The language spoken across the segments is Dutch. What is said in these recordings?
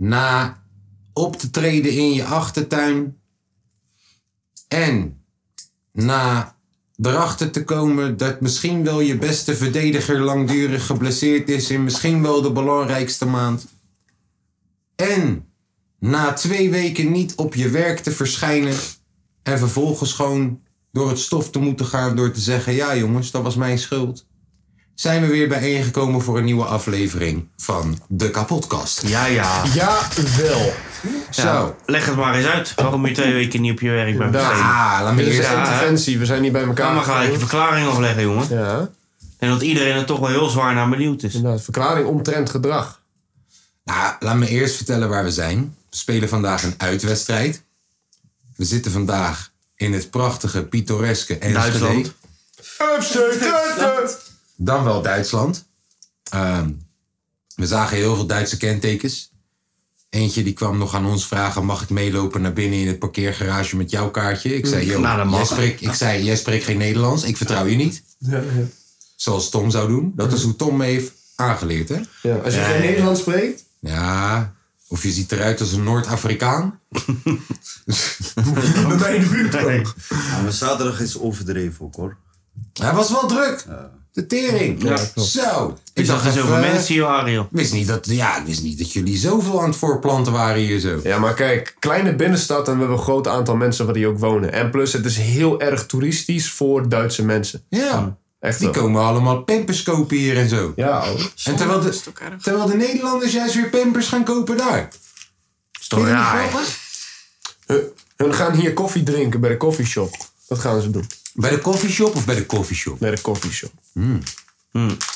Na op te treden in je achtertuin en na erachter te komen dat misschien wel je beste verdediger langdurig geblesseerd is in misschien wel de belangrijkste maand. En na twee weken niet op je werk te verschijnen en vervolgens gewoon door het stof te moeten gaan door te zeggen: ja jongens, dat was mijn schuld zijn we weer bijeengekomen voor een nieuwe aflevering van de Kapotkast. Ja, ja. Jawel. Zo. Leg het maar eens uit. Waarom je twee weken niet op je werk bent. Ja. verschenen? Ah, laat me Dit is eerst... een interventie, we zijn niet bij Ga elkaar. maar gelijk je verklaring afleggen, jongen. Ja, Nou, En dat iedereen er toch wel heel zwaar naar benieuwd is. inderdaad. Verklaring omtrent gedrag. Nou, laat me eerst vertellen waar we zijn. We spelen vandaag een uitwedstrijd. We zitten vandaag in het prachtige, pittoreske Enschede. Duitsland. FC Twente! Dan wel Duitsland. Ehm, we zagen heel veel Duitse kentekens. Eentje die kwam nog aan ons vragen: mag ik meelopen naar binnen in het parkeergarage met jouw kaartje? Ik zei: joh, Nou, dat mag. jij spreekt- ik zei, jij spreekt geen Nederlands, ik vertrouw je niet. Zoals Tom zou doen. Dat is hoe Tom me heeft aangeleerd, hè? Ja, als je geen Nederlands spreekt, Ja, of je ziet eruit als een Noord-Afrikaan. dan ben je de buurt ook. Ja, maar zaterdag is overdreven ook hoor. Hij was wel druk. De tering. Zo. Ik dacht dus er zoveel even, eh, mensen hier, Ariel. Ik wist, niet dat, ja, ik wist niet dat jullie zoveel aan het voorplanten waren hier zo. Ja, maar kijk, kleine binnenstad en we hebben een groot aantal mensen waar die ook wonen. En plus, het is heel erg toeristisch voor Duitse mensen. Ja. Echt Die wel. komen allemaal pampers kopen hier en zo. Ja, oh. En terwijl de, terwijl de Nederlanders juist weer pampers gaan kopen daar. Is toch Vind je dat raar? grappig? Hun- Hun gaan hier koffie drinken bij de koffieshop. Dat gaan ze doen. Bij de koffieshop of bij de koffieshop? Bij de koffieshop. Hmm.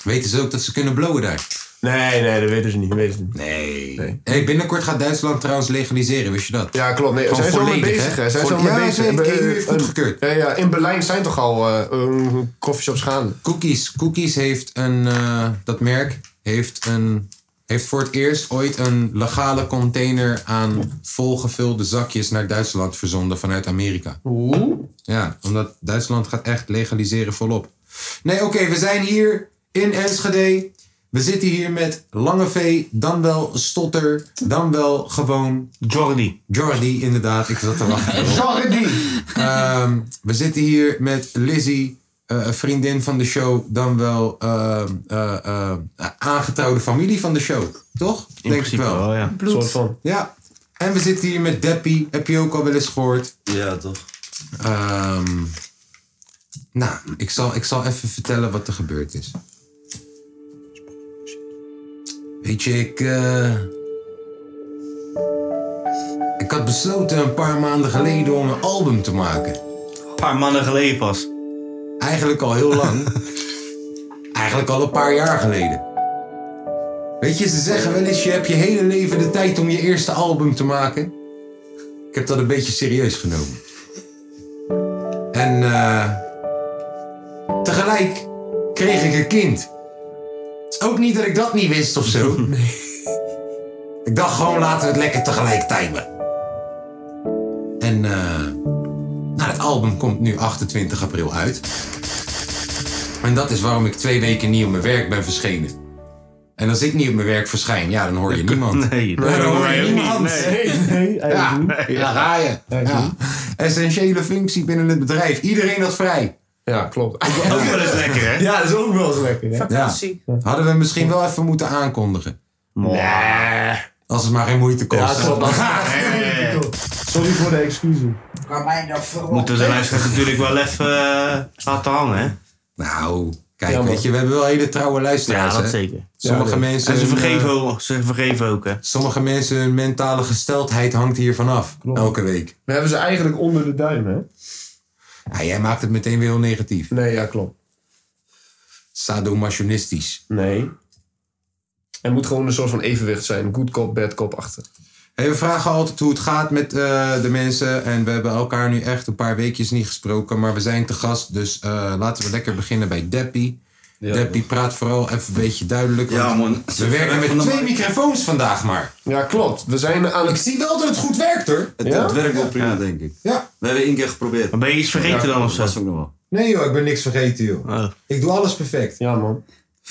Weten ze ook dat ze kunnen blowen daar? Nee, nee, dat weten ze niet. Weten ze niet. Nee. Nee. Hey, binnenkort gaat Duitsland trouwens legaliseren, wist je dat? Ja, klopt. Nee, Gewoon zijn ze al mee volledig, bezig, hè? hè? Zijn ze al Volle- mee Ja, bezig? ze- de EU Eh, heeft een- goedgekeurd. Ja, ja, in Berlijn zijn toch al eh koffieshops gaande. Cookies. Cookies heeft een, eh, dat merk heeft, een, heeft voor het eerst ooit een legale container aan volgevulde zakjes naar Duitsland verzonden vanuit Amerika. Ja, omdat Duitsland gaat echt legaliseren volop. Nee, oké, we zijn hier in Enschede. We zitten hier met Lange V, dan wel Stotter, dan wel gewoon Jordi. Jordi, inderdaad. Ik zat te wachten. Jordi! Ehm, we zitten hier met Lizzie, eh, een vriendin van de show, dan wel ehm, eh, eh, aangetrouwde familie van de show. Toch? In principe wel. ja. Een soort van. Ja. En we zitten hier met Deppie, heb je ook al wel eens gehoord. Ja, toch? Ehm, nou, ik zal, ik zal even vertellen wat er gebeurd is. Weet je, ik. eh, ik had besloten een paar maanden geleden om een album te maken. Een paar mannen geleden pas. Eigenlijk al heel lang. Eigenlijk al een paar jaar geleden. Weet je, ze zeggen wel eens: je hebt je hele leven de tijd om je eerste album te maken. Ik heb dat een beetje serieus genomen. En eh, tegelijk kreeg ik een kind. Het is ook niet dat ik dat niet wist of zo. Ik dacht gewoon: laten we het lekker tegelijk timen. En eh, nou, het album komt nu 28 april uit. En dat is waarom ik twee weken niet op mijn werk ben verschenen. En als ik niet op mijn werk verschijn, ja, dan hoor je niemand. Nee, Ja, dan hoor je Nee, niemand. Ja, daar ga je. Ja. Essentiële functie binnen het bedrijf. Iedereen had vrij. Ja, klopt. Ook wel eens lekker, hè? Ja, dat is ook wel eens lekker. hè? Ja. Hadden we misschien wel even moeten aankondigen. Als het maar geen moeite kost. Ja, klopt. Nee. Sorry voor de excuses. Kan mij dat verwachten? Moeten we Dus de luisteraar natuurlijk wel even eh, laten hangen, hè? nou, kijk, Ja, maar- weet je, we hebben wel hele trouwe luisteraars. Ja, dat hè? zeker. Sommige Ja, mensen. En ze hun, vergeven, eh, ook- ze vergeven ook, hè? sommige mensen, hun mentale gesteldheid hangt hiervan af. Elke week. We hebben ze eigenlijk onder de duim, hè? Ja, jij maakt het meteen weer heel negatief. Nee, ja, klopt. Sadomasochistisch. Nee. Er moet gewoon een soort van evenwicht zijn. Good cop, bad cop achter. Hey, we vragen altijd hoe het gaat met eh, de mensen. En we hebben elkaar nu echt een paar weekjes niet gesproken. Maar we zijn te gast, dus eh, laten we lekker beginnen bij Deppie. Deppie praat vooral even een beetje duidelijk. Ja, want man. We werken met Van de twee mic. microfoons vandaag maar. Ja, klopt. We zijn aan Ik het... zie wel dat het goed werkt hoor. Het, Ja? het werkt wel prima, denk ik. Ja. We hebben één keer geprobeerd. Maar ben je iets vergeten dan of zo? was ook nog wel. Nee joh, ik ben niks vergeten joh. Oh. Ah. Ik doe alles perfect. Ja, man.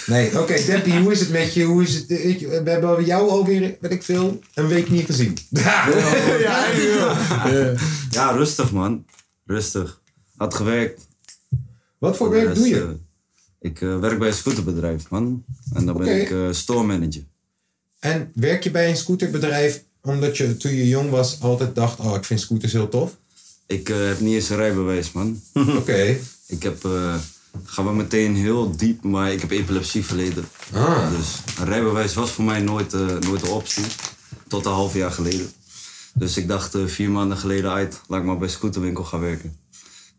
Nee, oké Deppie, hoe is het met je? Hoe is het? Ik- we hebben jou alweer, weet ik veel, een week niet gezien. Ja, ja, Ja, rustig man. Rustig. Had gewerkt. Wat voor Voor de werk doe rest, je? eh, ik eh, werk bij een scooterbedrijf man. En dan Oké. ben ik eh, store manager. En werk je bij een scooterbedrijf omdat je toen je jong was altijd dacht, oh ik vind scooters heel tof? Ik eh, heb niet eens een rijbewijs man. Oké. Ik heb, eh, gaan we meteen heel diep, maar ik heb epilepsie verleden. Ah. Dus een rijbewijs was voor mij nooit, eh, nooit een optie. Tot een half jaar geleden. Dus ik dacht eh, vier maanden geleden uit, laat ik maar bij scooterwinkel gaan werken.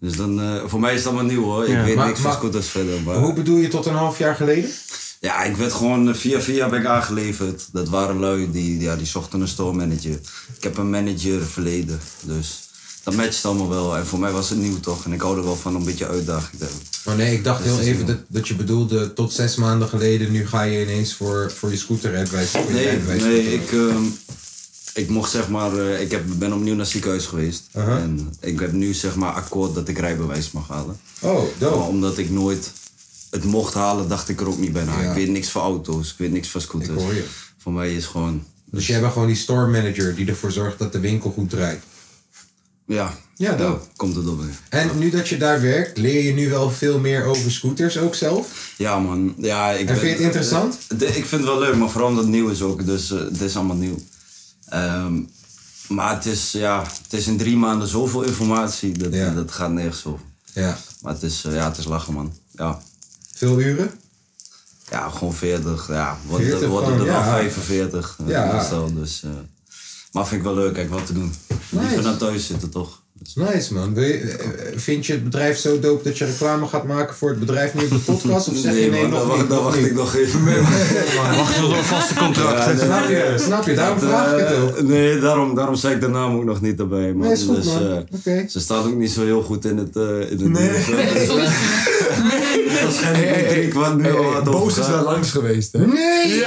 Dus dan, eh, voor mij is dat maar nieuw hoor. Ik weet maar- niks maar- van scooters verder. Maar, Hoe bedoel je tot een half jaar geleden? Ja, ik werd gewoon eh, via via ben ik aangeleverd. Dat waren lui, die, ja, die zochten een store manager. Ik heb een manager verleden, dus dat matcht allemaal wel. En voor mij was het nieuw toch. En ik hou er wel van om een beetje uitdaging te hebben. Oh nee, ik dacht heel even dat, dat je bedoelde tot zes maanden geleden, nu ga je ineens voor, voor je scooterrijbewijs. voor je Nee, rijbewijs. nee ik, ehm, ik mocht zeg maar, eh, ik heb, ben opnieuw naar het ziekenhuis geweest. Aha. En ik heb nu zeg maar akkoord dat ik rijbewijs mag halen. Oh, Maar dope. omdat ik nooit het mocht halen, dacht ik er ook niet bij na. Ja. Ik weet niks van auto's, ik weet niks van scooters. Ik hoor je. Voor mij is gewoon, Dus jij bent gewoon die store manager die ervoor zorgt dat de winkel goed draait. ja, nou, Ja, dope. komt het op neer. En nu dat je daar werkt, leer je nu wel veel meer over scooters ook zelf? Ja man, ja, ik En vind je het interessant? eh, de- ik vind het wel leuk, maar vooral omdat het nieuw is ook. Dus eh, het is allemaal nieuw. Ehm, maar het is, ja, het is in drie maanden zoveel informatie, dat, Ja. dat gaat nergens over. Ja. Maar het is, eh, ja, het is lachen, man. Ja, Veel uren? ja gewoon 40. Ja, wordt 40 wordt gewoon, er wel ja. 45. eh, Ja. meestal, dus, eh, maar vind ik wel leuk, kijk wat te doen. Nice. Liever naar thuis zitten, toch? Dus, Nice man. Wil je, eh, vind je het bedrijf zo dope dat je reclame gaat maken voor het bedrijf nu op de podcast? Of zeg je nee, man, nog daar niet, wacht, daar nog wacht niet? ik nog even mee. Wacht nog een vaste contract. Ja, Snap je? Snap je? Daarom vraag ik het Eh, ook. nee, daarom, daarom zei ik de naam ook nog niet erbij. Man. Nee, is goed, dus, man. eh, Oké. Ze staat ook niet zo heel goed in het, eh in het nieuws. Nee. Waarschijnlijk niet drie kwart nu al wat Boos is overgaan. daar langs geweest, hè? Nee!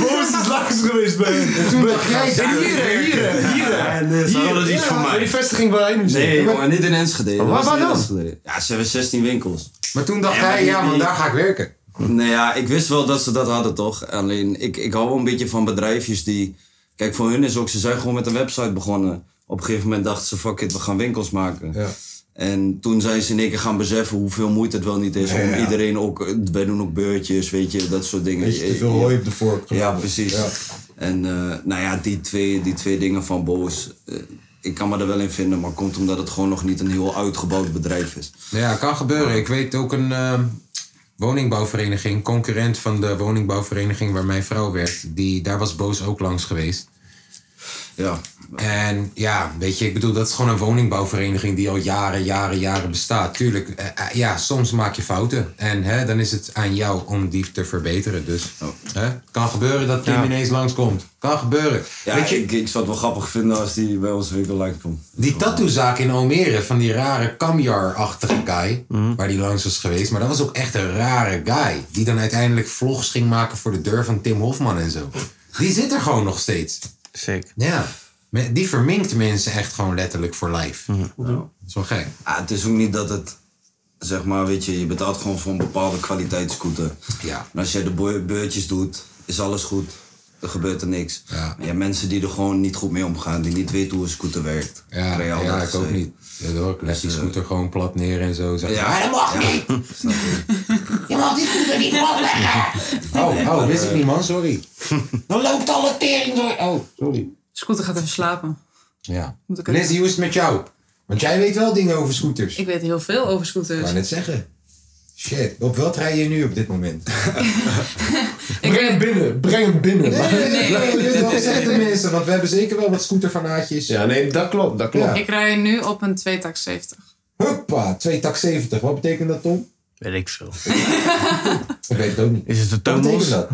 Boos is langs geweest bij Toen dacht jij dat. hier, Ja, nee, ze hadden iets voor mij. Die vestiging waar hij nu zit. Nee, maar niet in Enschede. Dat waar- was waar niet in dan? Enschede. Ja, ze hebben 16 winkels. Maar toen dacht Ja, maar hij, die- ja man, die- daar ga ik werken. Nou ja, ik wist wel dat ze dat hadden, toch? Alleen, ik, ik hou wel een beetje van bedrijfjes die... Kijk, voor hun is ook... Ze zijn gewoon met een website begonnen. Op een gegeven moment dachten ze, fuck it, we gaan winkels maken. Ja. En toen zijn ze in één keer gaan beseffen hoeveel moeite het wel niet is. om iedereen ook... Wij doen ook beurtjes, weet je, dat soort dingen. Beetje te veel hooi op de vork. Ja, gelopen. precies. Ja. En eh, nou ja, die twee, die twee dingen van Boos... eh, ik kan me er wel in vinden, maar komt omdat het gewoon nog niet een heel uitgebouwd bedrijf is. Nou Ja, kan gebeuren. Ik weet ook een ehm, woningbouwvereniging, concurrent van de woningbouwvereniging waar mijn vrouw werkt, die, daar was Boos ook langs geweest. Ja, En ja, weet je, ik bedoel, dat is gewoon een woningbouwvereniging die al jaren, jaren, jaren bestaat. Tuurlijk, eh, eh, ja, soms maak je fouten. En hè, dan is het aan jou om die te verbeteren. Dus Oh. hè, kan gebeuren dat Kim ineens langskomt. Kan gebeuren. ja weet je, ik, ik zou het wel grappig vinden als die bij ons winkel langskomt. die tattoozaak in Almere van die rare Kamjar-achtige guy, Mhm. waar die langs was geweest. Maar dat was ook echt een rare guy. Die dan uiteindelijk vlogs ging maken voor de deur van Tim Hofman en zo. Die zit er gewoon nog steeds. Zeker. Ja. Me- Die verminkt mensen echt gewoon letterlijk voor life. Nou, Zo gek. Ah, het is ook niet dat het, zeg maar, weet je, je betaalt gewoon voor een bepaalde kwaliteit scooter. Ja. En als jij de boy- beurtjes doet, is alles goed. Er gebeurt er niks. Ja. Maar je hebt mensen die er gewoon niet goed mee omgaan, die niet weten hoe een scooter werkt. Ja, Krijg je ja, altijd ik ook gezegd. niet. Ja, hoor, ik leg die scooter gewoon plat neer en zo. Zeg, Ja. Maar dat mag Ja. niet! Je mag die scooter niet plat leggen! Oh, oh, wist ik niet man, sorry. Dan loopt alle tering door. Oh, sorry. Scooter gaat even slapen. Ja. Moet ik ook- Lizzie, hoe is het met jou? Want jij weet wel dingen over scooters. Ik Ik weet heel veel over kan scooters. het net zeggen. Shit, op wat rij je nu op dit moment? Ik Breng hem weet- binnen, breng hem binnen. Nee, nee, nee. Dat zeggen de mensen, want we hebben zeker wel wat scooterfanaatjes. Ja, nee, dat klopt, dat klopt. Ja. ik rij nu op een 270. Huppa, 2 tak 70. Wat betekent dat, Tom? Weet ik veel. Ik weet het ook niet. Is het de Wat betekent Tomos? dat?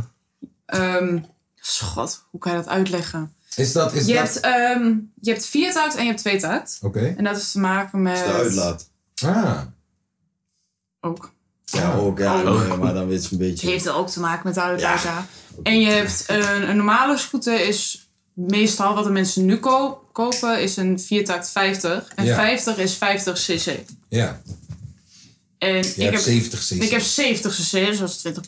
ehm, schot, hoe kan je dat uitleggen? Is dat... Is je, dat... hebt, ehm je hebt vier takt en je hebt twee takt. Oké. En dat is te maken met... Als de uitlaat. Ah. Eh, Ook. Ja, ook. Ja, eh, nee, maar dan weet ze een beetje... Die heeft dat ook te maken met de uitlaat, ja. En je hebt een, een normale scooter is... Meestal wat de mensen nu ko- kopen is een viertakt 50. En Ja. 50 is 50 cc. Ja. En Je ik hebt heb 70 cc. Ik heb 70 cc, dus dat is 20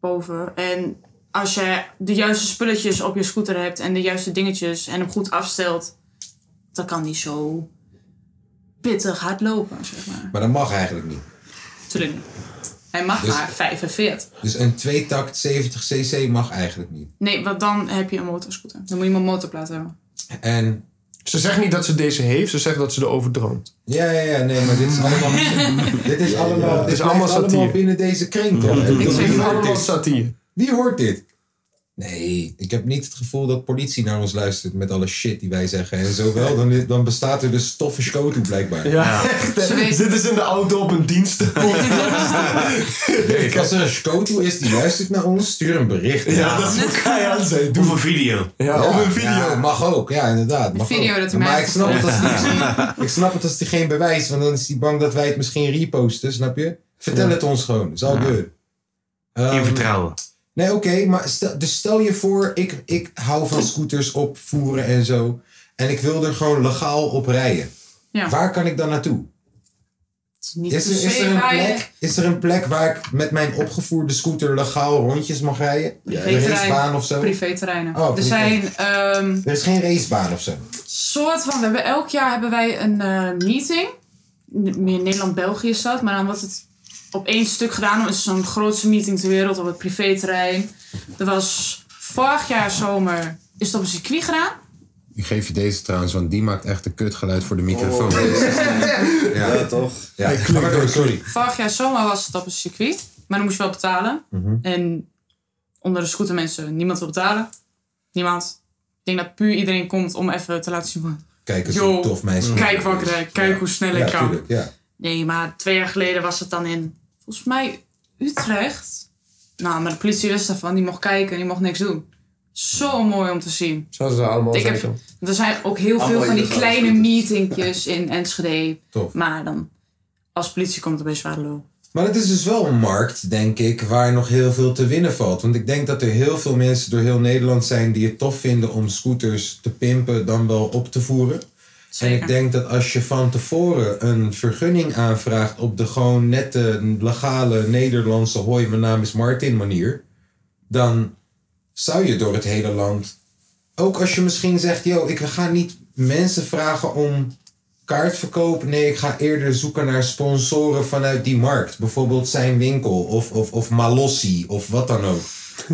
boven. En als je de juiste spulletjes op je scooter hebt en de juiste dingetjes en hem goed afstelt, dan kan die zo pittig hard lopen, zeg maar. Maar dat mag eigenlijk niet. Tuurlijk niet. Hij mag Dus- maar 45. Dus een tweetakt 70 cc mag eigenlijk niet. Nee, want dan heb je een motorscooter. Dan moet je maar een motorplaat hebben. En... Ze zegt niet dat ze deze heeft, ze zegt dat ze erover droomt. Ja, ja, ja, nee, maar dit is allemaal... dit is allemaal... Dit is is allemaal allemaal, satire. binnen deze kring, toch? Ik zeg zeg niet hoort allemaal dit? satire. Wie hoort dit? Nee, ik heb niet het gevoel dat politie naar ons luistert met alle shit die wij zeggen. En zo wel, dan, dan bestaat er dus stoffen schotel blijkbaar. Ja, Ze weet- Dit is in de auto op een dienst. Kijk, als er een schotel is die luistert naar ons, stuur een bericht. Ja, dat is wat Kaya zei. Doe Doe voor video. Ja, Ja, op een video. ja, mag ook, ja, inderdaad. Mag video ook. dat hij mij maar ik heeft snap, het als die, ik snap het als hij geen bewijs, want dan is hij bang dat wij het misschien reposten, snap je? Vertel het ons gewoon, is al good. In Ehm, vertrouwen. Nee, oké, maar stel, dus stel je voor, ik, ik hou van scooters opvoeren en zo. En ik wil er gewoon legaal op rijden. Ja. Waar kan ik dan naartoe? Het is niet Is per er, is, se er een waar je- plek, is er een plek waar ik met mijn opgevoerde scooter legaal rondjes mag rijden? een Privéterrein. racebaan of zo? Privéterreinen. Oh, er privé. zijn ehm, Er is geen racebaan of zo. soort van. We hebben, elk jaar hebben wij een eh, meeting. N- Meer Nederland-België is dat. Maar dan wordt het op één stuk gedaan. Dan is het zo'n grootste meeting ter wereld op het privéterrein. Er was vorig jaar zomer. Is het op een circuit gedaan? Ik geef je deze trouwens, want die maakt echt een kutgeluid voor de microfoon. Oh. Ja, Ja, toch? ja. Ga maar door, sorry. Vorig jaar zomer was het op een circuit. Maar dan moest je wel betalen. Mhm. En onder de scooter mensen, niemand wil betalen. Niemand. Ik denk dat puur iedereen komt om even te laten zien van... Kijk eens, Yo, een tof meisje. Kijk wat ik rijd, kijk hoe snel ja, ik kan. tuurlijk, ja. Nee, maar twee jaar geleden was het dan in, volgens mij, Utrecht. Nou, maar de politie wist daarvan. Die mocht kijken, die mocht niks doen. Zo mooi om te zien. Zoals ze allemaal Ik heb- zeggen. Er zijn ook heel veel Allemaal van die illegale kleine scooters. meetingjes in Enschede. Tof. Maar dan, als politie komt, dan ben je zwaar de lul. Maar het is dus wel een markt, denk ik, waar nog heel veel te winnen valt. Want ik denk dat er heel veel mensen door heel Nederland zijn die het tof vinden om scooters te pimpen dan wel op te voeren. En ik Zeker. denk dat als je van tevoren een vergunning aanvraagt op de gewoon nette, legale Nederlandse hoi, mijn naam is Martin manier, dan zou je door het hele land, ook als je misschien zegt, yo, ik ga niet mensen vragen om kaartverkoop. Nee, ik ga eerder zoeken naar sponsoren vanuit die markt. Bijvoorbeeld zijn winkel of, of, of Malossi of wat dan ook.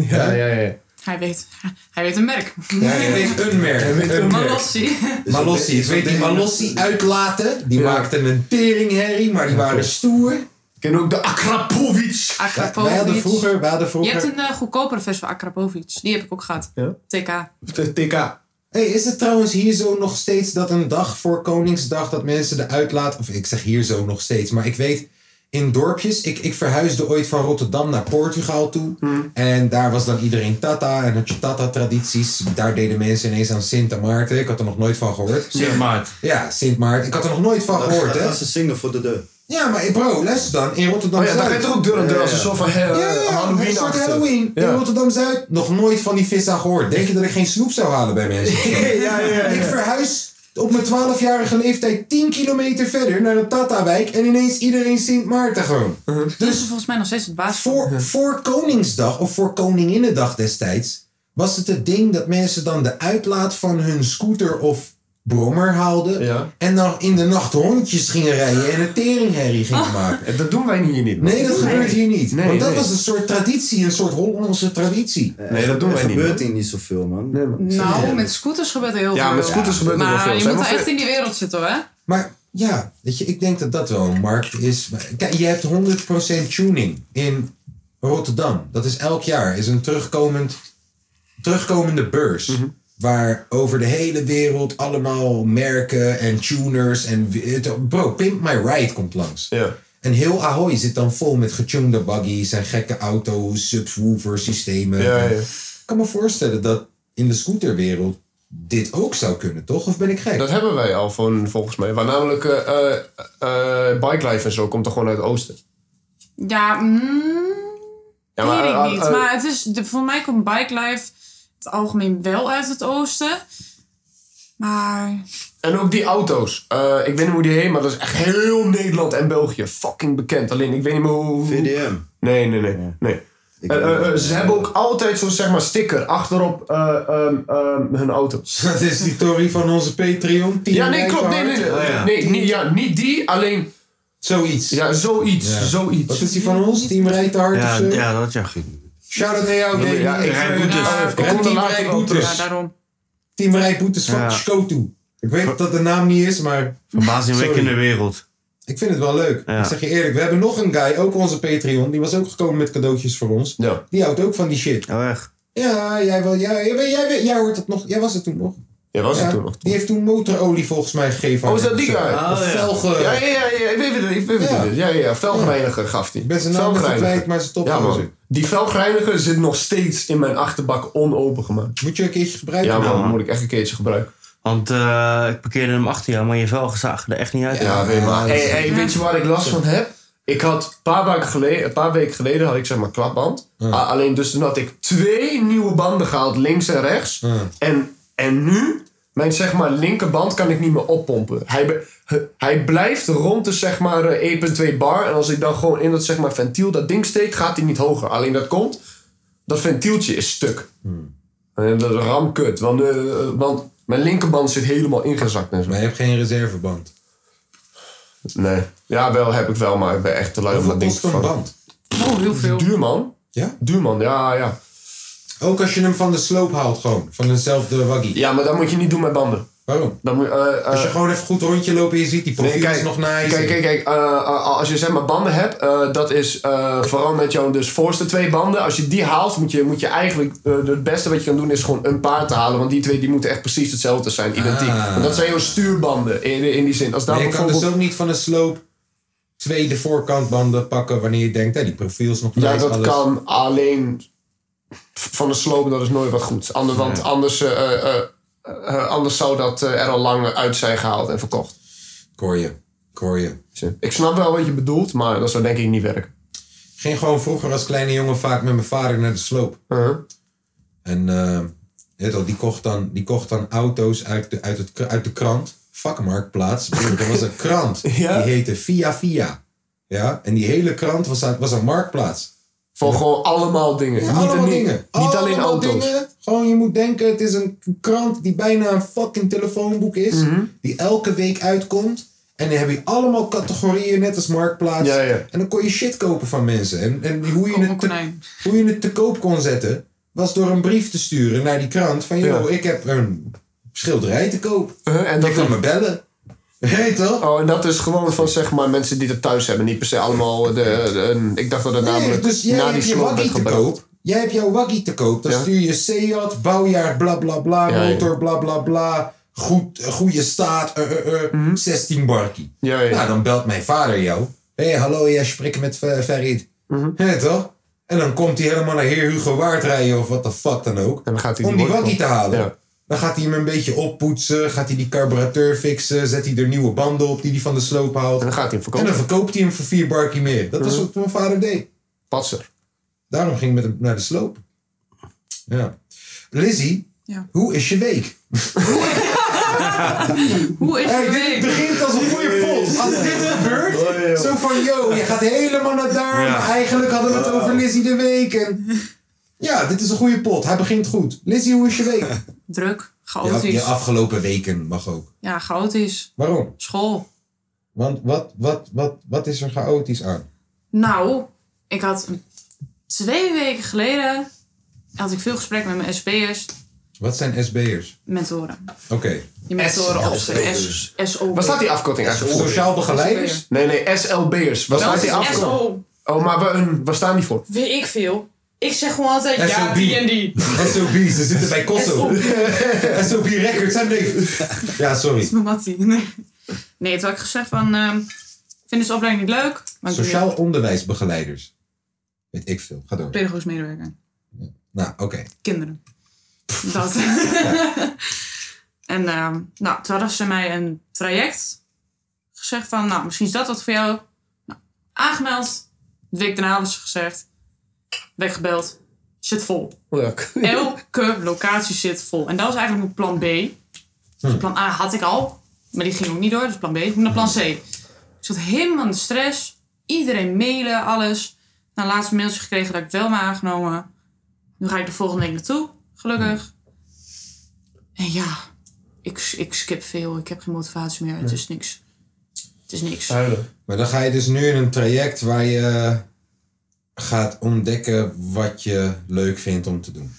Ja, ja, ja. Hij weet, hij weet een merk. Ja, ik weet een merk. Een merk. Malossi. Malossi. Ik weet die Malossi uitlaten. Die maakten een teringherrie, maar die waren stoer. Ik ken ook de Akrapovic. Wij hadden Akrapovic. vroeger... Wij hadden Je vroeger hebt een eh, goedkopere versie van Akrapovic. Die heb ik ook gehad. Ja? TK. De TK. Hey, is het trouwens hier zo nog steeds dat een dag voor Koningsdag dat mensen de uitlaat... Of ik zeg hier zo nog steeds, maar ik weet... In dorpjes, ik, ik verhuisde ooit van Rotterdam naar Portugal toe. En daar was dan iedereen tata en had je tata-tradities. Daar deden mensen ineens aan Sint Maarten. Ik had er nog nooit van gehoord. Zeg maar. Ja, Sint Maarten. Ik had er nog nooit van gehoord, hè? gaan ze zingen voor de deur. Ja, maar eh, bro, luister dan. In Rotterdam Oh ja, dan Zuid. ga je toch ook deur aan deur als een soort van eh, Ja, ja, Halloween. Halloween Soort achter. Halloween. Ja. In Rotterdam Zuid nog nooit van die vissa gehoord. Denk je dat ik geen snoep zou halen bij mensen? Ja, ja, Ik verhuis op mijn 12-jarige leeftijd 10 kilometer verder naar de Tata-wijk en ineens iedereen Sint Maarten gewoon. Uh-huh. Dus is volgens mij nog steeds het baas. Voor, voor Koningsdag of voor Koninginnedag destijds was het het ding dat mensen dan de uitlaat van hun scooter of brommer haalden Ja. en dan in de nacht hondjes gingen rijden en een teringherrie gingen Ah. maken. ja. Dat doen wij hier niet. man. Nee, dat gebeurt hier niet. Nee, Want dat nee. was een soort traditie, een soort Hollandse traditie. Nee, dat Eh, doen wij niet, Er man. gebeurt hier niet zoveel, man. Nee, man. Nou, met scooters gebeurt er heel Ja, veel. met scooters gebeurt er maar wel veel. je Zijn moet we wel echt ver- in die wereld zitten hoor. Maar ja, weet je, ik denk dat dat wel een markt is. Kijk, je hebt 100% tuning in Rotterdam. Dat is elk jaar is een terugkomend, terugkomende beurs. Mhm. Waar over de hele wereld allemaal merken en tuners en... wi- Bro, Pimp My Ride komt langs. Ja. En En heel Ahoy zit dan vol met gechungde buggies en gekke auto's, subwoofer systemen. Ja, ja. Ik kan me voorstellen dat in de scooterwereld dit ook zou kunnen, toch? Of ben ik gek? Dat hebben wij al van, volgens mij. Waar namelijk eh eh eh, Bike Life en zo komt er gewoon uit het oosten. Ja, mm, Ja, maar, weet ik eh, niet. eh, maar het is, de, voor mij komt Bike Life het algemeen wel uit het oosten. Maar En ook die auto's. Eh, ik weet niet hoe die heen, maar dat is echt heel Nederland en België. Fucking bekend. Alleen ik weet niet meer hoe... VDM. Nee, nee, nee. nee. Ik- Eh, eh, eh, ze hebben ook altijd zo'n zeg maar, sticker achterop eh, ehm, ehm, hun auto's. Dat is die Tory van onze Patreon. Tien Ja, nee, lijken klopt. Nee, hard. nee, nee. Oh, ja. nee niet, ja, niet die, alleen Zoiets. ja, zoiets. Ja. Wat zoiets. is die van ons? Team Rijdt te Hard Ja, of zo? ja, dat ja, goed. Shout out naar jou, eh, Davy. ja, ik- Rijn Boeters. Ja, Ja, kom Team er later Rij wel terug. ja, Boeters. daarom. Team Rij Boeters van Ja. Skotu. Ik weet dat de naam niet is, maar Verbazingwekkende wereld. ik vind het wel leuk. Ja. Ik zeg je eerlijk, we hebben nog een guy, ook onze Patreon. Die was ook gekomen met cadeautjes voor ons. Ja. Die houdt ook van die shit. Oh, echt. Ja, jij, wel, ja, jij, jij, jij, jij hoort het nog. Jij was het toen nog. Ja, was Ja, het toen nog. Die heeft toen motorolie volgens mij gegeven. Oh, aan is dat hem die of zo. guy? Of Oh, ja. velgen. Ja, ja, ja, ja, ik weet het, ik weet het. Ja. Ja, ja, ja, velgreiniger gaf die. Ik ben zijn naam even Velgreiniger. kwijt, maar ze top Ja, gozer. man. Die velgreiniger zit nog steeds in mijn achterbak onopengemaakt. Moet je een keertje gebruiken? Ja, man, man. moet ik echt een keertje gebruiken. Want eh, ik parkeerde hem achter jou, maar je velgen zagen er echt niet uit. Ja, weet, maar. dat Hey, is- hey, weet je waar ik last van heb? Ik had een paar, weken geleden, een paar weken geleden had ik zeg maar klapband. A- alleen dus toen had ik twee nieuwe banden gehaald, links en rechts. En, en nu, mijn zeg maar linkerband kan ik niet meer oppompen. Hij, be- he- hij blijft rond de zeg maar eh, 1.2 bar. En als ik dan gewoon in dat zeg maar ventiel dat ding steek, gaat hij niet hoger. Alleen dat komt, dat ventieltje is stuk. Hmm. En Eh, dat is ramkut. Want, eh, want mijn linkerband zit helemaal ingezakt en zo. Maar je hebt geen reserveband. Nee. Ja, wel heb ik wel, maar ik ben echt te lui om Hoeveel dat ding kost te een vangen. band? Oh, heel veel. Duur man. Ja? Duur man, ja, ja. Ook als je hem van de sloop haalt gewoon. Van dezelfde waggie. Ja, maar dat moet je niet doen met banden. Waarom? Dat moet, eh, eh, Als je gewoon even goed rondje loopt en je ziet die profiel nee, kijk, is nog kijk, nice. kijk, kijk, eh, eh, als je zeg maar banden hebt, eh, dat is eh, vooral met jouw dus voorste twee banden. Als je die haalt, moet je, moet je eigenlijk, eh, het beste wat je kan doen is gewoon een paar te halen. Want die twee die moeten echt precies hetzelfde zijn, identiek. Ah. Want dat zijn jouw stuurbanden in, in die zin. Als daar Maar je kan bijvoorbeeld... dus ook niet van een sloop twee de voorkantbanden pakken wanneer je denkt, hé, die profiel is nog nice. Ja, dat alles. kan alleen v- van de sloop, dat is nooit wat goed. Ander, want anders, eh, eh, eh, eh, anders zou dat eh, er al lang uit zijn gehaald en verkocht. Ik hoor je. Ik hoor je. Dus, eh, Ik snap wel wat je bedoelt, maar dat zou denk ik niet werken. Ik ging gewoon vroeger als kleine jongen vaak met mijn vader naar de sloop. Uh-huh. En eh, je weet wel, die, kocht dan, die kocht dan auto's uit de, uit het, kra- uit de krant. Vakmarktplaats. Broer, Er was een krant. Ja. Die heette Via Via. Ja? En die hele krant was, aan- was een marktplaats. Van gewoon allemaal dingen. Ja, niet allemaal niet- dingen. Niet Allemaal alleen auto's. dingen. Gewoon, je moet denken, het is een krant die bijna een fucking telefoonboek is. Mhm. Die elke week uitkomt. En dan heb je allemaal categorieën, net als Marktplaats. Ja, ja. En dan kon je shit kopen van mensen. En, en hoe, je Kom het op, te, konijn. hoe je het te koop kon zetten, was door een brief te sturen naar die krant. Van, joh, Ja. ik heb een schilderij te koop. Uh-huh, en Je kan dat me bellen. Heet toch? Oh, en dat is gewoon van zeg maar mensen die het thuis hebben. Niet per se allemaal de... de- ik dacht dat het Nee, namelijk dus jij na die hebt je sloop werd waggie te gebruikt. koop. Jij hebt jouw waggie te koop. Dan Ja. stuur je Seat, bouwjaar, bla bla bla, Ja, ja. motor, bla bla bla. Goed, eh, goede staat, eh eh eh, Mhm. 16 barkie. Ja, ja. Nou, dan belt mijn vader jou. Hé, hey, hallo, jij spreekt met Ver- Farid. Mhm. Hé, toch? En dan komt hij helemaal naar Heer Hugo Waard rijden of wat de fuck dan ook. dan gaat hij om die die waggie te worden- halen. Ja. Dan gaat hij hem een beetje oppoetsen. Gaat hij die carburateur fixen. Zet hij er nieuwe banden op die hij van de sloop haalt. En dan gaat hij hem En dan verkopen. Mhm. verkoopt hij hem voor vier barkie meer. Dat was wat mijn vader deed. Patser. Daarom ging ik met hem naar de sloop. Ja. Lizzie, Ja. hoe is je week? Hoe is Hey, je dit week? begint als een goede pot. Als dit gebeurt, zo van, yo, je gaat helemaal naar daar. Ja. Maar eigenlijk hadden we het over Lizzie de week. En... Ja, dit is een goede pot. Hij begint goed. Lizzie, hoe is je week? Druk, Je, je chaotisch. afgelopen weken mag ook. Ja, chaotisch. Waarom? School. Want wat, wat, wat, wat is er chaotisch aan? Nou, ik had een- twee weken geleden had ik veel gesprek met mijn SB'ers, Wat zijn SB'ers? mentoren. Oké. Je mentoren of S- SO. Waar staat die afkorting eigenlijk voor? Sociaal begeleiders? Nee, nee, SLB'ers. Waar Wel, staat het die is afkorting? SO. Oh, maar waar, een- waar staan die voor? Weet ik veel. Ik zeg gewoon altijd ja, SOB. die en die. SOB's, ze zitten bij Kosso. SOB. SOB Records, zijn neef. Ja, sorry. Mijn mattie. Nee. nee, toen had ik gezegd van... ehm, Vinden ze de opleiding niet leuk? Maar ik doe Sociaal het. onderwijsbegeleiders. Weet ik veel. Ga door. Pedagogisch medewerker. Nou, oké. Kinderen. Dat. en ehm, nou, toen hadden ze mij een traject gezegd van, nou, misschien is dat wat voor jou. Nou, aangemeld. De week daarna was ze gezegd, werd gebeld, zit vol. Leuk. Elke locatie zit vol. En dat was eigenlijk mijn plan B. Dus plan A had ik al, maar die ging ook niet door. Dus plan B, ik moet naar plan C. Ik zat helemaal in de stress. Iedereen mailen, alles. Na een laatste mailtje gekregen dat ik wel ben aangenomen. Nu ga ik de volgende week naartoe, gelukkig. En ja, ik, ik skip veel. Ik heb geen motivatie meer. Het is niks. Het is niks. Huilen. Maar dan ga je dus nu in een traject waar je gaat ontdekken wat je leuk vindt om te doen.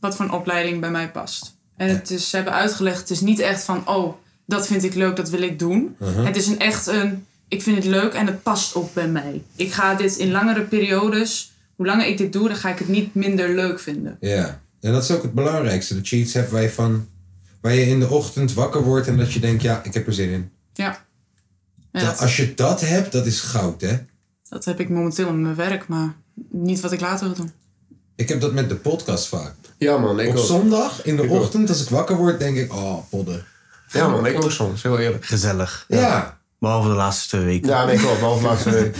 wat voor een opleiding bij mij past. En het is, ze hebben uitgelegd, het is niet echt van, oh, dat vind ik leuk, dat wil ik doen. Uh-huh. Het is een echt een, ik vind het leuk en het past ook bij mij. Ik ga dit in langere periodes, hoe langer ik dit doe, dan ga ik het niet minder leuk vinden. Ja. En dat is ook het belangrijkste. Dat je iets hebt waar je, van, waar je in de ochtend wakker wordt en dat je denkt, ja, ik heb er zin in. Ja. Ja, Dat- dat, als je dat hebt, dat is goud, hè? dat heb ik momenteel in mijn werk, maar niet wat ik later wil doen. Ik heb dat met de podcast vaak. Ja man, ik Op ook. zondag in de Ik ook. ochtend, als ik wakker word, denk ik, oh, podden. Ja man, ik ook soms. Heel eerlijk. Gezellig. Ja. Behalve de laatste twee weken. Ja, nee, klopt. Behalve laatste week.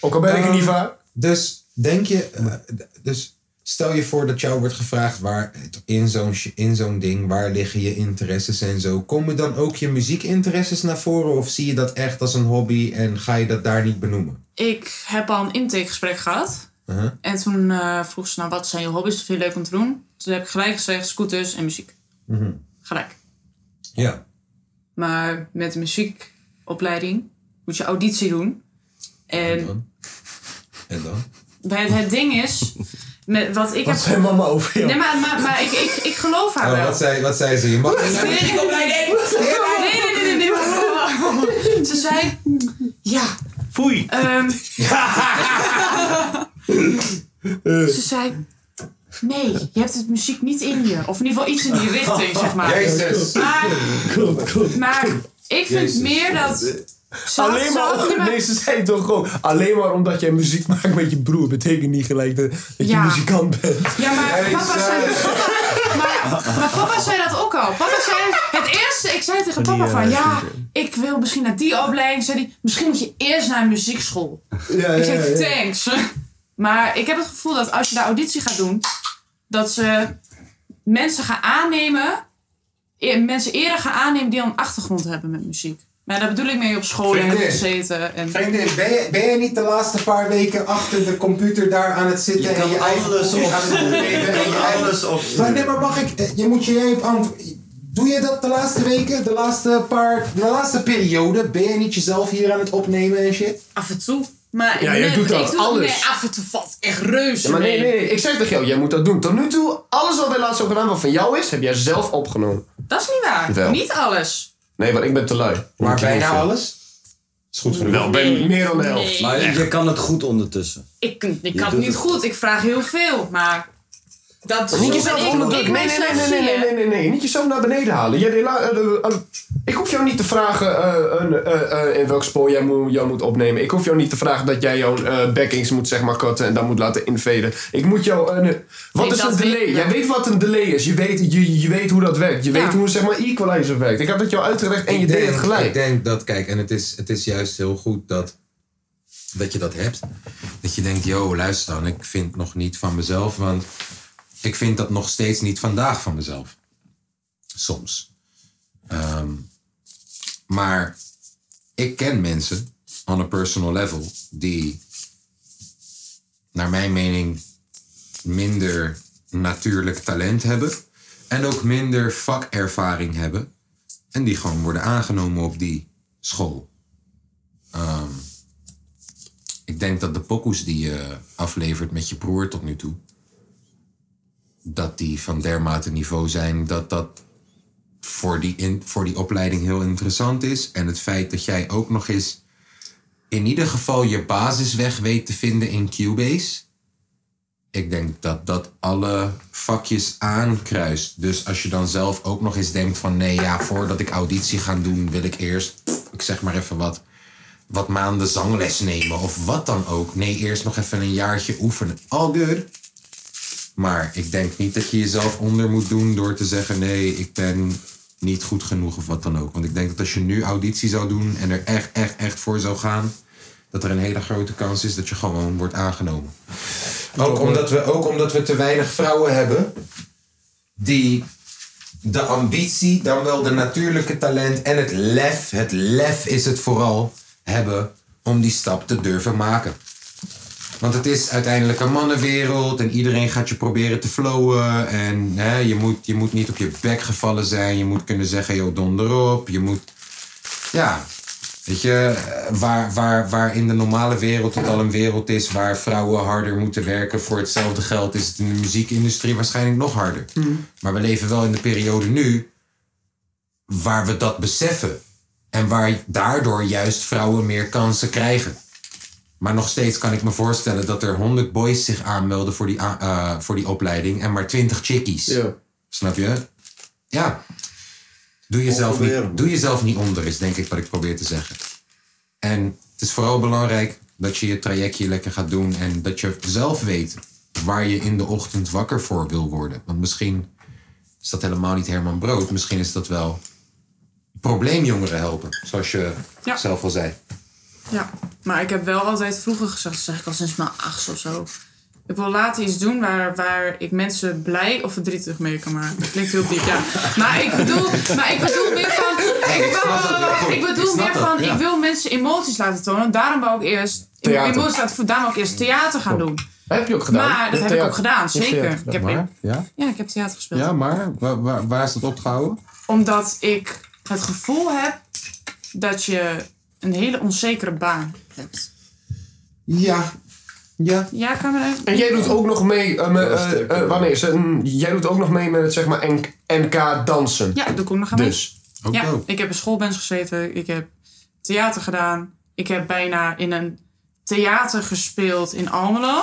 Ook al ben ik er niet vaak. Ehm, Dus denk je, eh, d- dus stel je voor dat jou wordt gevraagd waar in zo'n sh- in zo'n ding, waar liggen je interesses en zo. Komen dan ook je muziekinteresses naar voren of zie je dat echt als een hobby en ga je dat daar niet benoemen? Ik heb al een intakegesprek gehad. Uh-huh. En toen eh, vroeg ze, nou, wat zijn je hobby's? Wat vind je leuk om te doen? Toen heb ik gelijk gezegd, scooters en muziek. Mhm. Gelijk. Ja. Maar met de muziekopleiding moet je auditie doen. En En dan? bij het, het ding is, met wat ik Wat heb. zei mama over jou? Nee, maar, maar, maar ik, ik, ik geloof haar Oh, wel. wat, zei, wat zei ze? Je mag niet naar de Nee, nee, muziekopleiding. Nee, nee, nee, nee, nee, maar- Ze zei. Ja, Foei. ehm. Ze zei. Nee, je hebt het muziek niet in je. Of in ieder geval iets in die richting, zeg maar. Jezus. Maar, maar ik vind Jezus. meer dat. Ze had- Alleen ze had maar, niet meer- nee, ze zei toch gewoon, alleen maar omdat jij muziek maakt met je broer, betekent niet gelijk de- dat je Ja. muzikant bent. Ja, maar papa zei, papa, maar, maar papa zei dat ook al. Papa zei, het eerste, ik zei tegen papa van, ja, ik wil misschien naar die opleiding. Zei hij, misschien moet je eerst naar een muziekschool. Ja, Ik zei, thanks. Maar ik heb het gevoel dat als je daar auditie gaat doen, dat ze mensen gaan aannemen, e- mensen eerder gaan aannemen die al een achtergrond hebben met muziek. Maar daar bedoel ik mee op school en Vriendin. gezeten. En... Vriendin, ben je, ben je niet de laatste paar weken achter de computer daar aan het zitten Je kan alles computer op- aan het opnemen en je eigen- Alles of... Maar nee, maar mag ik? eh, Je moet je even antwoorden. Doe je dat de laatste weken, de laatste paar, de laatste periode? Ben je niet jezelf hier aan het opnemen en shit? Af en toe. Maar Ja, jij nee, doet ik dat, doe het- alles. Nee, af en toe valt echt reuze Ja, maar nee, mee. nee, nee, ik zeg tegen jou, jij moet dat doen. Tot nu toe, alles wat wij laatst hebben gedaan, wat van jou is, heb jij zelf opgenomen. Dat is niet waar. Wel. Niet alles. Nee, want ik ben te lui. Maar bijna alles? Is goed genoeg. Wel, ben meer dan de helft. Nee. Maar je kan het goed ondertussen. Ik, ik doet kan het niet het. goed. Ik vraag heel veel. Maar Niet dat zo jezelf ben ik- onder druk. ik Nee, nee, mezelf nee, nee, nee, zie, nee, hè. nee, nee, nee. Niet jezelf naar beneden halen. Jij deed la- eh, eh, eh, ik hoef jou niet te vragen eh, een, eh, eh, in welk spoor jij moet, jou moet opnemen. Ik hoef jou niet te vragen dat jij jouw eh, backings moet zeg maar korten en dan moet laten inveden. Ik moet jou... een wat Nee, is dat een delay? weet ik wel. jij weet wat een delay is. Je weet, je, je weet hoe dat werkt. Je Ja. weet hoe zeg maar equalizer werkt. Ik heb dat jou uitgelegd en je deed het Ik gelijk. denk dat, kijk, en het is, het is juist heel goed dat, dat je dat hebt. Dat je denkt, yo, luister dan, ik vind nog niet van mezelf, want ik vind dat nog steeds niet vandaag van mezelf. Soms. Ehm, maar ik ken mensen, on a personal level, die, naar mijn mening, minder natuurlijk talent hebben. En ook minder vakervaring hebben. En die gewoon worden aangenomen op die school. Ehm, ik denk dat de pokoes die je aflevert met je broer tot nu toe... dat die van dermate niveau zijn dat dat voor die, in, voor die opleiding heel interessant is. En het feit dat jij ook nog eens in ieder geval je basisweg weet te vinden in Cubase... Ik denk dat dat alle vakjes aankruist. Dus als je dan zelf ook nog eens denkt van... nee, ja, voordat ik auditie ga doen wil ik eerst... ik zeg maar even wat... wat maanden zangles nemen of wat dan ook. Nee, eerst nog even een jaartje oefenen. All good. Maar ik denk niet dat je jezelf onder moet doen door te zeggen: nee, ik ben niet goed genoeg of wat dan ook. Want ik denk dat als je nu auditie zou doen en er echt, echt, echt voor zou gaan, dat er een hele grote kans is dat je gewoon wordt aangenomen. Ook omdat we, ook omdat we te weinig vrouwen hebben die de ambitie, dan wel de natuurlijke talent en het lef, het lef is het vooral, hebben om die stap te durven maken. Want het is uiteindelijk een mannenwereld en iedereen gaat je proberen te flowen. En hè, je, moet, je moet niet op je bek gevallen zijn. Je moet kunnen zeggen, joh, donder op. Je moet, ja, weet je, eh, waar, waar, waar in de normale wereld het al een wereld is waar vrouwen harder moeten werken voor hetzelfde geld, is het in de muziekindustrie waarschijnlijk nog harder. Hmm. Maar we leven wel in de periode nu waar we dat beseffen. En waar daardoor juist vrouwen meer kansen krijgen. Maar nog steeds kan ik me voorstellen dat er 100 boys zich aanmelden voor die, a- eh, voor die opleiding en maar 20 chickies. Snap je? Ja. Doe jezelf, niet, doe jezelf niet onder, is denk ik wat ik probeer te zeggen. En het is vooral belangrijk dat je je trajectje lekker gaat doen en dat je zelf weet waar je in de ochtend wakker voor wil worden. Want misschien is dat helemaal niet Herman Brood, misschien is dat wel probleemjongeren helpen, zoals je Ja. zelf al zei. Ja, maar ik heb wel altijd vroeger gezegd, dat zeg ik al sinds mijn acht of zo. Ik wil later iets doen waar, waar ik mensen blij of verdrietig mee kan maken. Dat klinkt heel diep, ja. Maar ik bedoel, maar ik bedoel meer van... Ik, wil- ik bedoel meer van, ik wil mensen emoties laten tonen. Daarom wou ik eerst... Theater. Emoties laten voelen, daarom wou ik eerst theater gaan doen. Heb je ook gedaan? Maar dat heb ik ook gedaan, zeker. Ik heb, Ja, ja, ik heb theater gespeeld. ja maar waar, waar, waar is dat opgehouden? Oh, Omdat ik het gevoel heb dat je een hele onzekere baan hebt. Ja. Ja. Ja, camera? En jij doet ook nog mee, eh, met, eh, eh, wanneer is het? Een- jij doet ook nog mee met het zeg maar NK, NK dansen. Ja, doe ik ook nog aan mee. Dus, Ook ja, dope. ik heb in schoolbands gezeten. Ik heb theater gedaan. Ik heb bijna in een theater gespeeld in Almelo.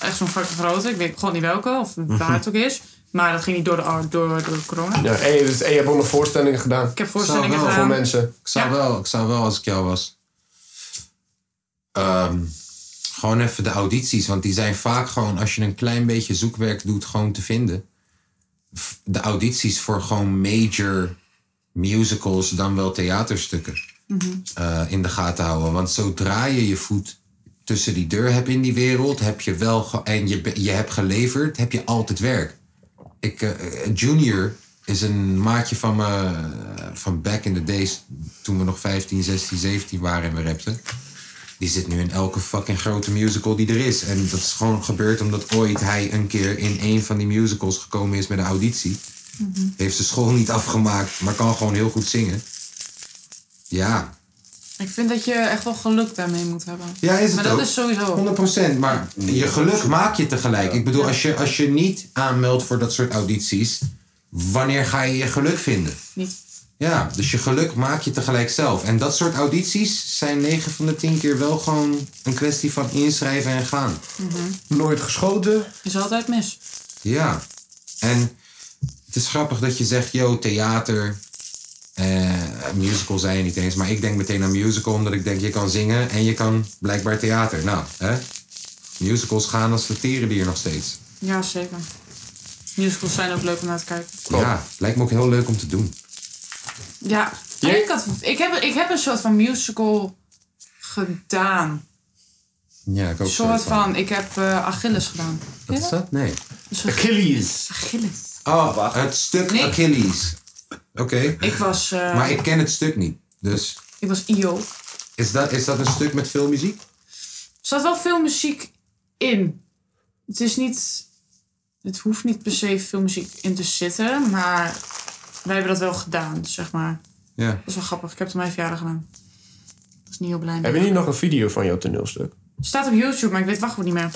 Echt zo'n fucking grote. Ik weet gewoon niet welke of Mhm. waar het ook is. Maar dat ging niet door de, door, door corona. ja, en, je, dus- en je hebt ook nog voorstellingen gedaan Ah. Ik heb voorstellingen Zou wel voor gedaan. mensen. Ik zou, Ja. wel, ik zou wel, als ik jou was, ehm, gewoon even de audities, want die zijn vaak gewoon, als je een klein beetje zoekwerk doet, gewoon te vinden. F- De audities voor gewoon major musicals, dan wel theaterstukken, Mhm. eh, in de gaten houden. Want zodra je je voet tussen die deur hebt in die wereld, heb je wel, ge- en je, be- je hebt geleverd, heb je altijd werk. Ik, eh, eh, junior is een maatje van me eh, van back in the days toen we nog 15, 16, 17 waren en we rapten. Die zit nu in elke fucking grote musical die er is. En dat is gewoon gebeurd omdat ooit hij een keer in een van die musicals gekomen is met een auditie. Mhm. Heeft zijn school niet afgemaakt, maar kan gewoon heel goed zingen. Ja, Ik vind dat je echt wel geluk daarmee moet hebben. ja, is het maar dat ook. is sowieso. 100%, maar je geluk maak je tegelijk. Ik bedoel, als je, als je niet aanmeldt voor dat soort audities, wanneer ga je je geluk vinden? Niet. Ja, dus je geluk maak je tegelijk zelf. En dat soort audities zijn 9 van de 10 keer wel gewoon een kwestie van inschrijven en gaan. Nooit geschoten. Mhm. Is altijd mis. Ja. En het is grappig dat je zegt, yo, theater. Eh, musical zei je niet eens, maar ik denk meteen aan musical, omdat ik denk, je kan zingen en je kan blijkbaar theater. Nou, hè? Musicals gaan als de teren die er nog steeds. Ja, zeker. Musicals zijn ook leuk om naar te kijken. Ja, lijkt me ook heel leuk om te doen. Ja, Jij- ik, had, ik, heb, ik heb een soort van musical gedaan. Ja, ik ook. Een soort van, ik heb eh, Achilles gedaan. Wat is dat? Nee. Achilles. Achilles. Oh, het stuk Nee. Achilles. Oké. Ik was, eh, Maar ik... ik ken het stuk niet. Dus was E Io. Er is dat, is dat een stuk met veel muziek? zat wel veel muziek in. Het is niet... Het hoeft niet per se veel muziek in te zitten, maar wij hebben dat wel gedaan, zeg maar. Ja. Dat is wel grappig. Ik heb het op mijn verjaardag gedaan. Dat is niet heel blij. Heb je niet nog een video van jouw toneelstuk? staat op YouTube, maar ik weet het wachtwoord niet meer.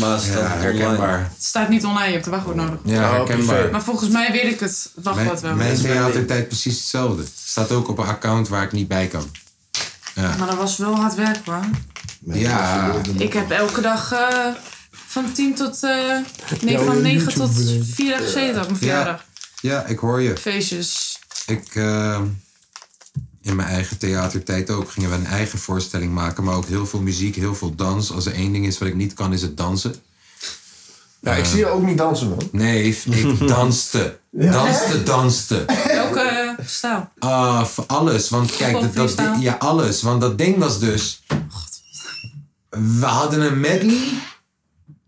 Maar het staat online. Herkenbaar. Het staat niet online, je hebt de wachtwoord nodig. Ja, Oh, privé. herkenbaar. Maar volgens mij weet ik het wachtwoord wel. Mijn, mijn theatertijd precies hetzelfde. Staat ook op een account waar ik niet bij kan. Maar dat was wel hard werk hoor. Ja, Ik heb elke dag eh, van 10 tot. eh, nee, van 9 tot 4 gezeten op mijn verjaardag. ja, ik hoor je. Feestjes. Ik, eh, in mijn eigen theatertijd ook. Gingen we een eigen voorstelling maken, maar ook heel veel muziek, heel veel dans. Als er één ding is wat ik niet kan, is het dansen. Ehm, Ja, ik zie je ook niet dansen, man. Nee, ik danste. Danste, danste. Welke eh, stijl? Ah, voor alles. Want kijk, Gewoon dat, dat, freestyle? ja, alles. Want dat ding was dus. We hadden een medley.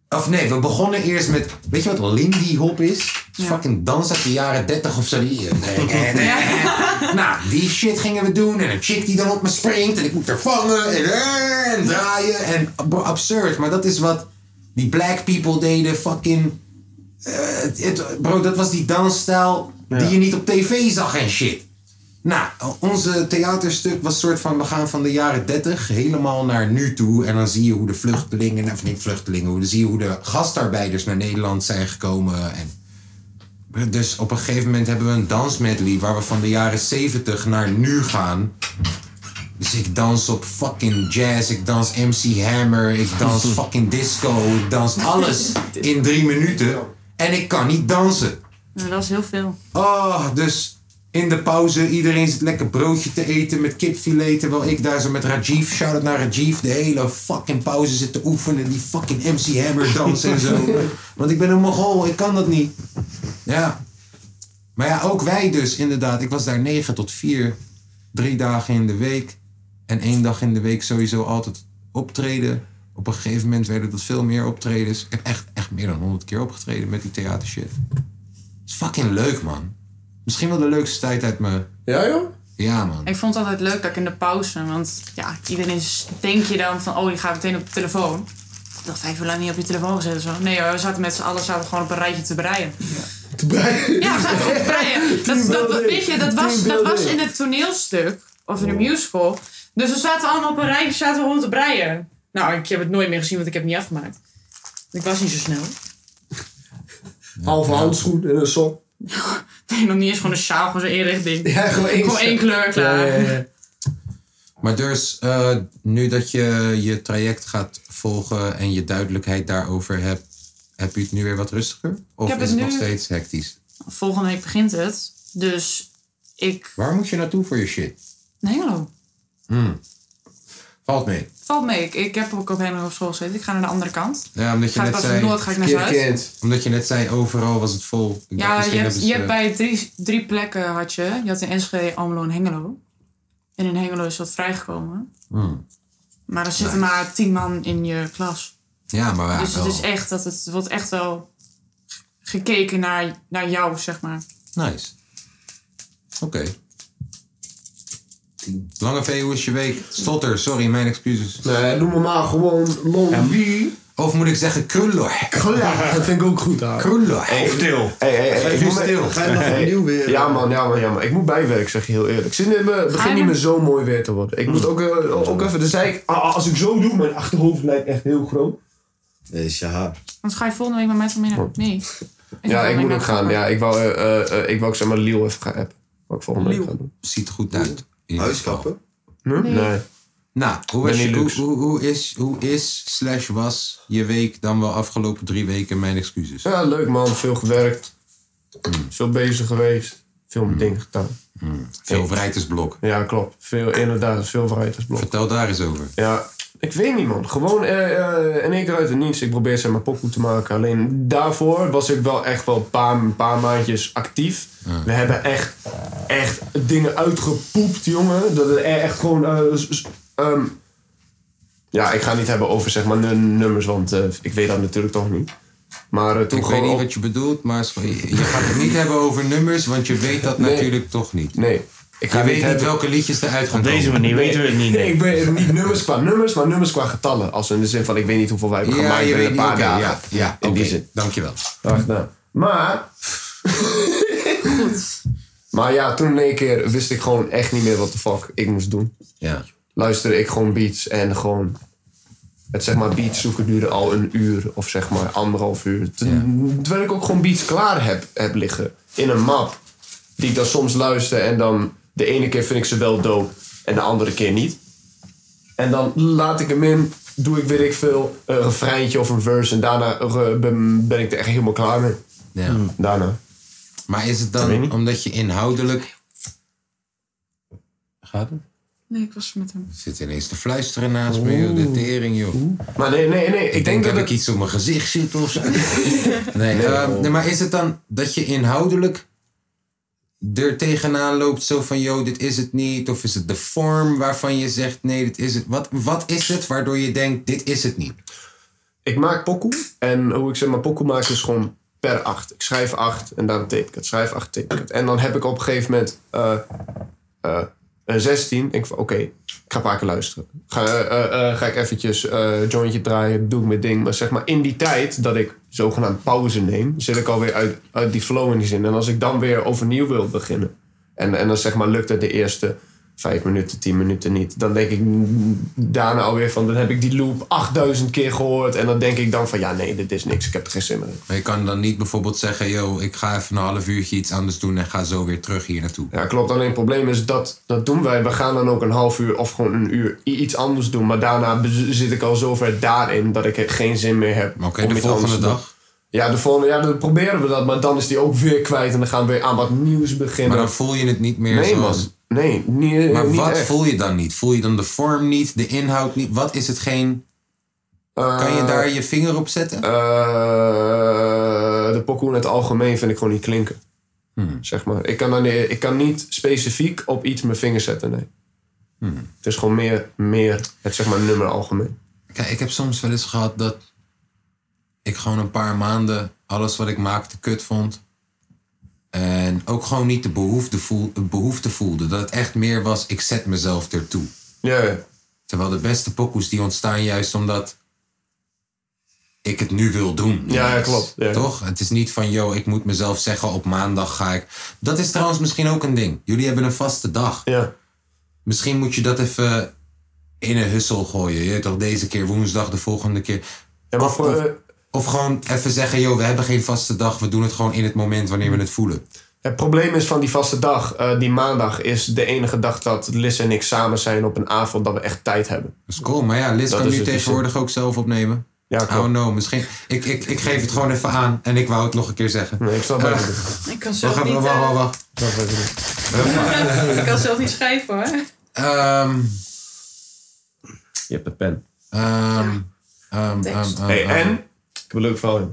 Of nee, we begonnen eerst met. Weet je wat Lindy Hop is? Ja. Fucking dans uit de jaren 30 of zo. Die- nee, nee, nee. Ja. Nou, die shit gingen we doen. En een chick die dan op me springt. En ik moet haar vangen. En, eh, en draaien. En bro, absurd. Maar dat is wat die black people deden. Fucking. eh, het- bro, dat was die dansstijl die je niet op tv zag en shit. Nou, onze theaterstuk was soort van, we gaan van de jaren 30 helemaal naar nu toe. En dan zie je hoe de vluchtelingen, of niet vluchtelingen, hoe, dan zie je hoe de gastarbeiders naar Nederland zijn gekomen. En dus op een gegeven moment hebben we een dansmedley waar we van de jaren 70 naar nu gaan. Dus ik dans op fucking jazz, ik dans MC Hammer, ik dans fucking disco, ik dans alles in drie minuten. En ik kan niet dansen. Ja, dat is heel veel. Oh, dus in de pauze, iedereen zit lekker broodje te eten met kipfilet. Terwijl ik daar zo met Rajiv, shout-out naar Rajiv, de hele fucking pauze zit te oefenen. Die fucking MC Hammer dansen en zo. Want ik ben een mogol, ik kan dat niet. Ja. Maar ja, ook wij dus, inderdaad. Ik was daar 9 tot 4, drie dagen in de week. En één dag in de week sowieso altijd optreden. Op een gegeven moment werden dat veel meer optredens. Ik heb echt, echt meer dan 100 keer opgetreden met die theatershit. Het is fucking leuk, man. Misschien wel de leukste tijd uit mijn... Ja, joh? Ja, man. Ik vond het altijd leuk dat ik in de pauze, want ja, iedereen s- denk je dan van, oh, die gaat meteen op de telefoon. Ik dacht vijf uur lang niet op je telefoon gezet of zo. Nee, hoor, we zaten met z'n allen zaten we gewoon op een rijtje te breien. Ja, we zaten gewoon te breien. Dat, dat, dat, weet je, dat was, dat was in het toneelstuk, of in de musical. Dus we zaten allemaal op een rijtje, zaten we gewoon te breien. Nou, ik heb het nooit meer gezien, want ik heb het niet afgemaakt. Ik was niet zo snel. Halve handschoen en een sok. Nee, nog niet eens gewoon een sjaal, gewoon zo'n inrichting. Ja, gewoon één Gewoon één kleur, klaar. Ja, ja, ja. Maar dus, eh, nu dat je je traject gaat volgen en je duidelijkheid daarover hebt, heb je het nu weer wat rustiger? Of heb is het het nog nu- steeds hectisch? Volgende week begint het, dus ik... Waar moet je naartoe voor je shit? Hmm. Nee, hallo. Valt mee. Valt mee. Ik, ik heb ook op helemaal op school gezeten. Ik ga naar de andere kant. Ja, omdat je, Ga ik net pas op zei, Noord, ga ik naar Verkeerde Zuid. kind. omdat je net zei, overal was het vol. Ik dacht, Ja, misschien je hebt, hebben ze- je hebt bij drie, drie plekken had je. Je had in Enschede, Almelo en Hengelo. En in Hengelo is dat vrijgekomen. Maar er zitten maar tien man in je klas. Ja, maar ja, dus het wel. is echt dat het het wordt echt wel gekeken naar, naar jou, zeg maar. Nice. Oké. Lange V, hoe is je week? Stotter, sorry, mijn excuses. Nee, noem me maar gewoon Lonely. Of moet ik zeggen krulloor? Ja, dat vind ik ook goed, aan. Krulloor. Of til. Hey, hey, hey, Vijf ik uur moet me- stil. Ga je nog opnieuw weer? Ja man, ja man, ja man. Ik moet bijwerken, zeg je heel eerlijk. Ik zit in mijn- het Ga je begint niet nu- meer zo mooi weer te worden. Ik moet ook, eh, ook even de zijk... Ah, ah, als ik zo doe, mijn achterhoofd lijkt echt heel groot. Is je haar. Want ga je volgende week met mij vanmiddag? Nee. Ja, ik moet ook nog gaan. Ja, ik wou, eh, eh, eh, ik wou ook zeg maar Liel even gaan appen. Wat ik volgende week ga doen. Ziet er goed uit. In ieder geval. Huiskappen? Hm? Nee. Nou, hoe, was je, hoe, Benelux. hoe, hoe is, hoe is slash was je week dan wel afgelopen drie weken? Mijn excuses. Ja, leuk man. Veel gewerkt. Hmm. Veel bezig geweest. Veel met dingen gedaan. Veel vrijtijdsblok. Ja, klopt. Veel, inderdaad. Veel vrijheidsblok. Vertel daar eens over. Ja, ik weet niet man. Gewoon eh, eh, in één keer uit het niets. Ik probeer zeg maar popgoed te maken. Alleen daarvoor was ik wel echt wel een paar, een paar maandjes actief. We hebben echt, echt dingen uitgepoept, jongen. Dat het e- echt gewoon... eh, s- s- ehm, ja, ik ga het niet hebben over zeg maar nu- nummers, want eh, ik weet dat natuurlijk toch niet. Maar eh, toen Ik weet gewoon niet op- wat je bedoelt, maar is- je gaat het niet hebben over nummers, want je weet dat Nee. natuurlijk toch niet. Nee, ik ga Je het weet niet hebben- welke liedjes eruit gaan Op deze komen. manier weten we het niet. nee. Ik weet niet nummers qua nummers, maar nummers qua getallen. Als in de zin van ik weet niet hoeveel wij hebben Ja, gemaakt je binnen weet een niet. paar oké, dagen. ja, ja in die oké, zin. Dankjewel. Wacht nou. Maar. Maar ja, toen in één keer wist ik gewoon echt niet meer wat de fuck ik moest doen. Ja. Luisterde ik gewoon beats en gewoon. Het zeg maar beats zoeken duurde al een uur of zeg maar anderhalf uur. Te- Terwijl ik ook gewoon beats klaar heb, heb liggen in een map. Die ik dan soms luister en dan de ene keer vind ik ze wel dope en de andere keer niet. En dan laat ik hem in, doe ik weet ik veel, een refreintje of een verse en daarna eh, ben ben ik er echt helemaal klaar mee. ja. Daarna. Maar is het dan omdat je inhoudelijk Gaat het? Nee, ik was met hem. Er zit ineens te fluisteren naast me, joh. De tering, joh. Maar nee, nee, nee. Ik, Ik denk dat, ik ik... iets op mijn gezicht zit of zo. nee, ehm, nee, maar is het dan dat je inhoudelijk er tegenaan loopt zo van, joh, dit is het niet? Of is het de vorm waarvan je zegt, nee, dit is het? Wat, wat is het waardoor je denkt, dit is het niet? Ik maak pokoe. En hoe ik zeg maar pokoe maak is gewoon per acht. Ik schrijf acht en daarom teken ik het. Schrijf acht, teken ik het. En dan heb ik op een gegeven moment eh, eh, een 16. Ik van oké, ik ga een paar keer luisteren. Ga, eh, eh, eh, ga ik eventjes eh jointje draaien, doe ik mijn ding. Maar zeg maar in die tijd dat ik zogenaamd pauze neem... zit ik alweer uit, uit die flow in die zin. En als ik dan weer overnieuw wil beginnen... en, en dan zeg maar lukt het de eerste... Vijf minuten, tien minuten niet. Dan denk ik mm, daarna alweer van... dan heb ik die loop 8000 keer gehoord. En dan denk ik dan van... ja, nee, dit is niks. Ik heb er geen zin meer in. Maar je kan dan niet bijvoorbeeld zeggen, joh, ik ga even een half uurtje iets anders doen en ga zo weer terug hier naartoe. Ja, klopt. Alleen het probleem is dat, dat doen wij. We gaan dan ook een half uur of gewoon een uur i- iets anders doen. Maar daarna bez- zit ik al zover daarin dat ik he- geen zin meer heb. Maar oké, om de iets anders volgende te doen. dag. Ja, de volgende, ja, dan proberen we dat. Maar dan is die ook weer kwijt en dan gaan we weer aan wat nieuws beginnen. Maar dan voel je het niet meer nee, man. zoals... Nee, niet, eh, Maar niet wat echt. voel je dan niet? Voel je dan de vorm niet, de inhoud niet? Wat is hetgeen? Kan je daar je vinger op zetten? Eh, de pokoe in het algemeen vind ik gewoon niet klinken. Hmm. Zeg maar. Ik kan, dan, ik kan niet specifiek op iets mijn vinger zetten, nee. Hmm. Het is gewoon meer, meer het zeg maar nummer algemeen. Kijk, ik heb soms wel eens gehad dat ik gewoon een paar maanden alles wat ik maakte kut vond. En ook gewoon niet de behoefte, voel, behoefte voelde. Dat het echt meer was, ik zet mezelf ertoe. Ja, ja. Terwijl de beste pokoes die ontstaan juist omdat ik het nu wil doen. Ja, ja, klopt. Ja. Toch? Het is niet van, yo, ik moet mezelf zeggen op maandag ga ik... Dat is trouwens misschien ook een ding. Jullie hebben een vaste dag. ja. Misschien moet je dat even in een hussel gooien. Je weet toch deze keer woensdag, de volgende keer. Ja, maar Of, voor, of, eh, of gewoon even zeggen, joh, we hebben geen vaste dag. We doen het gewoon in het moment wanneer we Mm. het voelen. het probleem is van die vaste dag, eh, die maandag, is de enige dag dat Liz en ik samen zijn op een avond dat we echt tijd hebben. Dus cool. Maar ja, Liz Dat kan is nu het, die tegenwoordig ook zelf opnemen. Ja, klopt. oh no, misschien. Ik, ik, ik geef het gewoon even aan en ik wou het nog een keer zeggen. Nee, ik snap het Eh, niet. Ik kan Wacht, zelf wacht, niet, wacht, eh, wacht, wacht. Snap het niet. ik kan zelf niet schrijven hoor. Ehm, Je hebt een pen. ehm, ehm, ehm, ehm, Hey, ehm. en? Ik heb een leuk verhaal. Je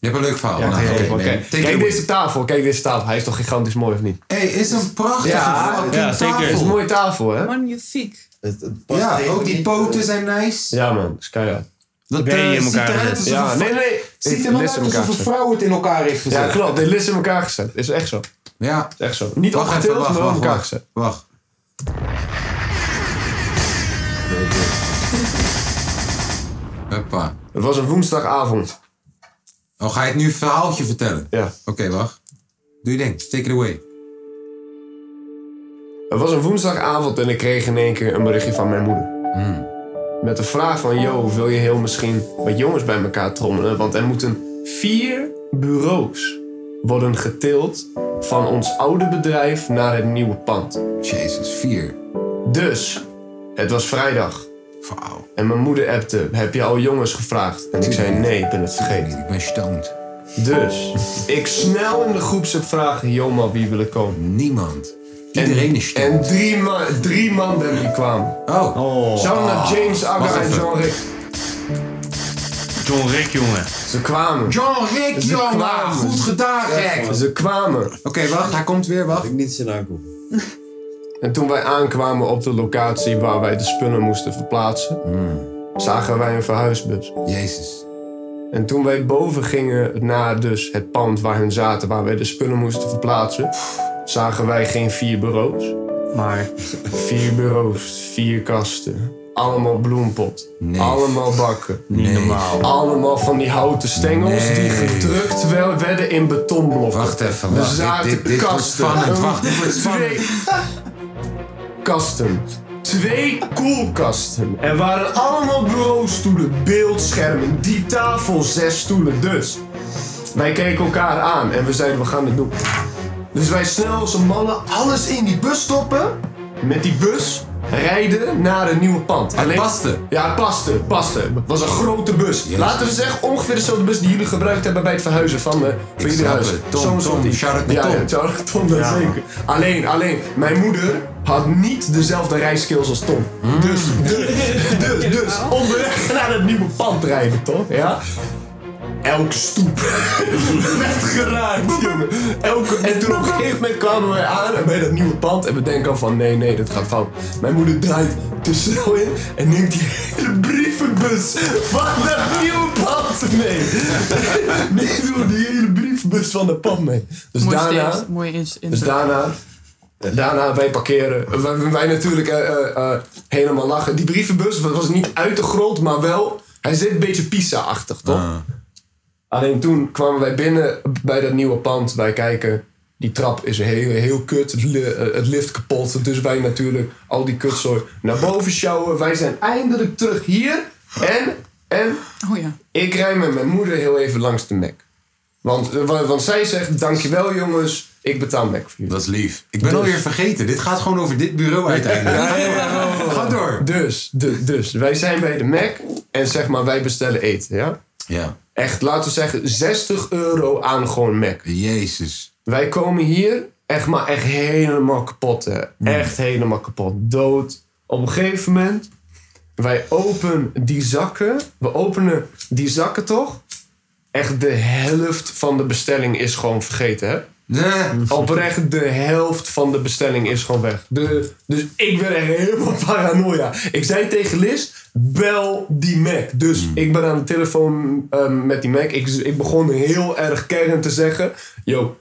hebt een leuk verhaal. Ja, Nou, oké, oké, oké. nee. Take it Kijk away. deze tafel, kijk deze tafel. Hij is toch gigantisch mooi of niet? Hey, is een prachtige Ja, fucking ja, zeker. Het is tafel. een mooie tafel, hè? Magnifiek. Het, het past Ja, even ook die niet. poten zijn nice. Ja, man. is keihard. Dat Ben je eh, in ziet elkaar eruit gezet. alsof een Ja, vrouw- nee, nee. Ziet er Dit wel is uit in alsof elkaar een gezet. vrouw het in elkaar heeft gezet. Ja, klopt. Dit is in elkaar gezet. Is echt zo. Ja, Is echt zo. Niet wacht even, opgetild, maar wacht, wel in wacht, elkaar wacht. gezet. wacht. Huppa. Het was een woensdagavond. Oh, ga je het nu een verhaaltje vertellen? Ja. Oké, wacht. Doe je ding, take it away. Het was een woensdagavond en ik kreeg in één keer een berichtje van mijn moeder. Met de vraag van, yo, wil je heel misschien wat jongens bij elkaar trommelen? Want er moeten vier bureaus worden getild van ons oude bedrijf naar het nieuwe pand. Jezus, vier. Dus, het was vrijdag Wauw. en mijn moeder appte, heb je al jongens gevraagd? En ik zei, nee, ik ben het vergeten. Ik ben stoned. Dus, ik snel in de groepsapp vragen, yo man, wie wil er komen? Niemand. Iedereen is stoned. En drie, ma drie mannen die kwamen. Oh, John, James, Aga wacht en even. John Rick. John Rick, jongen. Ze kwamen. John Rick, Ze jongen. kwamen. Goed gedaan, gek. Oké, Ze kwamen. wacht, hij komt weer, wacht. Ik niet zien aankomen. En toen wij aankwamen op de locatie waar wij de spullen moesten verplaatsen, zagen wij een verhuisbus. Jezus. En toen wij boven gingen naar dus het pand waar hun zaten, waar wij de spullen moesten verplaatsen, zagen wij geen vier bureaus. Maar Vier bureaus, vier kasten. Allemaal bloempot. Nee. Allemaal bakken. niet normaal. Allemaal van die houten stengels Nee. die gedrukt wel- werden in betonblokken. Wacht even, We Nou, wacht. Dit- zaten dit- dit wordt kasten. spannend. Wacht, dit wordt Twee kasten. Twee koelkasten. Er waren allemaal bureaustoelen, beeldschermen, die tafel, zes stoelen. Dus wij keken elkaar aan en we zeiden we gaan dit doen. Dus wij snel als een mannen alles in die bus stoppen. Met die bus rijden naar een nieuwe pand. Alleen- paste. Ja, het paste. het paste. Het was een grote bus. Laten we zeggen ongeveer dezelfde bus die jullie gebruikt hebben bij het verhuizen van, eh van jullie snap huis. het. Tom, Zo'n soort Tom, ding. shout-out naar ja, Tom. Ja, shout-out naar Tom, dat zeker. Alleen, alleen, mijn moeder had niet dezelfde rijskills als Tom. Hmm. Dus, dus, dus, dus, onderweg naar het nieuwe pand rijden, toch? Ja? Elke stoep werd geraakt, jongen. Elke, en toen op een gegeven moment kwamen wij aan bij dat nieuwe pand. En we denken al van, nee, nee, dat gaat fout. Mijn moeder draait te snel in en neemt die hele brievenbus van dat nieuwe pand mee. Nee, joh, die hele brievenbus van dat pand mee. Dus Mooi daarna... steeds, Mooi ins- Dus intro. daarna, eh, daarna wij parkeren. Wij, wij natuurlijk eh, eh, eh, helemaal lachen. Die brievenbus was niet uit de grond, maar wel. Hij zit een beetje Pisa-achtig, toch? Ah, Alleen toen kwamen wij binnen bij dat nieuwe pand. Wij kijken. Die trap is heel, heel kut. Het, li- eh, het lift kapot. Dus wij natuurlijk al die kutzooi naar boven sjouwen. Wij zijn eindelijk terug hier. En, en Oh ja. ik rij met mijn moeder heel even langs de Mac. Want, eh, wa- want zij zegt, dankjewel jongens, ik betaal Mac voor jullie. Dus- Dat is lief. Ik ben alweer vergeten. Dit gaat gewoon over dit bureau uiteindelijk. Ga door. Dus, du- dus, wij zijn bij de Mac en zeg maar wij bestellen eten, ja? Ja. Echt, laten we zeggen, 60 euro aan gewoon Mac. Jezus. Wij komen hier echt maar echt helemaal kapot, hè. Hmm. Echt helemaal kapot. Dood. Op een gegeven moment, wij openen die zakken. We openen die zakken toch? Echt de helft van de bestelling is gewoon vergeten, hè? Nee. Oprecht, de helft van de bestelling is gewoon weg. De, dus ik ben echt helemaal paranoia. Ik zei tegen Liz, bel die Mac. Dus ik ben aan de telefoon ehm, met die Mac. Ik, ik begon heel erg kerrend te zeggen... Yo,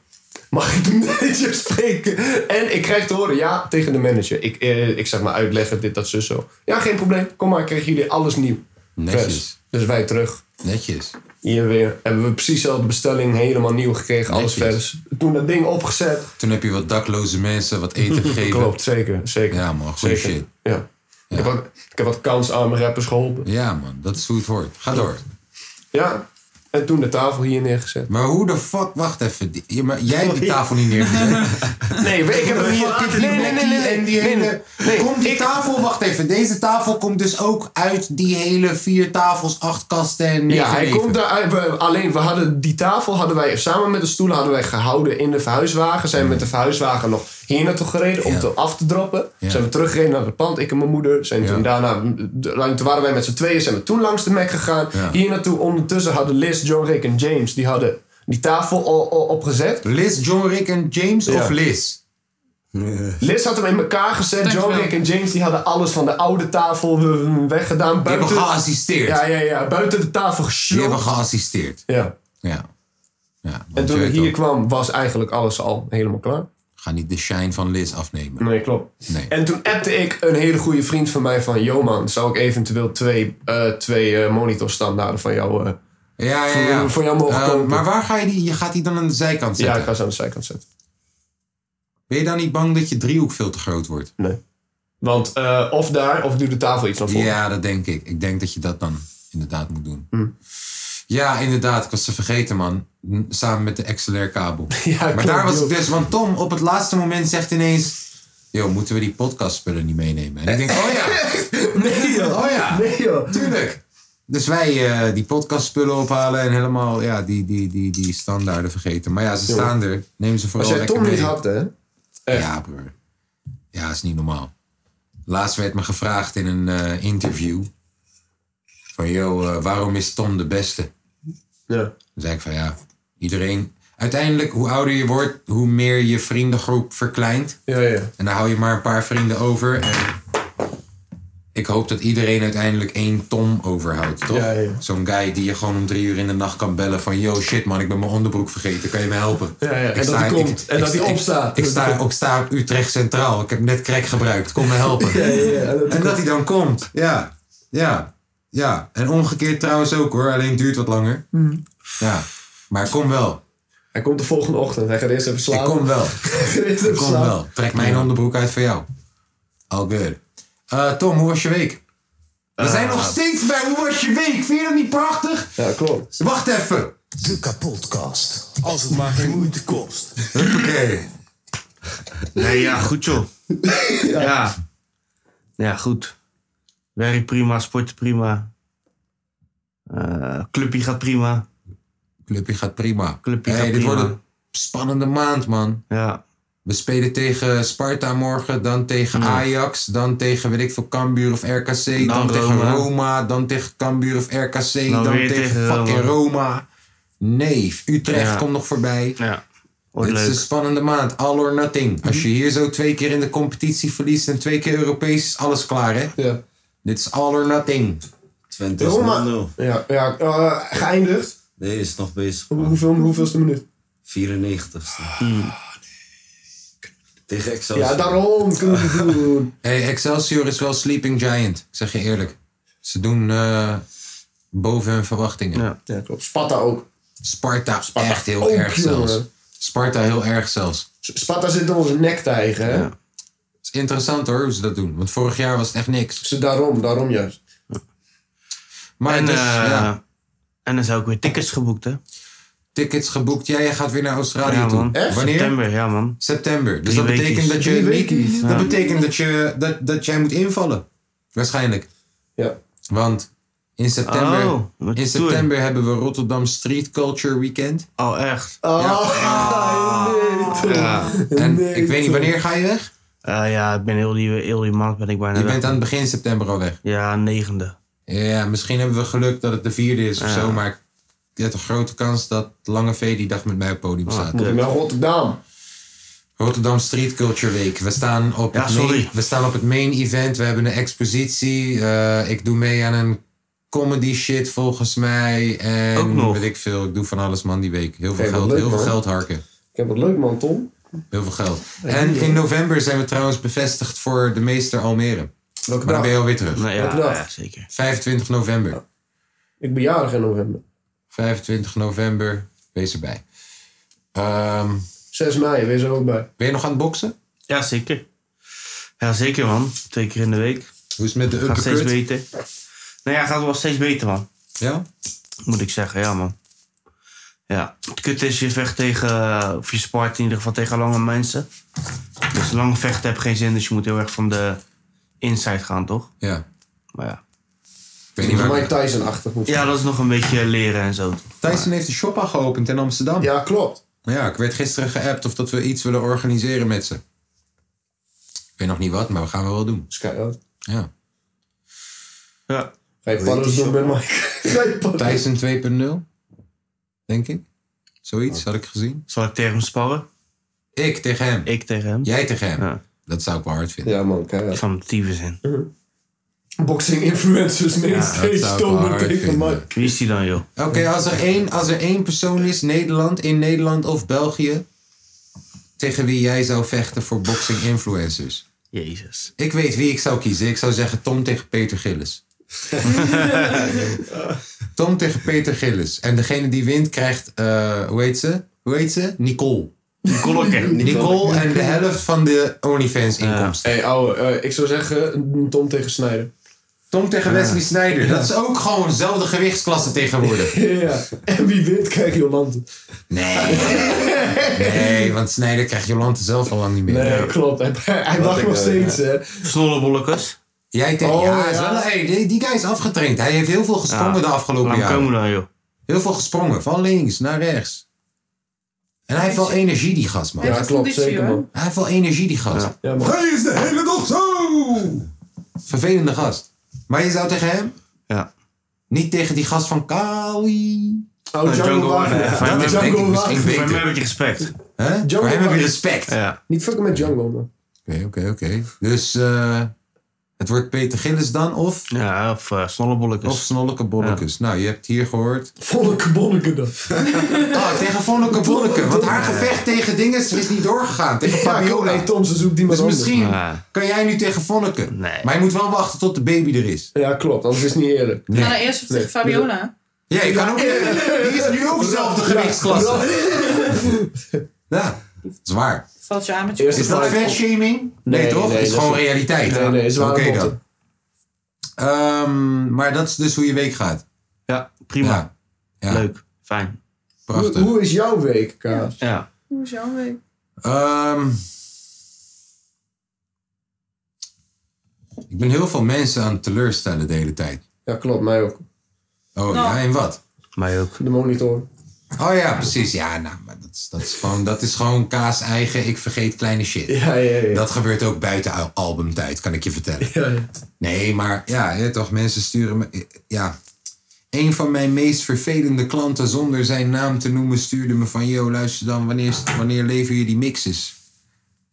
mag ik de manager spreken? En ik krijg te horen, ja, tegen de manager. Ik, eh, ik zeg maar uitleggen, dit, dat, zus, zo. Ja, geen probleem. Kom maar, ik krijg jullie alles nieuw. Netjes. Vers. Dus wij terug. Netjes. Hier weer. Hebben we precies de bestelling helemaal nieuw gekregen. Alles Netjes. vers. Toen dat ding opgezet... Toen heb je wat dakloze mensen wat eten gegeven. Klopt, zeker. zeker. Ja, man, goeie Zeker. shit. Ja. Ik, heb wat, ik heb wat kansarme rappers geholpen. Ja, man. Dat is hoe het hoort. Ga door. Ja. En toen de tafel hier neergezet. Maar hoe de fuck... Wacht even. Die- je- maar jij hebt die tafel niet neergezet. Nee, ik heb Fucking Blackie En die hele... Komt die tafel... Wacht even. Deze tafel komt dus ook uit die hele vier tafels, acht kasten en Ja, hij negen komt leven. daar. we- Alleen, we hadden die tafel hadden wij samen met de stoelen hadden wij gehouden in de verhuiswagen. Zijn we met de verhuiswagen nog hier naartoe gereden om Ja. te af te droppen. Ja. Zijn we teruggereden naar het pand, ik en mijn moeder. Zijn toen Ja. daarna, de- toen waren wij met z'n tweeën, zijn we toen langs de Mac gegaan. Ja. Hier naartoe ondertussen hadden Liz, John, Rick en James, die hadden die tafel o- o- opgezet. Liz, John, Rick en James Ja. of Liz? Liz had hem in elkaar gezet. Dankjewel. John, Rick en James die hadden alles van de oude tafel eh, weggedaan. Die hebben Buiten, geassisteerd. ja, ja, ja, buiten de tafel Die hebben gesjopt. geassisteerd. Ja. Ja. ja En want toen je ik weet hier ook, kwam, was eigenlijk alles al helemaal klaar. Ga niet de shine van Liz afnemen. Nee, klopt. Nee. En toen appte ik een hele goede vriend van mij van... Yo man, zou ik eventueel twee, eh twee eh, monitorstandaarden van jou... eh, Ja, ja, ja. Voor- voor jou mogen Eh, kopen. Maar waar ga je die? Je gaat die dan aan de zijkant ja, zetten. ik ga ze aan de zijkant zetten. Ben je dan niet bang dat je driehoek veel te groot wordt? Nee. Want eh, of daar, of doe de tafel iets naar voren. Ja, dat denk ik. Ik denk dat je dat dan inderdaad moet doen. Mm. Ja, inderdaad. Ik was ze vergeten, man. N- Samen met de XLR-kabel. maar klopt, daar was joh. ik dus... Want Tom op het laatste moment zegt ineens... Yo, moeten we die podcastspullen niet meenemen? En ik denk, oh ja. Nee joh. Oh ja. Nee joh. Tuurlijk. Dus wij eh, die podcastspullen ophalen en helemaal ja, die, die, die, die standaarden vergeten. Maar ja, ze staan er. Neem ze Als vooral jij lekker Tom mee. niet had, hè? Ja, broer. Ja, is niet normaal. Laatst werd me gevraagd in een eh, interview. Van, yo, eh, waarom is Tom de beste? Ja. Dan zei ik van, ja, iedereen... Uiteindelijk, hoe ouder je wordt, hoe meer je vriendengroep verkleint. Ja, ja. En dan hou je maar een paar vrienden over. En ik hoop dat iedereen uiteindelijk één Tom overhoudt, toch? Ja, ja. Zo'n guy die je gewoon om drie uur in de nacht kan bellen van... Yo, shit man, ik ben mijn onderbroek vergeten. Kan je me helpen? Ja, ja. En dat hij komt. En dat hij opstaat. Ik, ik sta, ik sta op Utrecht Centraal. Ik heb net crack gebruikt. Kom me helpen. Ja, ja, ja. En dat hij dan komt. Ja. Ja. Ja. En omgekeerd trouwens ook hoor. Alleen het duurt wat langer. Ja. Maar kom wel. Hij komt de volgende ochtend. Hij gaat eerst even Ik slapen. kom wel. Hij gaat eerst even Kom slapen. wel. Trek mijn onderbroek uit voor jou. All good. Eh, Tom, hoe was je week? We Eh, zijn nog steeds bij hoe was je week? Vind je dat niet prachtig? Ja, klopt. Wacht even. De kapotkast. Als het maar geen moeite kost. Oké. Nee, ja, goed joh. ja. ja. goed. Werk prima, sporten prima. Eh clubje gaat prima. Clubje gaat prima. Clubje hey, gaat dit prima. wordt een spannende maand, man. Ja. We spelen tegen Sparta morgen, dan tegen Ajax, dan tegen weet ik veel Cambuur of RKC, dan, tegen Nou, Roma. Nou, Roma, dan tegen Cambuur of RKC, dan, Dan weer tegen tegen fucking Roma. Roma. Nee, Utrecht Ja. komt nog voorbij. Ja. Wordt Het is een leuk. Mhm. spannende maand, all or nothing. Als je hier zo twee keer in de competitie verliest en twee keer Europees, is alles klaar hè? Ja. Dit is all or nothing. Twente is Roma. 0-0. Ja, ja eh, geëindigd. Nee, is nog bezig. Hoe- man. Hoeveel, hoeveelste minuut? 94ste. Ah, Tegen Excelsior. Hmm. Ja, daarom kunnen we het niet doen. Hey, Excelsior is wel sleeping giant, ik zeg je eerlijk. Ze doen eh, boven hun verwachtingen. Ja. Ja, klopt. Sparta ook. Sparta, Sparta echt heel ook, erg jongen. zelfs. Sparta heel erg zelfs. Sparta zit in onze nek tegen, hè? Het is interessant hoor, hoe ze dat doen. Want vorig jaar was het echt niks. Ze daarom, daarom juist. Maar En, dus, eh, ja, en dan zijn ook weer tickets geboekt, hè? tickets geboekt. Jij gaat weer naar Australië Ja, toe. man. Echt? Wanneer? September. September, ja, man. Dus Drie dat betekent weekjes. dat, je Drie niet, weekjes. dat betekent dat je dat, dat jij moet invallen. Waarschijnlijk. Ja. Want in september, Oh, wat in stoer. september hebben we Rotterdam Street Culture Weekend. Oh, echt? Ah, Ja. En ik weet niet, wanneer ga je weg? Eh, ja, ik ben heel die, heel die maand ben ik bijna Je weg. bent aan het begin september al weg. Ja, negende. Ja, misschien hebben we geluk dat het de vierde is of zo. Maar ik heb een grote kans dat Lange V die dag met mij op het podium Ah, staat. Moet ik naar Rotterdam? Rotterdam Street Culture Week. We staan op, Ja, het, main, sorry. we staan op het main event. We hebben een expositie. Eh, ik doe mee aan een comedy shit volgens mij. En Ook nog. weet ik veel. Ik doe van alles man die week. Heel veel Oké, wat geld. leuk, heel veel man. geld harken. Ik heb wat leuk, man, Tom. Heel veel geld. Oh. En in november zijn we trouwens bevestigd voor de meester Almere. Welke Maar dan dag? ben je alweer terug. Nou, ja, Welke dag? ja, zeker. 25 november. Ik ben jarig in november. 25 november. Wees erbij. Ehm, 6 mei, wees er ook bij. ben je nog aan het boksen? Ja, zeker. Ja, zeker, man. Twee keer in de week. Hoe is het met de Gaat steeds uppercut? beter. Nou ja, gaat wel steeds beter, man. Ja? Moet ik zeggen, ja, man. Ja, het kut is, je vecht tegen, eh, of je spart in ieder geval tegen lange mensen. Dus lang vechten heeft geen zin, dus je moet heel erg van de inside gaan, toch? Ja. Maar ja. Ik weet niet Niet waar Mike Tyson-achtig moet Ja, dat is nog een beetje leren en zo. Tyson heeft een shop geopend in Amsterdam. Ja. Ja, klopt. ik werd gisteren geappt of dat we iets willen organiseren met ze. Ik weet nog niet wat, maar we gaan wel wel doen. Sky out. Ja. Ja. Ga je paddels doen met Mike? Ga je paddels Tyson 2.0, denk ik. Zoiets had ik gezien. Zal ik tegen hem sparren? Ik tegen hem. Ik tegen hem? Jij tegen hem. Ja. Dat zou ik wel hard vinden. Ja, man, keihard. Van de tyfus in. Boxing-influencers nee, dat steeds zou ik wel stonden hard tegen vinden. Mike. Wie is die dan, joh? Oké, als, er één- als er één persoon is, Nederland, in Nederland of België, tegen wie jij zou vechten voor boxing influencers. Jezus. Ik weet wie ik zou kiezen. Ik zou zeggen Tom tegen Peter Gillis. Tom tegen Peter Gillis. En degene die wint krijgt, eh, hoe heet ze? Hoe heet ze? Nicole. Kolokken. Nicole en de helft van de OnlyFans inkomsten. Hé, hey, ouwe, eh, ik zou zeggen een Tom tegen Snijder. Tom tegen Wesley Snyder. Dat is ook gewoon dezelfde gewichtsklasse tegenwoordig. Ja, en wie wint, krijgt Jolante. Nee. Nee, want Snyder krijgt Jolante zelf al lang niet meer. Nee, klopt. Hij, hij wacht nog steeds, hè. Snollebollekes. Jij denkt, Oh, ja, is ja. wel- hey, die, die guy is afgetraind. Hij heeft heel veel gesprongen de afgelopen Laat hem jaren. komen dan, joh. Heel veel gesprongen, van links naar rechts. En hij heeft wel energie, die gast, man. Hij heeft Ja, een klopt, conditie, zeker, hoor. man. Hij heeft wel energie, die gast. Ja, man. Hij is de hele dag zo! Vervelende gast. Maar je zou tegen hem? Ja. Niet tegen die gast van Kali. Oh, Django Django Wagner. Wagner. Dat Van is hem denk Django ik misschien Wagner. Voor hem beter. heb ik respect. Hè? Django Voor hem heb je Wagner. respect. Oké, Ja. Niet fucking met Django, man. oké, oké. Dus eh, het wordt Peter Gillis dan of, Ja, of uh, of Snolleke Bollekes. Nou, je hebt hier gehoord. Volle bonneke dan. Oh, tegen Vonneke Bolleke. Want haar gevecht tegen dinges is niet doorgegaan. Tegen Ja, Fabiola. hey, Tom, ze zoekt die maar Dus misschien Ja. kan jij nu tegen Vonneke. Nee. Maar je moet wel wachten tot de baby er is. Ja, klopt. Anders is het niet eerlijk. Ga dan eerst op tegen Fabiola. Ja, je kan ook. Die is nu ook dezelfde gewichtsklasse. Ja, zwaar. Valt je aan met je Eerst Is dat Nee, fatshaming? Nee, nee, toch? nee, is dat gewoon is- realiteit. Nee, nee, is waar. Oké klopt. dan. Ehm, maar dat is dus hoe je week gaat. Ja, prima. Ja, ja, Leuk. Fijn. Hoe, prachtig. hoe is jouw week, Kaas? Ja. Hoe is jouw week? Ehm, ik ben heel veel mensen aan het teleurstellen de hele tijd. Ja, klopt. Mij ook. Oh ja, en wat? Mij ook. De monitor. Oh ja, precies. Ja, nou, maar dat is- dat, is gewoon, dat is gewoon kaas eigen, ik vergeet kleine shit. Ja, ja, ja. Dat gebeurt ook buiten al- albumtijd, kan ik je vertellen. Nee, maar ja, hè, toch, mensen sturen me... Ja. Een van mijn meest vervelende klanten, zonder zijn naam te noemen, stuurde me van... Yo, luister dan, wanneer, wanneer leveren je die mixes?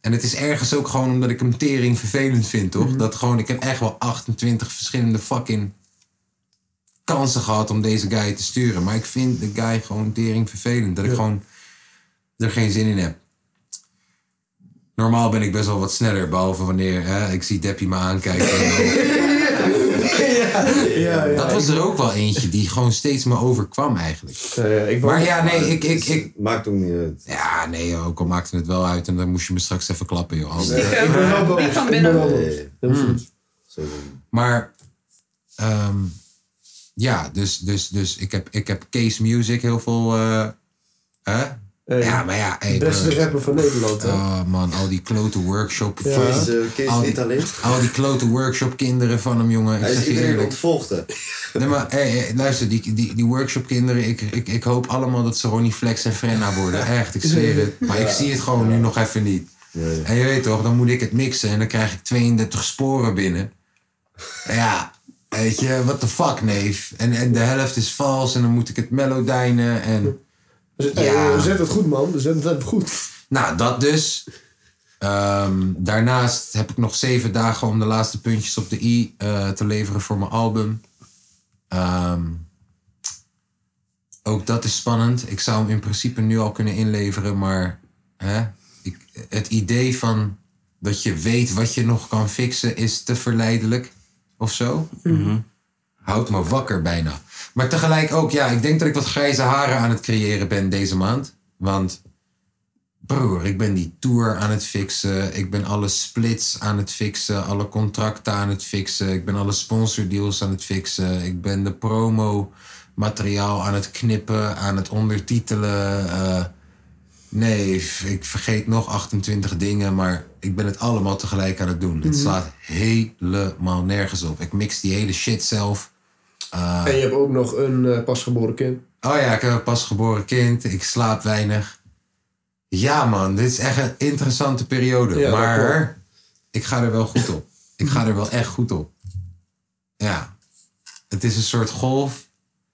En het is ergens ook gewoon omdat ik hem tering vervelend vind, toch? Dat gewoon, ik heb echt wel 28 verschillende fucking kansen gehad om deze guy te sturen. Maar ik vind de guy gewoon tering vervelend. Dat ik gewoon er geen zin in heb. Normaal ben ik best wel wat sneller, behalve wanneer hè, ik zie Deppie me aankijken. dat was er ook wel eentje die gewoon steeds me overkwam eigenlijk. Eh, maar ja, nee, ik... ik, ik Maakt ook niet uit. ja, nee, joh, ook al maakte het wel uit en dan moest je me straks even klappen, joh. Als- Ik ben wel boos. Diep eh, van binnen. Heel goed. Maar ehm, ja, dus, dus, dus ik, heb, ik heb Case Music heel veel. eh, hè? Hey, Ja, maar ja, hey, Beste bro. rapper van Nederland, hè? Oh man, al die klote workshop. Ja. Kees, eh, Kees Al is die- niet alleen. Al die klote workshop kinderen van hem, jongen. Ik Hij zeg is je iedereen eerlijk. ontvolgd, hè. Nee, maar hey, hey, luister, die, die, die workshopkinderen, ik, ik, ik hoop allemaal dat ze Ronnie Flex en Frenna worden. Echt, ik zweer het. Maar ik zie het gewoon nu nog even niet. En je weet toch, dan moet ik het mixen en dan krijg ik 32 sporen binnen. Ja, weet je, what the fuck, neef. En, en de helft is vals en dan moet ik het melodijnen en... Zet- hey, Ja. Zet het goed, man. Zet het even goed. Nou, dat dus. Ehm, daarnaast heb ik nog zeven dagen om de laatste puntjes op de i eh, te leveren voor mijn album. Ehm, ook dat is spannend. Ik zou hem in principe nu al kunnen inleveren, maar hè, ik, het idee van dat je weet wat je nog kan fixen is te verleidelijk of zo. Houdt me wakker bijna. Maar tegelijk ook, ja, ik denk dat ik wat grijze haren aan het creëren ben deze maand. Want Broer, ik ben die tour aan het fixen. Ik ben alle splits aan het fixen. Alle contracten aan het fixen. Ik ben alle sponsordeals aan het fixen. Ik ben de promo materiaal aan het knippen, aan het ondertitelen. eh, nee, f- ik vergeet nog 28 dingen, maar ik ben het allemaal tegelijk aan het doen. Het slaat helemaal nergens op. Ik mix die hele shit zelf. En je hebt ook nog een eh, pasgeboren kind. Ah. Oh ja, ik heb een pasgeboren kind. Ik slaap weinig. Ja, man, dit is echt een interessante periode. Ja, dat klopt. maar ik ga er wel goed op. Ik ga er wel echt goed op. Ja. Het is een soort golf.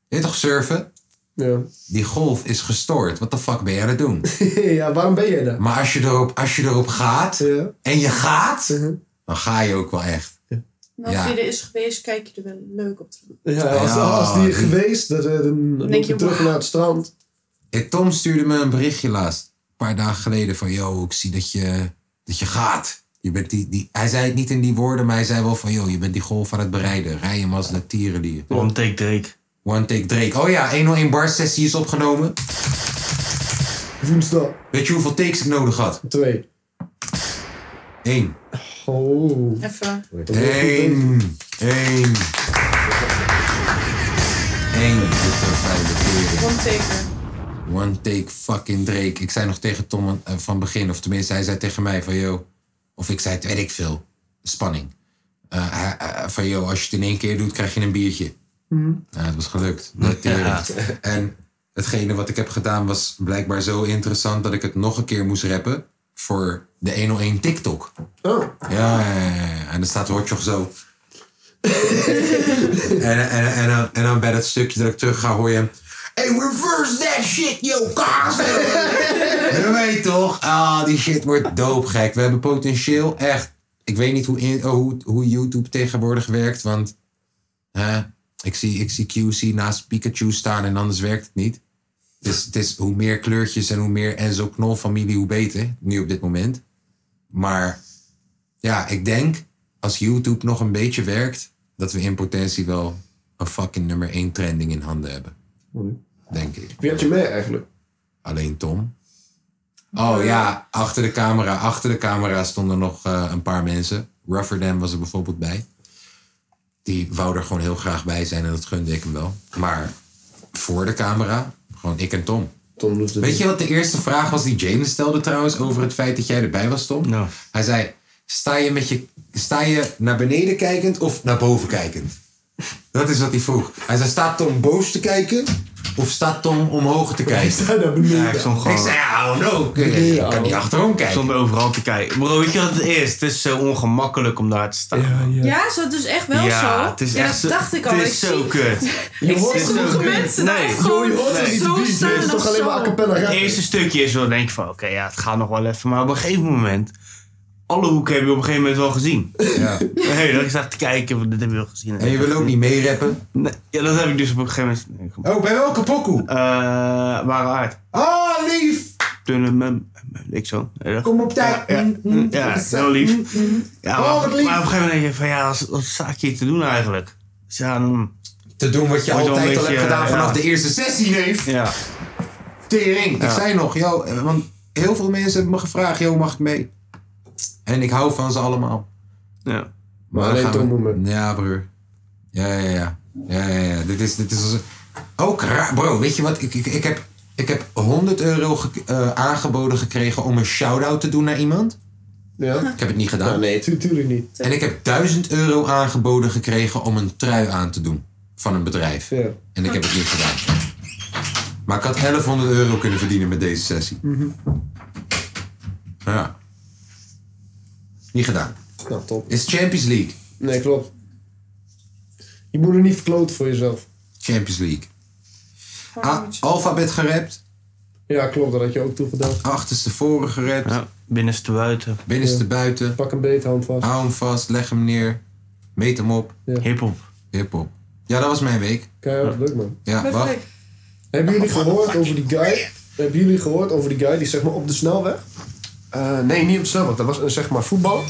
Weet je toch surfen? Ja. Die golf is gestoord. Wat de fuck ben jij aan het doen? ja, waarom ben jij daar? Maar als je erop, als je erop gaat Ja. en je gaat, Mhm. dan ga je ook wel echt. En Als Ja. je er is geweest, kijk je er wel leuk op terug. Ja, als, Ja, als die die- geweest, dan, eh, dan Denk loop je je, terug wow. naar het strand. En Tom stuurde me een berichtje laatst, een paar dagen geleden, van yo, ik zie dat je, dat je gaat. Je bent die, die, hij zei het niet in die woorden, maar hij zei wel van yo, je bent die golf aan het bereiden. Rij hem als een tierenlier. One take Drake. One take Drake. Oh ja, 101 bar sessie is opgenomen. Woensdag. Weet je hoeveel takes ik nodig had? Twee. Eén. Oh. Even. Eén. Eén. Eén. Dit is een fijne tering. One taken. One take fucking Drake. Ik zei nog tegen Tom eh, van begin, of tenminste, hij zei tegen mij van yo. Of ik zei het, weet ik veel. Spanning. Eh, hij- eh, van yo, als je het in één keer doet, krijg je een biertje. Nou, het was gelukt. Natuurlijk. En hetgene wat ik heb gedaan was blijkbaar zo interessant dat ik het nog een keer moest rappen voor de 101 TikTok. Oh. Ja, ja, ja, ja. en dan staat Rotjoch zo. en, en, en, en, dan, en dan bij dat stukje dat ik terug ga, hoor je hem. Hey, reverse that shit, yo, kaas! En dan weet je toch, ah, die shit wordt doopgek. We hebben potentieel, echt. Ik weet niet hoe, in, oh, hoe, hoe YouTube tegenwoordig werkt, want hè, ik, zie, ik zie QC naast Pikachu staan en anders werkt het niet. Het is, het is hoe meer kleurtjes en hoe meer Enzo Knol familie, hoe beter, nu op dit moment. Maar ja, ik denk als YouTube nog een beetje werkt, dat we in potentie wel een fucking nummer 1 trending in handen hebben. Denk ik. Wie had je mee eigenlijk? Alleen Tom. Oh ja, achter de camera, achter de camera stonden nog eh, een paar mensen. Rougher Dan was er bijvoorbeeld bij. Die wou er gewoon heel graag bij zijn en dat gunde ik hem wel. Maar voor de camera, gewoon ik en Tom. Tom doet het. Weet je wat de eerste vraag was die James stelde trouwens over het feit dat jij erbij was, Tom? Ja. Hij zei: sta je, met je, sta je naar beneden kijkend of naar boven kijkend? Dat is wat hij vroeg. Hij zei: Staat Tom boos te kijken Of staat Tom omhoog te kijken? Ik sta naar Ja, ik stond gewoon- Ik zei, ja, oh, nou, no. Ik ik kan niet achterom Ik kijken. stond overal te kijken. Bro, weet je wat het is? Het is zo ongemakkelijk om daar te staan. Ja, is dat dus echt wel Ja, zo? het is ja, echt dat zo- dacht ik al. het is ik zo zie- Ik kut. Het zie is zo sommige kut. mensen daar Nee. echt gewoon Yo, je hoort het niet, zo die staan. beat. en Is dan toch alleen zo. maar a cappella Het rappen? eerste stukje is wel denk ik van, oké, ja, het gaat nog wel even. Maar op een gegeven moment, alle hoeken heb je op een gegeven moment wel gezien. Ja. Nee, dat ik zat te kijken, van, dit heb je wel gezien. En je wil ook niet meerappen. Nee, ja, dat heb ik dus op een gegeven moment. Nee, kom op. Oh, bij welke pokoe? Eh, ware aard. Ah, lief. Toen, eh, mem- mem- ik zo. Heel erg. Kom op tijd. Mm, Ja, ja, heel lief. Ja, maar, Oh, wat lief. maar op een gegeven moment denk je van, ja, wat, wat sta ik hier te doen eigenlijk? Dus ja, dan, Te doen wat je Wordt wel altijd een al hebt beetje, gedaan eh, vanaf ja. de eerste sessie, neef. ja. Tering. Ik Ja. zei nog, joh, eh, want heel veel mensen hebben me gevraagd, joh, mag ik mee? En ik hou van ze allemaal. ja. Maar alleen dan gaan Tom moet Ja, broer. Ja, ja, ja. Ja, ja, ja. Dit is, dit is als- ook raar. Bro, weet je wat? Ik, ik, ik, heb, ik heb 100 euro ge- eh, aangeboden gekregen om een shout-out te doen naar iemand. Ja. Ik heb het niet gedaan. Ah, nee, tu- tuurlijk niet. En ik heb 1000 euro aangeboden gekregen om een trui aan te doen van een bedrijf. Ja. En ik heb het niet gedaan. Maar ik had 1100 euro kunnen verdienen met deze sessie. Mhm. Ja. Niet gedaan. Nou, top. Is Champions League. Nee, klopt. Je moet er niet verkloten voor jezelf. Champions League. Ah, A- Alphabet gerapt. Ja, klopt. Dat had je ook toegedaan. Achterstevoren gerapt. ja. Binnenste buiten. Binnenste buiten. Pak een beter hand vast. Hou hem vast. Leg hem neer. Meet hem op. Hip-hop. Hip-hop. Ja, dat was mijn week. Keihard leuk, man. Ja, wacht. Hebben jullie gehoord over die guy? Hebben jullie gehoord over die guy die zeg maar op de snelweg? Eh, nee, niet op de snelweg. Dat was een zeg maar voetbal.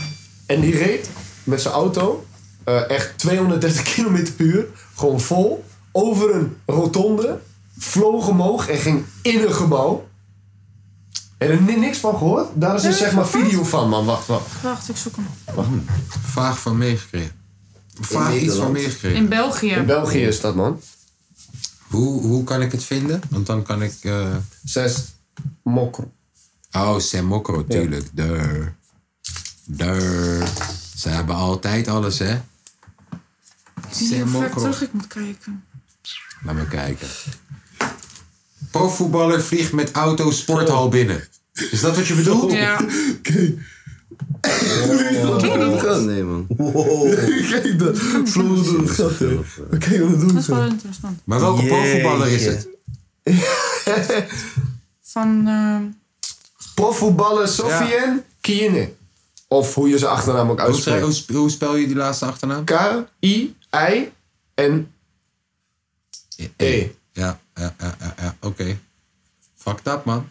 En die reed met zijn auto eh, echt 230 km per uur, gewoon vol, over een rotonde, vloog omhoog en ging in een gebouw. En er ni- niks van gehoord. Daar is een zeg maar video van, man. Wacht, wacht. Wacht, ik zoek hem. op. Vaag van meegekregen. Vaag iets van Nederland. meegekregen. In België. In België is dat, man. Hoe, hoe kan ik het vinden? Want dan kan ik... eh, Zes mokro. Oh, Sam Mokro, tuurlijk. Dur. Dur. Ze hebben altijd alles, hè? Ik weet niet Sam hoe ver Mokro. terug ik moet kijken. Laat me kijken. Profvoetballer vliegt met auto sporthal binnen. Is dat wat je bedoelt? Ja. Nee, man. Kijk, dat vloog door het gat, hè. Kijk wat het Dat doet, is wel interessant. Maar welke profvoetballer is het? Van, ehm, Profvoetballer Sofien Kiene. Of hoe je zijn achternaam ook Hoe, schrijf- hoe uitspreekt. sp- hoe spel je die laatste achternaam? K-I-I-N-E. E, Ja, ja, ja, ja, ja, oké. Fucked up, man.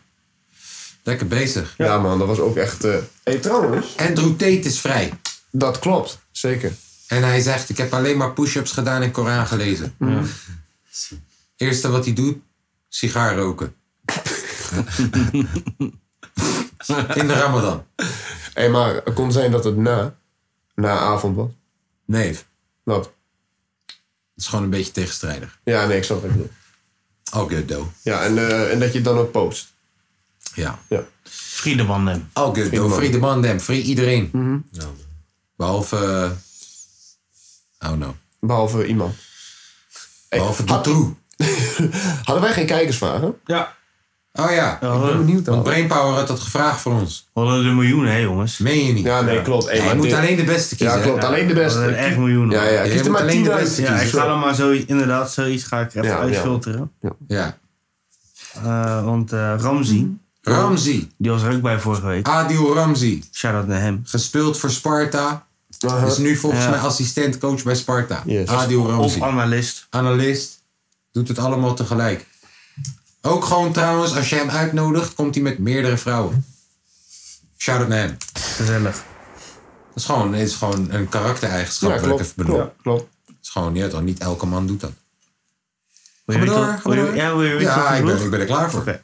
Lekker bezig. Ja man, dat was ook echt... eh hey, trouwens. Andrew Tate is vrij. Dat klopt, zeker. En hij zegt, ik heb alleen maar push-ups gedaan en Koran gelezen. Mmh. Eerste wat hij doet, sigaar roken. In de ramadan. Hé, hey, maar het kon zijn dat het na, na avond was. Nee, het Wat? is gewoon een beetje tegenstrijdig. Ja, nee, ik snap wat je bedoelt. All good though. Ja, en, eh, en dat je het dan ook post. Ja. Ja. Friedeman hem. All Oh, good though. Free de man, damn. Free iedereen. Mhm. Ja. Behalve... eh, oh no. Behalve iemand. Hey, Behalve had- Dutroux. hadden wij geen kijkersvragen? Ja. Oh ja. We hadden, Benieuwd Want al. Brainpower had dat gevraagd voor ons. we hadden er miljoenen, hè jongens. Meen je niet? Ja, nee, klopt. Hey, Ja, je maar moet dit- alleen de beste kiezen. Ja, hè? klopt. Alleen de We hadden er beste. echt miljoenen. Ja, ja. Je Kies er moet maar alleen 10 de uit. beste Ja, ik kiezen. ga dan maar zo, inderdaad, zoiets ga ik er even Ja, ja. uitfilteren. Ja. Eh, want eh Ramzi, Ramzi. die was er ook bij vorige week. Adil Ramzi. Shout-out naar hem. gespeeld voor Sparta. Aha. Is nu volgens Ja. mij assistent coach bij Sparta. Uh-huh. Yes. Adil Of Ramzi. analist. Analist. Doet het allemaal tegelijk. Ook gewoon trouwens, als je hem uitnodigt, komt hij met meerdere vrouwen. Shout out naar hem. Dat Gezellig. is gewoon, het is gewoon een karaktereigenschap. Ja, wat ik klopt. even benoem. Klopt, klopt. Het is gewoon, ja, dan niet elke man doet dat. Wil je Ga maar weten door, wat- ga wil je- maar door. Ja, wil je weten wat Ja, ik ik ben, bedoel? ik ben er klaar voor. Oké.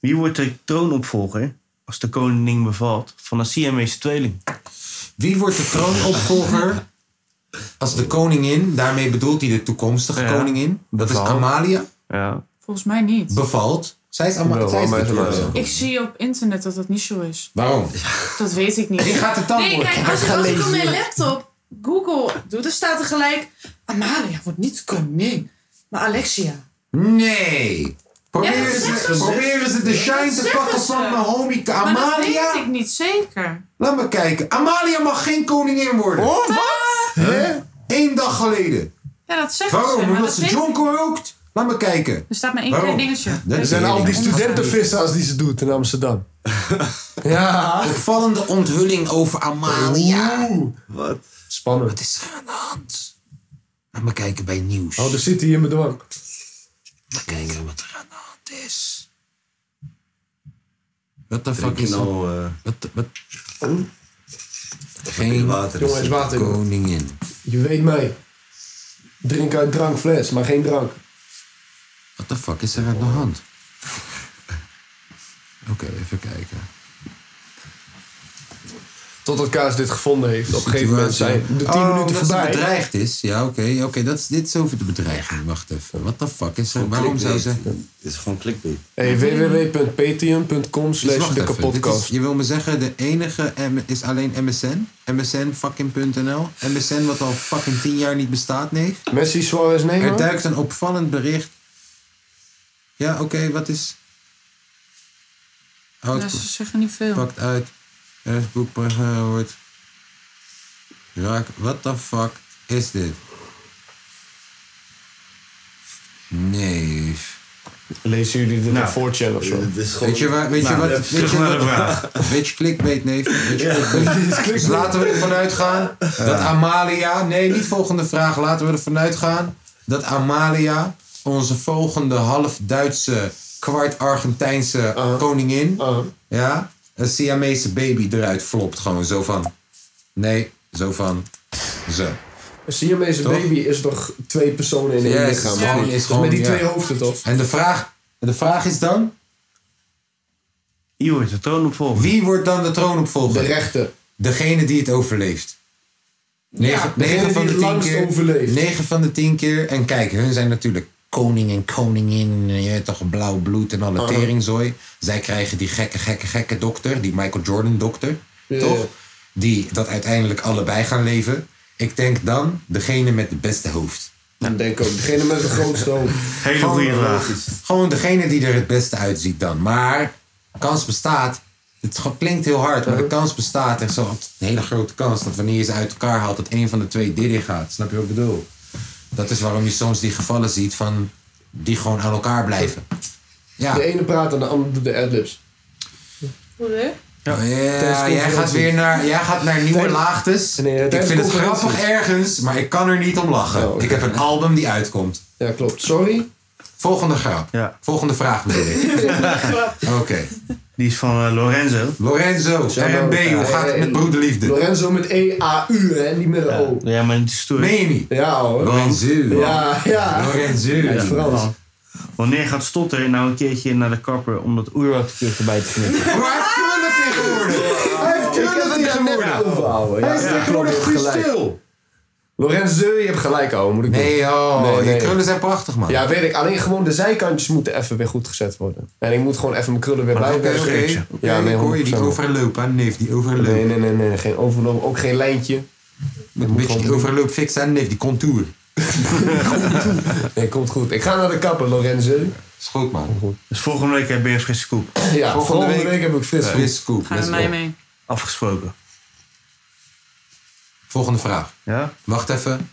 Wie wordt de troonopvolger als de koning bevalt van een Siamese tweeling? Wie wordt de troonopvolger als de koningin, daarmee bedoelt hij de toekomstige Ja. koningin, dat is Bevalt. Amalia, Ja. volgens mij niet. bevalt. Zij is Amalia. Wel, Nou, Zij is maar de is Amalia. toekomstige. Ik zie op internet dat dat niet zo is. Waarom? Dat weet ik niet. Die gaat het dan Nee, worden. kijk, als ik, als ik op mijn laptop Google doe, dan staat er gelijk... Amalia wordt niet koning, maar Alexia. Nee. Ja, Proberen, dat ze, zeggen ze. proberen ze de shine Dat te pakken zeggen van ze. mijn homie Maar dat Amalia? weet ik niet zeker. Laat me kijken. Amalia mag geen koningin worden. Oh, wat? Hè? Eén dag geleden. Ja, dat zeggen ze. Waarom? maar Omdat dat ze weet ik jonk rookt? Laat me kijken. Er staat maar één Waarom? klein dingetje. Dat Er is zijn een al die ding. studentenvissa's die ze doet in Amsterdam. ja. Opvallende onthulling over Amalia. Wat? Spannend. Wat is er aan de hand? Laat me kijken bij nieuws. Oh, er zit hij in mijn dwang. Laat me kijken wat er aan de hand is. Wat de fuck Drink je is er? nou eh, Wat, de- wat? veel Geen water? Jongen, is water. joh. koningin. Je weet mij. Drink uit drankfles, maar geen drank. What the fuck is er aan de hand? Oké, even kijken. Totdat Kaas dit gevonden heeft. Op een gegeven moment zijn Situatie. de 10 Oh, minuten dat ze voorbij. bedreigd is. Ja, oké. oké, dat is dit is over de bedreiging. Wacht even. What the fuck is er? Waarom zou ze... Het is gewoon clickbait. Hey, www.patreon.com Dus slash wacht de even, dit is- kapotkast. Je wil me zeggen, de enige M- is alleen MSN? MSN fucking.nl? MSN wat al fucking 10 jaar niet bestaat, nee? Messi Suarez Er nemen? duikt een opvallend bericht. Ja, oké, wat is... Houd Ja, ze zeggen niet veel. pakt uit. Er is boekpagina wordt. Raak, what the fuck is dit? Nee. Lezen jullie dit Nou, op 4chan of zo? Het is gewoon... Weet je, waar, weet je Nou, wat? Weet terug je, naar de wat vraag. weet je clickbait, neef? Weet je clickbait? Dus laten we ervan uitgaan dat Amalia. Nee, niet volgende vraag. Laten we ervan uitgaan dat Amalia, onze volgende half-Duitse, kwart-Argentijnse koningin. Oh. Ja, een Siamese baby eruit flopt. Gewoon zo van. Nee, zo van. Zo. Een Siamese Toch? baby is toch twee personen in één Yes, lichaam? gewoon, of is niet? Dus gewoon, met die ja. twee hoofden toch? En de vraag, de vraag is dan: Hier wordt de troon opvolgen. wie wordt dan de De troonopvolger? rechter. Degene die het overleeft. 9 degene van die het de 10 langst keer. overleeft. 9 van de 10 keer. En kijk, hun zijn natuurlijk koning en koningin. en eh, Je hebt toch blauw bloed en Oh, alle teringzooi. Zij krijgen die gekke, gekke, gekke dokter. Die Michael Jordan dokter. Ja, toch? ja. Die dat uiteindelijk allebei gaan leven. Ik denk dan degene met het beste hoofd. Dan denk ik ook. Degene met het grootste hoofd. Hele goede vraag. Gewoon degene die er het beste uitziet dan. Maar kans bestaat. Het ge- klinkt heel hard, maar de kans bestaat echt zo. Een hele grote kans dat wanneer je ze uit elkaar haalt, dat een van de twee dit in gaat. Snap je wat ik bedoel? Dat is waarom je soms die gevallen ziet van die gewoon aan elkaar blijven. Ja, De ene praat en de ander doet de adlibs. Hoe hè? ja tijdens jij gaat conferentie. weer naar, jij gaat naar nieuwe Tijdens- laagtes. Nee, ik tijdens vind het conferenties. grappig ergens, maar ik kan er niet om lachen. Oh, oké. Ik heb een album die uitkomt. Ja, klopt. Sorry. Volgende grap. Ja. Volgende vraag bedoel ik. Oké. Die is van eh, Lorenzo. Lorenzo, maar- R&B, hoe gaat Eh, het met broederliefde? Lorenzo met E-A-U, hè? Niet met een O. Ja, maar niet stoer. Meen je niet? Ja, hoor. Lorenzo. Ja, ja. Hij is Lorenzo. Frans. Wanneer gaat Stotter nou een keertje naar de kapper om dat oerwoudkeur erbij te knippen? Maar hij heeft krullen tegenwoordig. Hij heeft krullen tegenwoordig. Hij Hij is tegenwoordig goed stil. Lorenzo, je hebt gelijk, ouwe. Moet ik doen. Nee Nee, joh, die Oh, nee. krullen zijn prachtig man. Ja, weet ik. Alleen gewoon de zijkantjes moeten even weer goed gezet worden. En ik moet gewoon even mijn krullen weer Oké, bijwerken. oké. Oké, Ja, nee, ik hoor je die 100%. overloop aan neef, die overloop. Nee, nee, nee, nee. Geen overloop, ook geen lijntje. Moet een beetje die overloop fixen aan neef, die contour. Nee, komt goed. Ik ga naar de kapper, Lorenzo. Is goed man. Dus volgende week heb je een frisse koep. Ja, volgende, week, week heb ik fris. Fris scoop. Ga let's met mij go. mee. Afgesproken. Volgende vraag. Ja? Wacht even.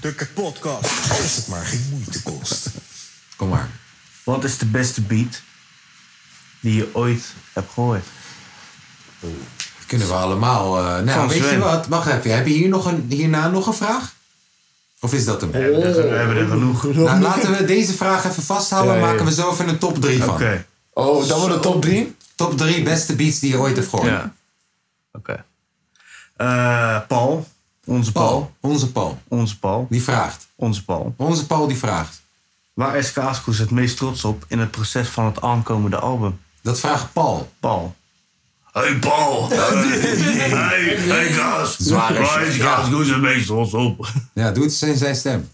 De podcast. Als het maar geen moeite kost. Kom maar. Wat is de beste beat die je ooit hebt gehoord? Kunnen we allemaal. eh, nou, Van weet je Sven. wat? Wacht even. Heb je hier nog een, hierna nog een vraag? Of is dat hem? We hebben er, we hebben er genoeg. Oké. Nou, laten we deze vraag even vasthouden. Oh. Ja, ja, ja. Maken we zo even een top 3 van. Oh, dan wordt het top 3? Top 3 beste beats die je ooit hebt gehoord. Ja. Oké. Eh, Paul. Onze Paul. Paul, onze Paul, Onze Paul. die vraagt. Onze Paul. Onze Paul die vraagt. Waar is Kaaskoes het meest trots op in het proces van het aankomende album? Dat vraagt Paul. Paul. Hey Paul! Hey, hey Kaas! Zware Waar shit, is ja. Kaaskoes het meest trots op? Ja, doe het in zijn stem.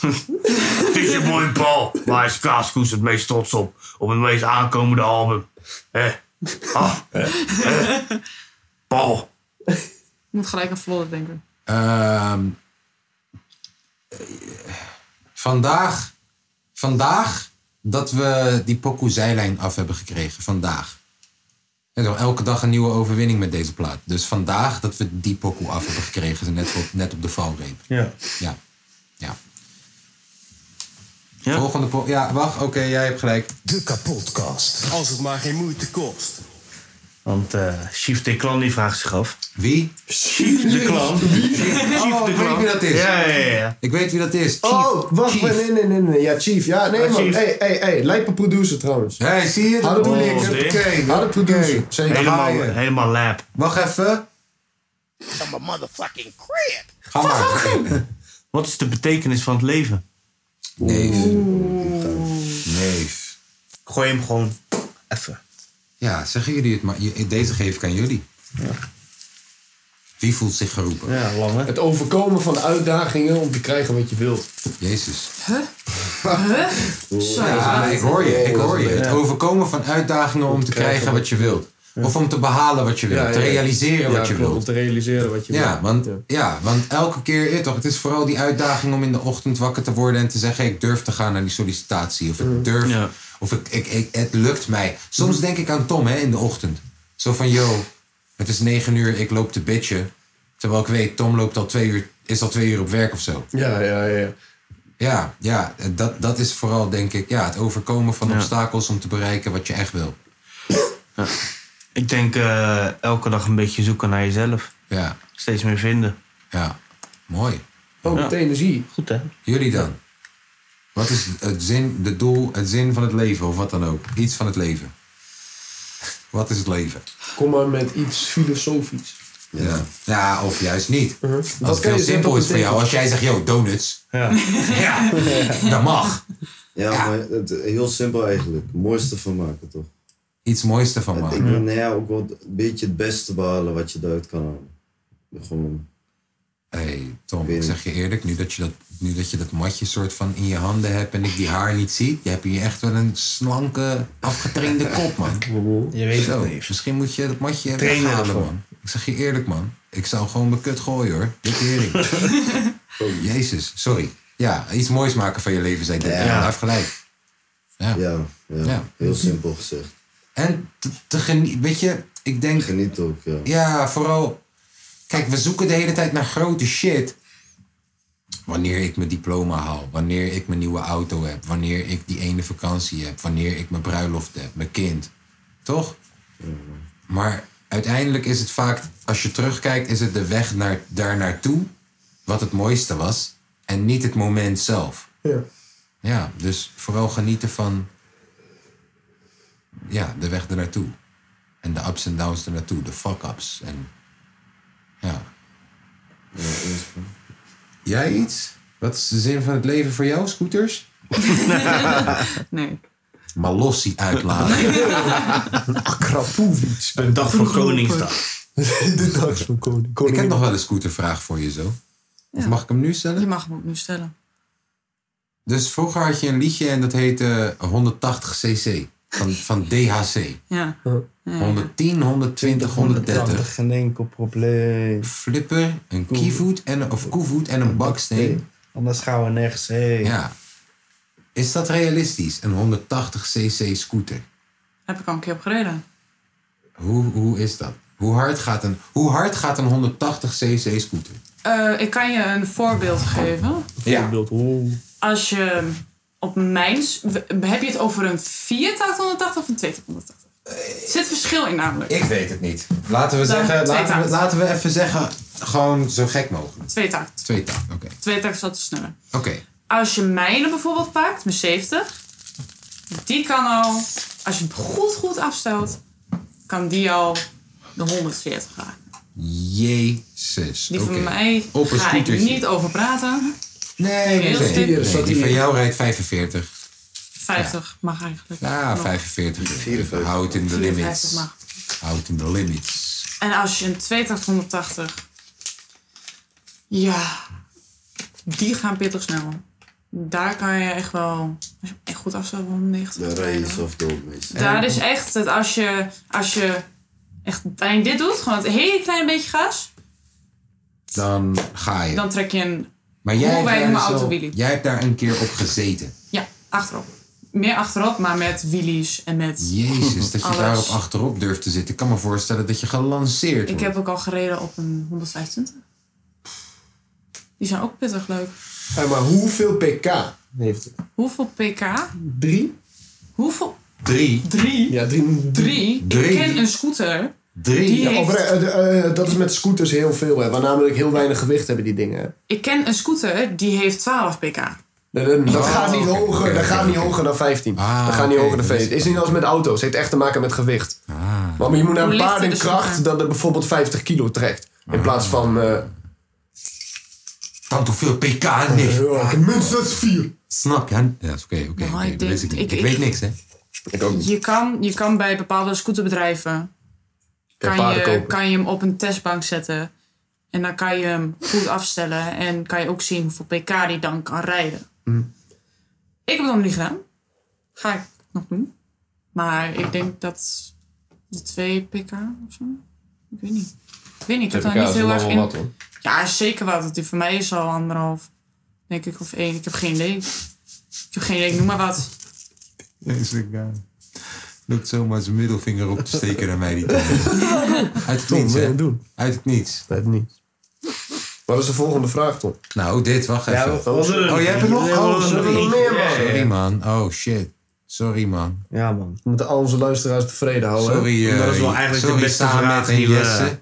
Het is je mooi, Paul. Waar is Kaaskoes het meest trots op? Op het meest aankomende album. Hé. Ah. Hé. Paul. Ik moet gelijk aan Vlodder denken. Ehm, eh, vandaag vandaag dat we die pokoe zijlijn af hebben gekregen. Vandaag. En toch elke dag een nieuwe overwinning met deze plaat. Dus vandaag dat we die pokoe af hebben gekregen. Net op, net op de valreep. Ja. Ja. Ja. Volgende po- Ja, wacht. Oké, jij hebt gelijk. De kapotkast. Als het maar geen moeite kost. Want eh Chief de Klan die vraagt zich af. Wie? Chief de Klan. Chief Oh, de ik weet Klan. wie dat is. Ja, ja, ja. Ik weet wie dat is. Oh, wacht, nee, nee, nee, nee, nee. Ja, Chief. Ja, nee, Ah, man. Chief. Hey, hey, hey. Lijpe producer trouwens. Hé, hey, zie je? Dat Hadden bedoel we ik. ons, hè? Oké, Harde producer. Zeker. Helemaal, Daar ga je. helemaal lab. Wacht even. Ga maar. Wat is de betekenis van het leven? Nee. Gooi hem gewoon even. Ja, zeggen jullie het maar. Je- Deze geef ik aan jullie. Wie voelt zich geroepen? Ja, lang hè? Het overkomen van uitdagingen om te krijgen wat je wilt. Jezus. Zo. Ja, ik hoor je. Ik hoor je. Het overkomen van uitdagingen om te krijgen wat je wilt. Of om te behalen wat je wilt. Te realiseren wat je klopt, wilt. Om te realiseren wat je Ja, wilt. want, ja, want elke keer, eh, toch, het is vooral die uitdaging om in de ochtend wakker te worden en te zeggen: ik durf te gaan naar die sollicitatie. Of Mm. ik durf. Ja. Of ik, ik, ik- het lukt mij. Soms denk ik aan Tom hè, in de ochtend. Zo van: yo, het is negen uur, ik loop te bitchen. Terwijl ik weet, Tom loopt al twee uur, is al twee uur op werk of zo. Ja, ja, ja. Ja, ja en dat, dat is vooral, denk ik, ja, het overkomen van obstakels om te bereiken wat je echt wil. Ik denk eh, elke dag een beetje zoeken naar jezelf. Ja, Steeds meer vinden. ja. Mooi. Oh, met energie. Goed hè? Jullie dan? Wat is het zin, de doel, het zin van het leven of wat dan ook? Iets van het leven. Wat is het leven? Kom maar met iets filosofisch. Ja, ja of juist niet. Mhm. Als kan het heel je zeggen simpel op is een voor jou, tafel. als jij zegt, yo, donuts. Ja. dat mag. Ja, maar het, heel simpel eigenlijk. Het mooiste van maken, toch? Iets moois ervan Ik maken. wil nou ja, ook wel een beetje het beste behalen wat je eruit kan halen. Gewoon, hey, Tom, ik zeg je eerlijk, nu dat je dat, nu dat je dat matje soort van in je handen hebt en ik die haar niet zie, je hebt hier echt wel een slanke, afgetrainde kop, man. Je weet Zo, misschien moet je dat matje even Trainen weghalen, ervoor. man. Ik zeg je eerlijk, man. Ik zou gewoon mijn kut gooien, hoor. Dit hering. Oh, Jezus, sorry. Ja, iets moois maken van je leven, zei ik. Ja, hij heeft gelijk. Ja. ja, ja, Ja. heel simpel gezegd. En te, te genieten, weet je, ik denk... Geniet ook, ja. Ja, vooral... Kijk, we zoeken de hele tijd naar grote shit. Wanneer ik mijn diploma haal, wanneer ik mijn nieuwe auto heb, wanneer ik die ene vakantie heb, wanneer ik mijn bruiloft heb, mijn kind. Toch? Maar uiteindelijk is het vaak, als je terugkijkt, is het de weg naar, daar naartoe wat het mooiste was. En niet het moment zelf. Ja. Ja, dus vooral genieten van ja, de weg ernaartoe. En de ups en downs ernaartoe, de fuck-ups. En, ja. Jij iets? Wat is de zin van het leven voor jou, scooters? Nee. Malossi uitlaten. Krapovic. Een dag voor Koningsdag. De dag van koning. Ik heb Koningin. nog wel een scootervraag voor je zo. Of mag ik hem nu Je stellen? mag hem ook nu stellen. Dus vroeger had je een liedje en dat heette 180cc. Van, van DHC. Ja. 110, 120, 130. Geen enkel probleem. Flipper, een kievoet en, of koevoet en een baksteen. Anders gaan we nergens heen. Ja. Is dat realistisch, een 180cc scooter? Heb ik al een keer op gereden. Hoe, hoe is dat? Hoe hard gaat een, hoe hard gaat een 180cc scooter? Eh, ik kan je een voorbeeld geven. Ja. Als je op mijn... s- we- Heb je het over een 4-tak 180 of een 2-tak 180? Er zit verschil in namelijk. Ik weet het niet. Laten we, Dan zeggen, Nou, twee laten, we, taart. laten we even zeggen, gewoon zo gek mogelijk. 2-tak. Twee taart, oké. 2-tak is wat te sneller. Oké, Als je mijne bijvoorbeeld pakt, mijn 70. Die kan al, als je hem goed goed afstelt, kan die al de 140 raken. jezus. Die Oké. van mij Op een ga ik scootertje. niet over praten. Nee, nee, Heel nee. stip. Nee, Die van jou rijdt 45. 50 mag eigenlijk. Ja, nog. 45. Houd in de 54 limits. mag. Houd in de limits. En als je een 280 180. Ja, die gaan pittig snel. Daar kan je echt wel, als je hem echt goed afstelt, 190. Daar rij je rijden. jezelf dood, meestal. Daar is echt dat als je, als je echt alleen dit doet, gewoon het hele kleine beetje gas, Dan ga je. dan trek je een. Maar jij Hoe hebt, wijd daar dus mijn zo- autowielie? jij hebt daar een keer op gezeten. Ja, Achterop. Meer achterop, maar met wheelies en met Jezus, dat je alles. daarop achterop durft te zitten. Ik kan me voorstellen dat je gelanceerd Ik wordt. heb ook al gereden op een 125. Die zijn ook pittig leuk. Hé, maar hoeveel pk heeft het? Hoeveel pk? Drie? Hoeveel? Drie. Drie? Ja, drie. Drie? Drie. Ik ken een scooter. Drie? Die Ja, heeft- of, eh, eh, eh, dat is met scooters heel veel, hè, waar namelijk heel weinig gewicht hebben die dingen. hè. ik ken een scooter die heeft 12 pk. Dat, dat- dat Oh, gaat niet oké, hoger, oké, dat gaat niet oké. hoger dan 15. Ah, dat gaat niet oké, hoger dan dat Ah. 15. Het is niet als met auto's, het heeft echt te maken met gewicht. Maar je moet naar Hoe een ligt paard het in dus kracht elkaar? dat er bijvoorbeeld 50 kilo trekt. Ah. In plaats van, eh Tant hoeveel pk niet. ja, minstens 4. Snap je? Ja, dat is oké, oké. Nou, oké, ik dat denk- weet ik niet. Ik, ik- weet ik- niks, hè? Je kan, je kan bij bepaalde scooterbedrijven Kan kan paarden je, kopen. kan je hem op een testbank zetten. En dan kan je hem goed afstellen. En kan je ook zien hoeveel pk die dan kan rijden. Ik heb dat nog niet gedaan. Ga ik nog doen. Maar ik denk dat de 2 pk of zo. Ik weet niet. Ik weet niet. Ik heb daar niet heel erg in. Ja, zeker wat. Die voor mij is al anderhalf. Denk ik, of één. Ik heb geen idee. Ik heb geen idee. Ik noem maar wat. Deze guy. Loopt eh, zomaar zijn middelvinger op te steken naar mij. Die Tom. Uit het niets, hè? doen? Uit het niets. Dat niet. Wat is de volgende vraag, Tom? Nou, dit, wacht even. was er Oh, jij hebt er nog? Oh, sorry. We Sorry, man. Oh, shit. Sorry, man. Ja, man. moeten al onze luisteraars tevreden houden. Sorry, eh Dat is wel eigenlijk de sorry, beste Samet vraag en die we- Jesse.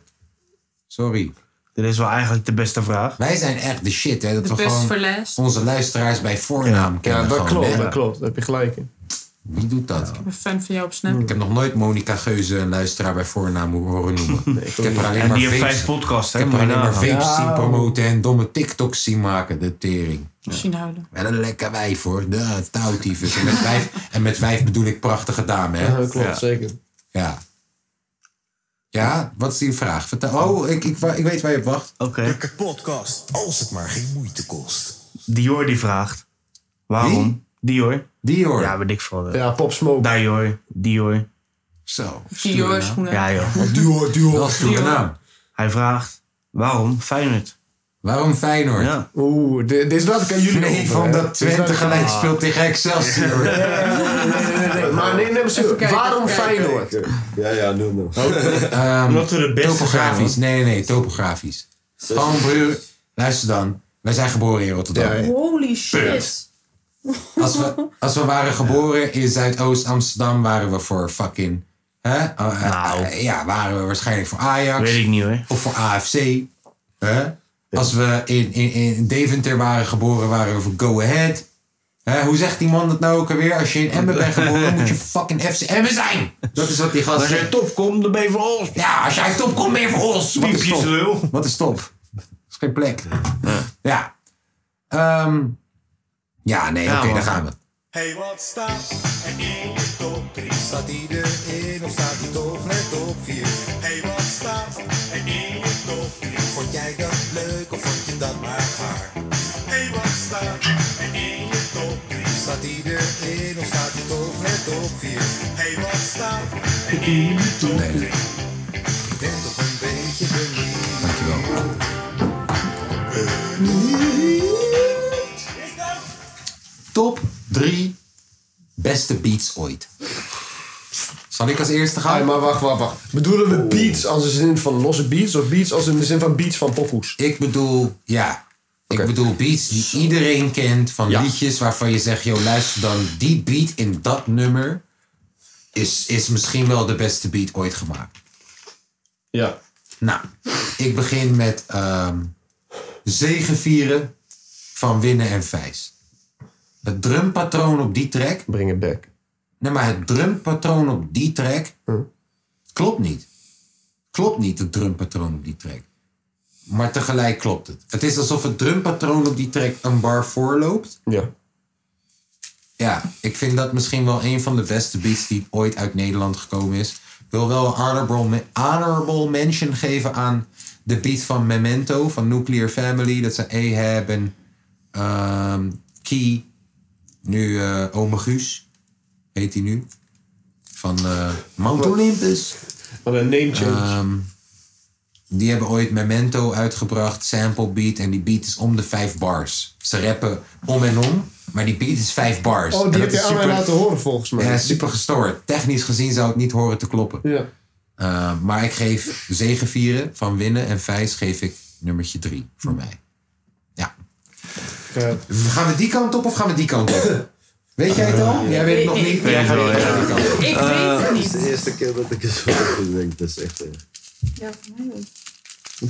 Sorry. Eh. Dit is wel eigenlijk de beste vraag. Wij zijn echt de shit, hè? Dat De we best gewoon for last. onze luisteraars bij voornaam kennen. Ja, dat gewoon, klopt, hè? dat klopt. Daar heb je gelijk in. Wie doet dat? Ik ben fan van jou op Snap. Ik heb nog nooit Monica Geuze een luisteraar bij voornaam horen noemen. ik heb er alleen En maar die heeft vijf vapes, podcasts, hè? ik heb er Moet je alleen maar nagaan. vapes Ja. zien promoten en domme TikToks zien maken, de tering. Misschien huilen. Wel een lekker wijf hoor, de touwtyfus. En met vijf, en met vijf bedoel ik prachtige dame, hè? klopt, Ja. zeker. Ja. Ja, wat is die vraag? Vertel. Oh, ik, ik, wa- ik weet waar je op wacht. Oké. De podcast, als het maar geen moeite kost. Dior die vraagt. Waarom? Dior. Dior. Ja, weet ik veel. eh, Ja, Pop Smoke. Dior. Dior. Zo. Dior schoenen. Ja, joh. Duo, duo. Dat is de Dior. naam. Hij vraagt. Waarom Feyenoord? Waarom Feyenoord? Ja. Oeh, de- deze laat ik aan jullie Nee, over, van hè. dat Deze laat Twente ik aan- gelijk speelt tegen Excelsior. Nee, nee, nee, Maar nee, nee, maar serieus, kijken, Waarom even kijken. Feyenoord? Ja, ja, noem hem. Ehm, Omdat we de beste Topografisch. Nee, nee, nee, topografisch. Gewoon, broer, luister dan. Wij zijn geboren in Rotterdam. Ja, ja. Holy shit. Als, we, als we waren geboren in Zuidoost-Amsterdam, waren we voor fucking. Hè? Oh, eh, Nou. eh, ja, waren we waarschijnlijk voor Ajax. Weet ik niet hoor. Of voor AFC. Hè? Als we in, in, in Deventer waren geboren, waren we voor Go Ahead. Hè? Hoe zegt die man dat nou ook alweer? Als je in Emmen bent geboren, moet je fucking FC Emmen zijn. Dat is wat die gast zegt. top komt, dan ben je voor ons. Ja, als jij top komt, ben je voor ons. Wat is Piepjes top? lul. Wat is top? Dat is geen plek. Ja. Ehm, ja, nee, oké, man. daar gaan we. Hey, wat staat er in de top 3? Staat iedereen of staat hij toch net op 4? Hey, wat staat er in de top 3? Vond jij dat leuk of vond je dat maar gaar? Hey, wat staat er in de top 3? Staat iedereen of staat hij toch net op 4? Hey, wat staat er in de top 3? Ik ben toch een beetje benieuwd. Dankjewel. Top 3 beste beats ooit. Zal ik als eerste gaan? Oh. Hey, maar wacht, wacht, wacht. Bedoelen we beats als in de zin van losse beats of beats als in de zin van beats van pokoes? Ik bedoel, ja. Oké. Ik bedoel beats die iedereen kent van Ja. liedjes waarvan je zegt, joh, luister dan, die beat in dat nummer is, is misschien wel de beste beat ooit gemaakt. Ja. Nou, ik begin met ehm zegevieren van Winnen en Vijs. Het drumpatroon op die track Bring it back. Nee, maar het drumpatroon op die track klopt niet. Klopt niet het drumpatroon op die track. Maar tegelijk klopt het. Het is alsof het drumpatroon op die track een bar voorloopt. Ja. Ja, ik vind dat misschien wel een van de beste beats die ooit uit Nederland gekomen is. Ik wil wel een honorable, me- honorable mention geven aan de beat van Memento van Nuclear Family. Dat zijn Ahab en ehm, Key. Nu eh Ome Guus heet hij nu. Van eh Mount Olympus. Wat een name change. Ehm, Die hebben ooit Memento uitgebracht, sample beat. En die beat is om de vijf bars. Ze rappen om en om, maar die beat is vijf bars. Oh, En die dat heb je is aan mij super- laten horen volgens mij. Ja, super gestoord. Technisch gezien zou het niet horen te kloppen. Ja. Uh, maar ik geef zegevieren van winnen en vijs geef ik nummertje drie Hm. voor mij. Ja. eh, Gaan we die kant op of gaan we die kant op? Weet jij het al? Jij weet het nog niet? Weet je wel, ja. Ik weet het Het is niet. de eerste keer dat ik er zo over denk. Dat is echt... eh,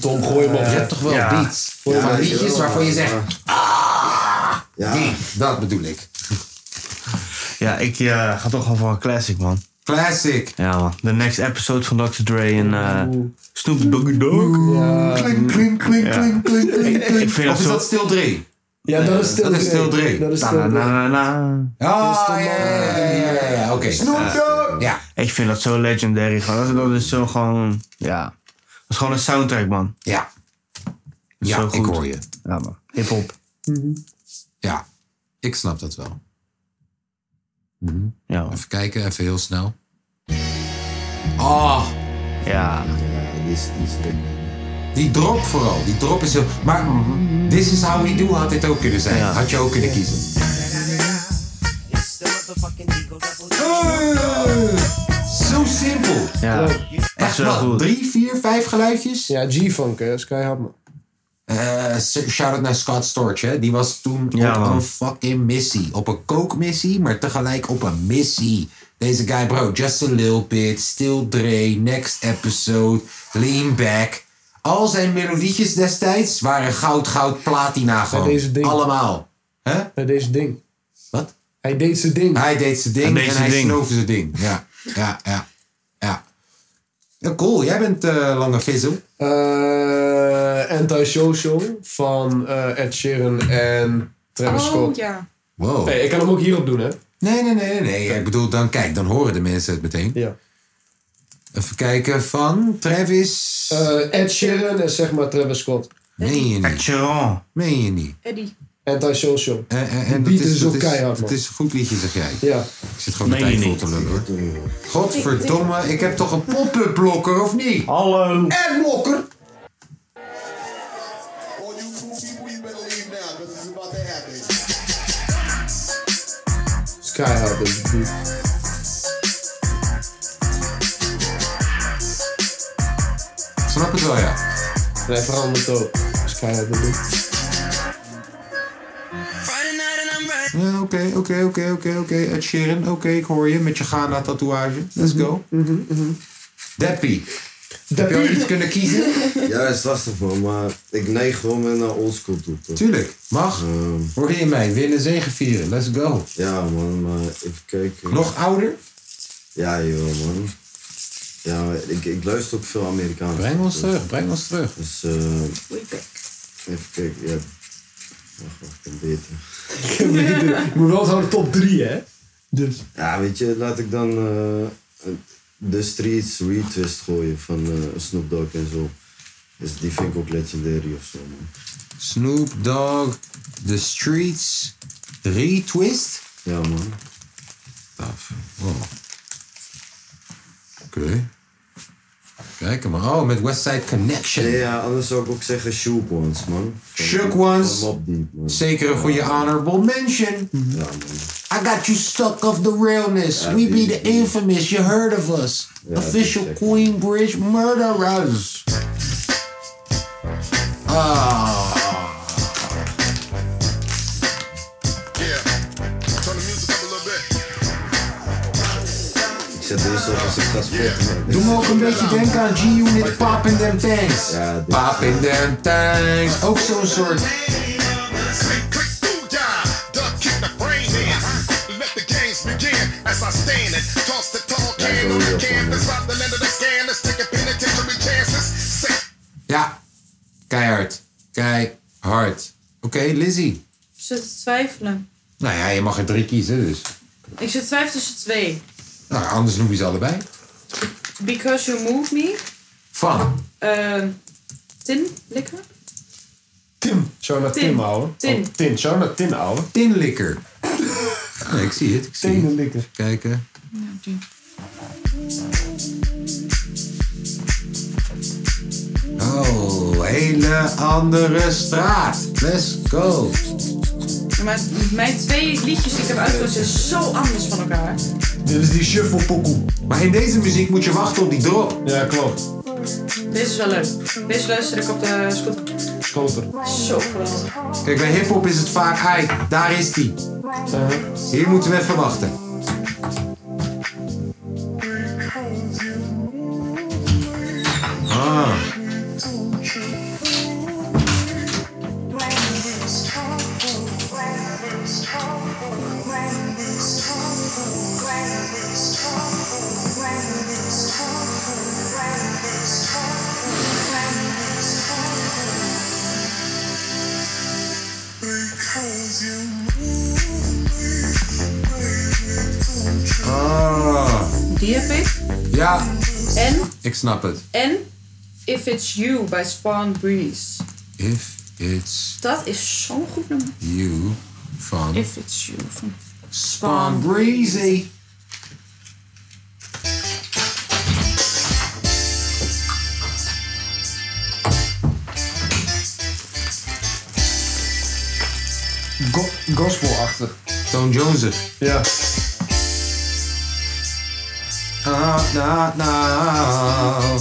Tom, gooi hem op. Je hebt toch wel Ja. beats? Van liedjes waarvan je zegt, ah, Ja, die, dat bedoel ik. Ja, ik eh, ga toch wel voor een classic, man. Classic. Ja, man. The next episode van Dr. Dre en eh Snoop Doggy Dogg. Klink, klink, klink, Ja. klink, klink, klink, klink. ik vind Of dat is zo- dat stil drie? Ja, dat is stil Dat is stil drie. Dat is Na, stil na, drie. na, na, na. Ah, ja, ja, ja, ja, ja, ja, oké. Ja, Ik vind dat zo legendary. Gewoon. Dat, dat is zo gewoon... Ja. Dat is gewoon een soundtrack, man. ja. Dat is zo Ja, ik goed. hoor je. Ja, man. Hip-hop. Mhm. Ja, ik snap dat wel. Mhm. Ja, man. Even kijken, even heel snel. Ah, ja, Ja. die is, die is gek. die drop vooral. Die drop is heel... Maar This Is How We Do had dit ook kunnen zijn. Ja. Had je ook kunnen kiezen. Zo simpel. Ja. Dat is Echt wel wel. goed. Drie, vier, vijf geluidjes. Ja, G-Funk, hè. Sky Hardman. Eh, Shout-out naar Scott Storch, hè. Die was toen Ja, op man. een fucking missie. Op een kookmissie, maar tegelijk op een missie. Deze guy, bro, just a little bit, still Dre, next episode, lean back. Al zijn melodietjes destijds waren goud, goud, platina gewoon. deze dingen. Allemaal. hè? Hij deed zijn ding. Wat? Hij deed zijn ding. Hij deed zijn ding Hij deed en zijn hij ding. snoof zijn ding. Ja, ja, ja. ja. ja cool, jij bent eh, Lange Vissel. Eh, Antisocial van eh, Ed Sheeran en Travis Oh Scott. ja. Wow. Hey, ik kan hem ook hierop doen, hè? Nee, nee, nee, nee, nee. Ik bedoel, dan kijk, dan horen de mensen het meteen. Ja. Even kijken van Travis. Eh, Ed Sheeran en zeg maar Travis Scott. meen je niet? Action. Meen je niet? Eddie. Antisocial. En, en, Die en beat is ook dat keihard, man. Het is een goed liedje, zeg jij. Ja. Ik zit gewoon de Meen je tijd vol niet? te lullen, hoor. Godverdomme, ik heb toch een pop-up blokker, of niet? Hallo. En blokker! All you cool people, you better leave now, because it's about to happen. Sky Hardman. Snap het wel, ja. En hij verandert ook. Dus Sky Hardman. Ja, Oké, oké, oké, oké, oké. Ed Sheeran, oké, ik hoor je. Met je Ghana-tatoeage. Let's go. Mhm, Deppie. Heb je al iets kunnen kiezen? Ja, dat is lastig man, maar ik neig gewoon weer naar oldschool toe. toch? Tuurlijk, mag. Ehm, Hoor je mij? Winnen, zegen, vieren. Let's go. ja man, maar even kijken. Nog ouder? Ja joh man. Ja, maar ik, ik luister ook veel Amerikaans. Breng ons terug, breng ons terug. Dus eh even kijken, ja. Wacht, wacht, een beter. Ik moet wel zo'n top 3, hè? Dus. Ja, weet je, laat ik dan eh, de Streets Retwist gooien van eh, Snoop Dogg en zo. Dus die vind ik ook legendary of zo man. Snoop Dogg, dus- The Streets, Retwist. Ja man. Wow. Oké. Kijk maar. Oh, met Westside Connection. Nee, ja, anders zou ik ook zeggen Shook Ones man. Van- Shook van Ones. Mobb Deep, man. Zeker een goede honorable mention. Ja man. I got you stuck off the realness. We be the infamous. You heard of us. Official die check. Queenbridge murderers. Ah. Yeah. Turn the music up a little bit. Ik zet deze op als ik ga sporten. Doe me ook een beetje denken aan G-Unit Pop in Them Tanks. Ja, dit- Pop Eh, in Them Tanks. Ook zo'n soort. Ja, keihard. Keihard. Oké, Lizzie. Ik zit te twijfelen. Nou ja, je mag er drie kiezen dus. Ik zit te twijfelen tussen twee. Nou, anders noem je ze allebei. Because You Move Me. Van. eh tin Likker. Tim. Zou naar Tim, Tim. houden? Tim. Oh, Tin. Zou naar Tin houden? Tinlikker. Ja, ik zie het, ik zie het. Tenen likken. Kijken. Oh, Oh, hele andere straat. Let's go. Ja, Maar mijn twee liedjes die ik heb uitgekozen zijn zo anders van elkaar. Dit is die shuffle pokoe. Maar in deze muziek moet je wachten op die drop. Ja, klopt. Deze is wel leuk. Deze luister ik op de scooter. Kloter. Zo geweldig. Kijk, bij hip-hop is het vaak, ai, daar is die. Hier moeten we even wachten. Ah. Ah. Die heb ik. Ja, En, ik snap het. en If It's You by Spawn Breeze. If it's Dat is zo'n goed nummer. you van... If It's You van Spawn Breezy. Go- Gospelachtig. Tom Jones. Ja. Ah, na, na. Ah. I'm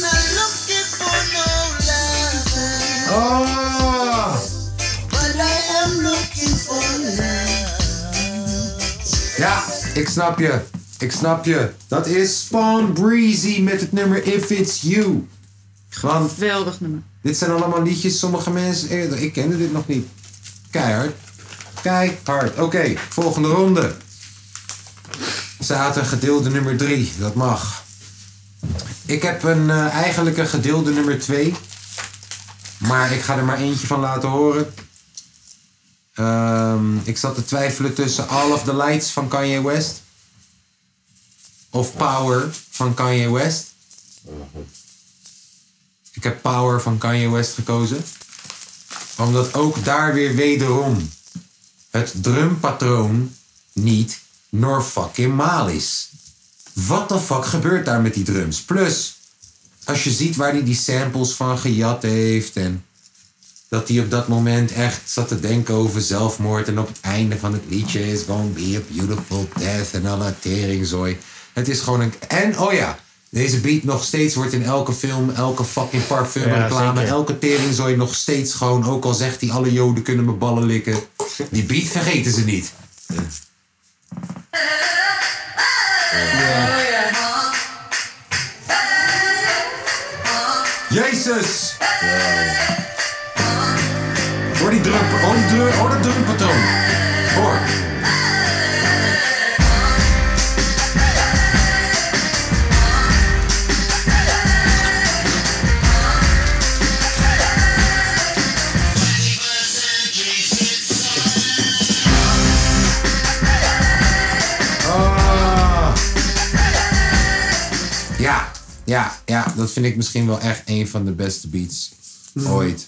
not looking for no lover, Oh. but I am looking for love. Ja, ik snap je. Ik snap je. Dat is Spawn Breezy met het nummer If It's You. Want Geweldig nummer. dit zijn allemaal liedjes, sommige mensen eerder. Ik kende dit nog niet. Keihard. Keihard. Oké, volgende ronde. Zaten gedeelde nummer 3, dat mag. Ik heb een, eh, eigenlijk een gedeelde nummer 2. Maar ik ga er maar eentje van laten horen. Ehm, ik zat te twijfelen tussen All of the Lights van Kanye West. Of Power van Kanye West. Ik heb Power van Kanye West gekozen. Omdat ook daar weer wederom het drumpatroon niet nor fucking maal is. Wat de fuck gebeurt daar met die drums? Plus, als je ziet waar hij die samples van gejat heeft en dat hij op dat moment echt zat te denken over zelfmoord en op het einde van het liedje is gewoon be a beautiful death en alle teringzooi. Het is gewoon een... En, oh ja, deze beat nog steeds wordt in elke film, elke fucking parfumreclame, zeker. elke teringzooi nog steeds gewoon, ook al zegt hij alle joden kunnen me ballen likken. Die beat vergeten ze niet. Jezus! Hoor die drum, hoor die drum, hoor dat drumpatroon. Hoor. Ah. Ja, ja, ja, dat vind ik misschien wel echt een van de beste beats ooit.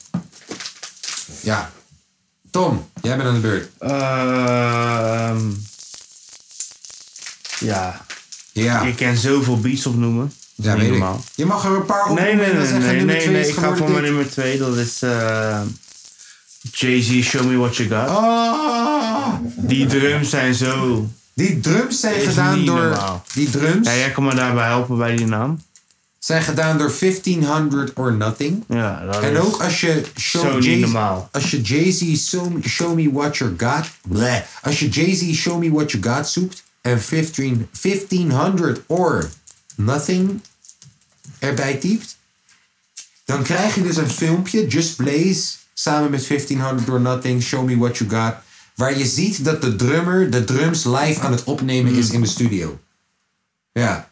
Ja. Tom, jij bent aan de beurt. Ehm, ja. Ja. Je kan zoveel beats opnoemen. Dat Ja, is niet weet ik. normaal. Je mag er een paar op. Nee, nee, nee, zeggen, nee, nummer nee, twee nee. is Ik ga geworden voor mijn dit. nummer twee. Dat is eh, Jay-Z, Show Me What You Got. Oh. Ah, Die drums zijn zo... die drums zijn Is gedaan niet door. normaal. Die drums Ja, jij kan me daarbij helpen bij die naam. zijn gedaan door 1500 or Nothing. Ja, dat En is ook als je zo show niet Jay normaal. als je Jay-Z show, Me- Show Me What You Got, bleh. als je Jay-Z Show Me What You Got zoekt en 15, 1500 or Nothing erbij typt, dan krijg je dus een filmpje, Just Blaze, samen met 1500 or Nothing, Show Me What You Got, waar je ziet dat de drummer de drums live aan het opnemen Mm. is in de studio. Ja.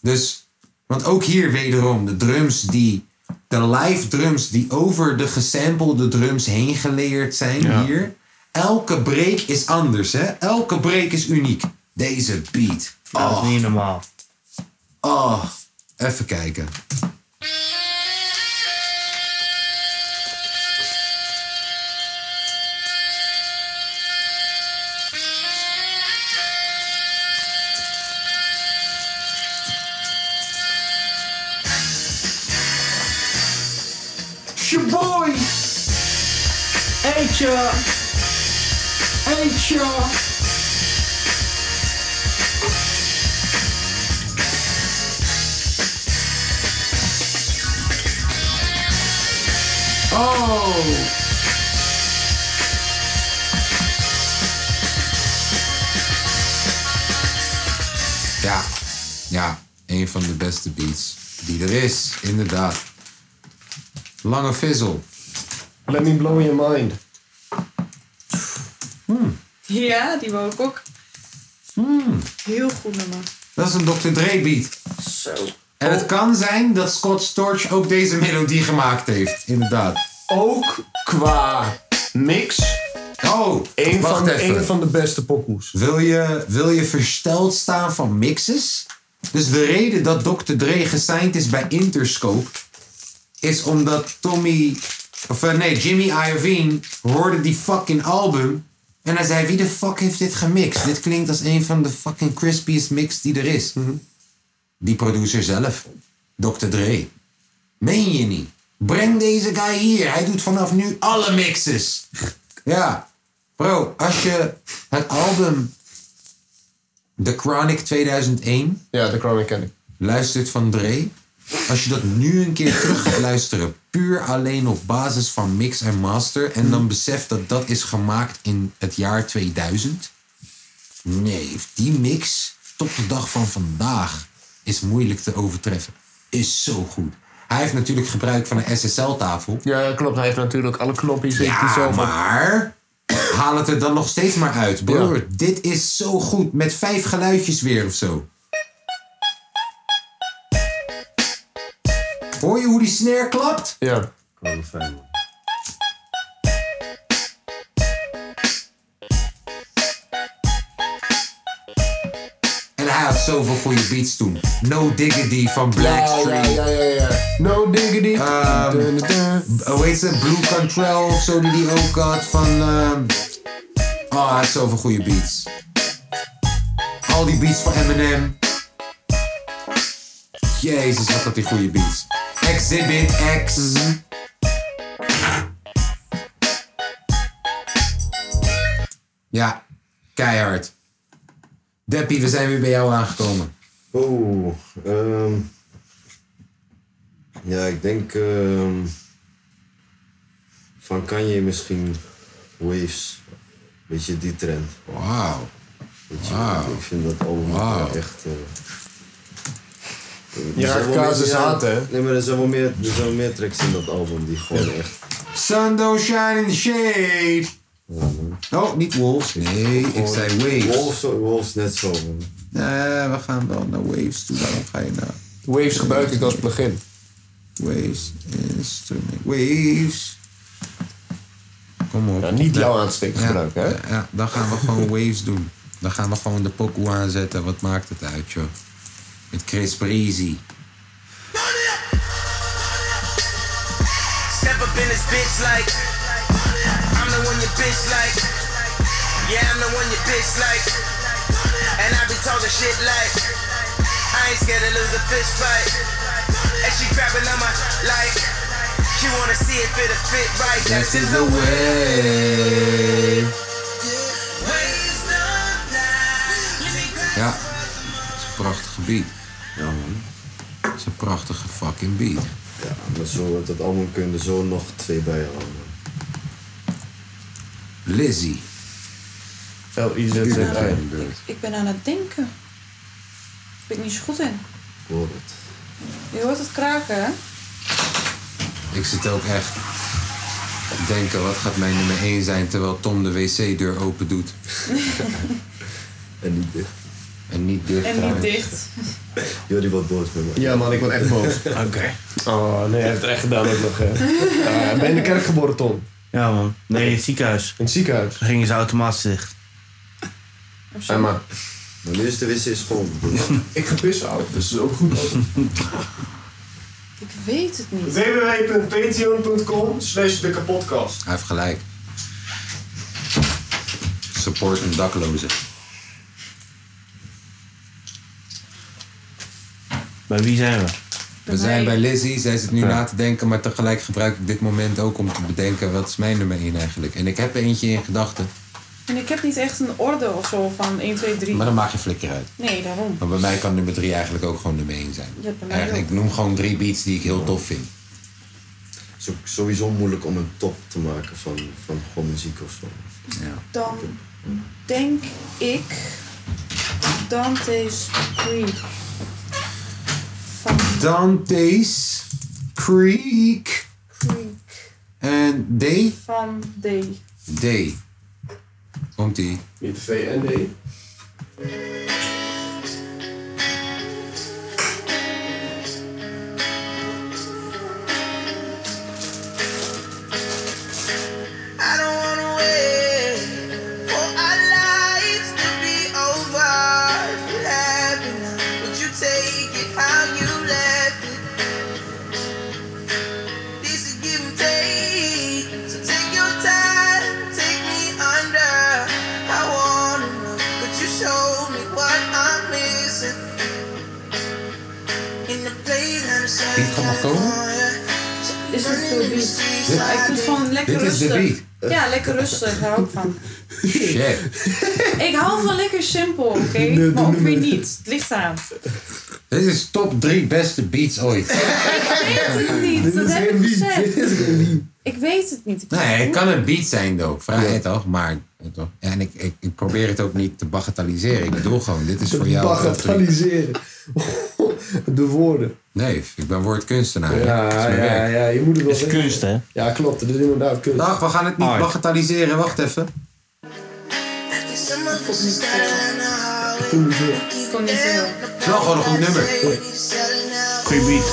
Dus, want ook hier wederom, de drums die, de live drums die over de gesampelde drums heen geleerd zijn hier. Elke break is anders, hè? Elke break is uniek. Deze beat. Dat Oh, is niet normaal. oh. Even kijken. Eentje. Eentje. Oh! Ja, ja, een van de beste beats die er is, inderdaad. Lange fizzle. Let me blow your mind. Ja, die wou ik ook. Hmm. Heel goed nummer. Dat is een Dr. Dre beat. Zo. En het kan zijn dat Scott Storch ook deze melodie gemaakt heeft, inderdaad. Ook qua mix. Oh, Eén wacht van, even. één van de beste pokoes. Wil je, wil je versteld staan van mixes? Dus de reden dat Dr. Dre gesigned is bij Interscope... is omdat Tommy... Of eh, nee, Jimmy Iovine hoorde die fucking album... en hij zei, wie de fuck heeft dit gemixt? Dit klinkt als een van de fucking crispiest mix die er is. Mhm. Die producer zelf. Dr. Dre. Meen je niet? Breng deze guy hier. Hij doet vanaf nu alle mixes. Ja. Bro, als je het album The Chronic 2001 Ja, de Chronic ken ik. luistert van Dre. Als je dat nu een keer terug gaat luisteren, puur alleen op basis van mix en master. En dan beseft dat dat is gemaakt in het jaar 2000. Nee, die mix tot de dag van vandaag is moeilijk te overtreffen. Is zo goed. Hij heeft natuurlijk gebruik van een SSL-tafel. Ja, klopt. Hij heeft natuurlijk alle knopjes. heeft hij Ja, zelf op. maar haal het er dan nog steeds maar uit. Broer, Ja. dit is zo goed. Met vijf geluidjes weer of zo. Hoor je hoe die snare klapt? Ja. Gewoon fijn, man. En hij had zoveel goede beats toen. No Diggity van Blackstreet. Ja, ja, ja, ja. No diggity. Ehm, Dun, dun, dun. Oh, Hoe heet ze? Blue Control of zo die die ook had van... ehm, Oh, hij had zoveel goede beats. Al die beats van Eminem. Jezus, wat had die goede beats. Exhibit X. Ja, keihard. Deppie, we zijn weer bij jou aangekomen. Oh, ehm ja, ik denk ehm van Kanye misschien Waves. Weet je, die trend. Wauw. Weet je, Wauw. Ik vind dat allemaal Wauw. echt... eh, er Ja, zijn wel casus meer- had, hè? Nee, maar er zijn wel meer, er zijn wel meer tracks in dat album die gewoon echt... Sun don't shine in the shade. Oh, niet Wolves. Nee, ik gewoon- zei Waves. Wolves, Wolves net zo. man. Nee, Eh, we gaan wel naar Waves toe. Waarom ga je naar Waves gebruik ik als plugin. Waves? Instrument. Waves. Kom op. Ja, niet Ja, jouw aansteek gebruiken, hè? Ja, ja, dan gaan we gewoon Waves doen. Dan gaan we gewoon de pokoe aanzetten. Wat maakt het uit, joh? Met Chris Breezy. Step up in this bitch like I'm the one your bitch like Yeah, I'm the one your bitch like And I be talking shit like I ain't scared to lose a fist fight And she grabbing on my like She wanna see if it'll fit right That is the way. Ja, het is een prachtige beat. Ja, man. Het is een prachtige fucking beat. Ja, maar zo, met dat album kun je er zo nog twee bij halen. man. Lizzie. L-I-Z-Z-I. Ik, ik ben aan het denken. Daar ben ik niet zo goed in. Ik hoor het. Je hoort het kraken, hè? Ik zit ook echt te denken, wat gaat mijn nummer 1 zijn terwijl Tom de wc-deur open doet. En niet dicht. En niet dicht. En niet dicht. Jordi wordt boos met mij. Ja, man, ik word echt boos. Oké. Oh, nee, hij heeft het echt gedaan ook nog, hè? Ah, ben je in de kerk geboren, Tom? Ja, man. Nee, in het ziekenhuis. In het ziekenhuis. Dan gingen ze automatisch dicht. Hé, maar Maar nu is de wc schoon. ik ga pissen, ouwe. Dus is ook goed. Ik weet het niet. www.patreon.com slash de kapotkast. Hij heeft gelijk. Support een dakloze. Bij wie zijn we? We zijn bij Lizzie, zij zit nu na te denken, maar tegelijk gebruik ik dit moment ook om te bedenken wat is mijn nummer 1 eigenlijk. En ik heb eentje in gedachten, En ik heb niet echt een orde of zo van 1, 2, 3. maar dan maak je flikker uit. Nee, daarom. Maar bij mij kan nummer 3 eigenlijk ook gewoon nummer 1 zijn. Je hebt bij mij Eigenlijk, ik ook. noem gewoon drie beats die ik heel tof vind. Het is ook sowieso moeilijk om een top te maken van, van gewoon muziek of zo. Dan denk ik Dante's Creed. Van Dante's Creek. Creek. En D? Van D. D. Komt ie. Niet V en D. I don't wanna wait for our lives to be over. If it happens, would you take it how you left it? This is give and take, so take your time, take me under. I wanna know, could you show me what I'm missing? In the playground, Dit gaat nog komen? Is het veel beat? Ja, ik vind het gewoon lekker Dit is de rustig. Ja, lekker rustig. Daar hou ik van. Shit. Ik hou van lekker simpel, oké? Maar ook weer niet. Het ligt eraan. Dit is top 3 beste beats ooit. Ik weet het niet. Dat heb ik gezegd. Ik weet het niet. Ik Nee, het kan een beat zijn ook. Vrij toch? Maar. eh, toch? En ik, ik, ik probeer het ook niet te bagatelliseren. Ik bedoel gewoon, dit is voor jou. top drie. Bagatelliseren. De woorden. Nee, ik ben woordkunstenaar. Ja, Dat is mijn ja, werk. ja, je moet het wel Dat is zeggen. kunst, hè? Ja, klopt. Dat is inderdaad kunst. Dag, we gaan het niet Hard. bagatelliseren. Wacht even. kon niet zingen. Het is wel gewoon een goed nummer. Goeie beat.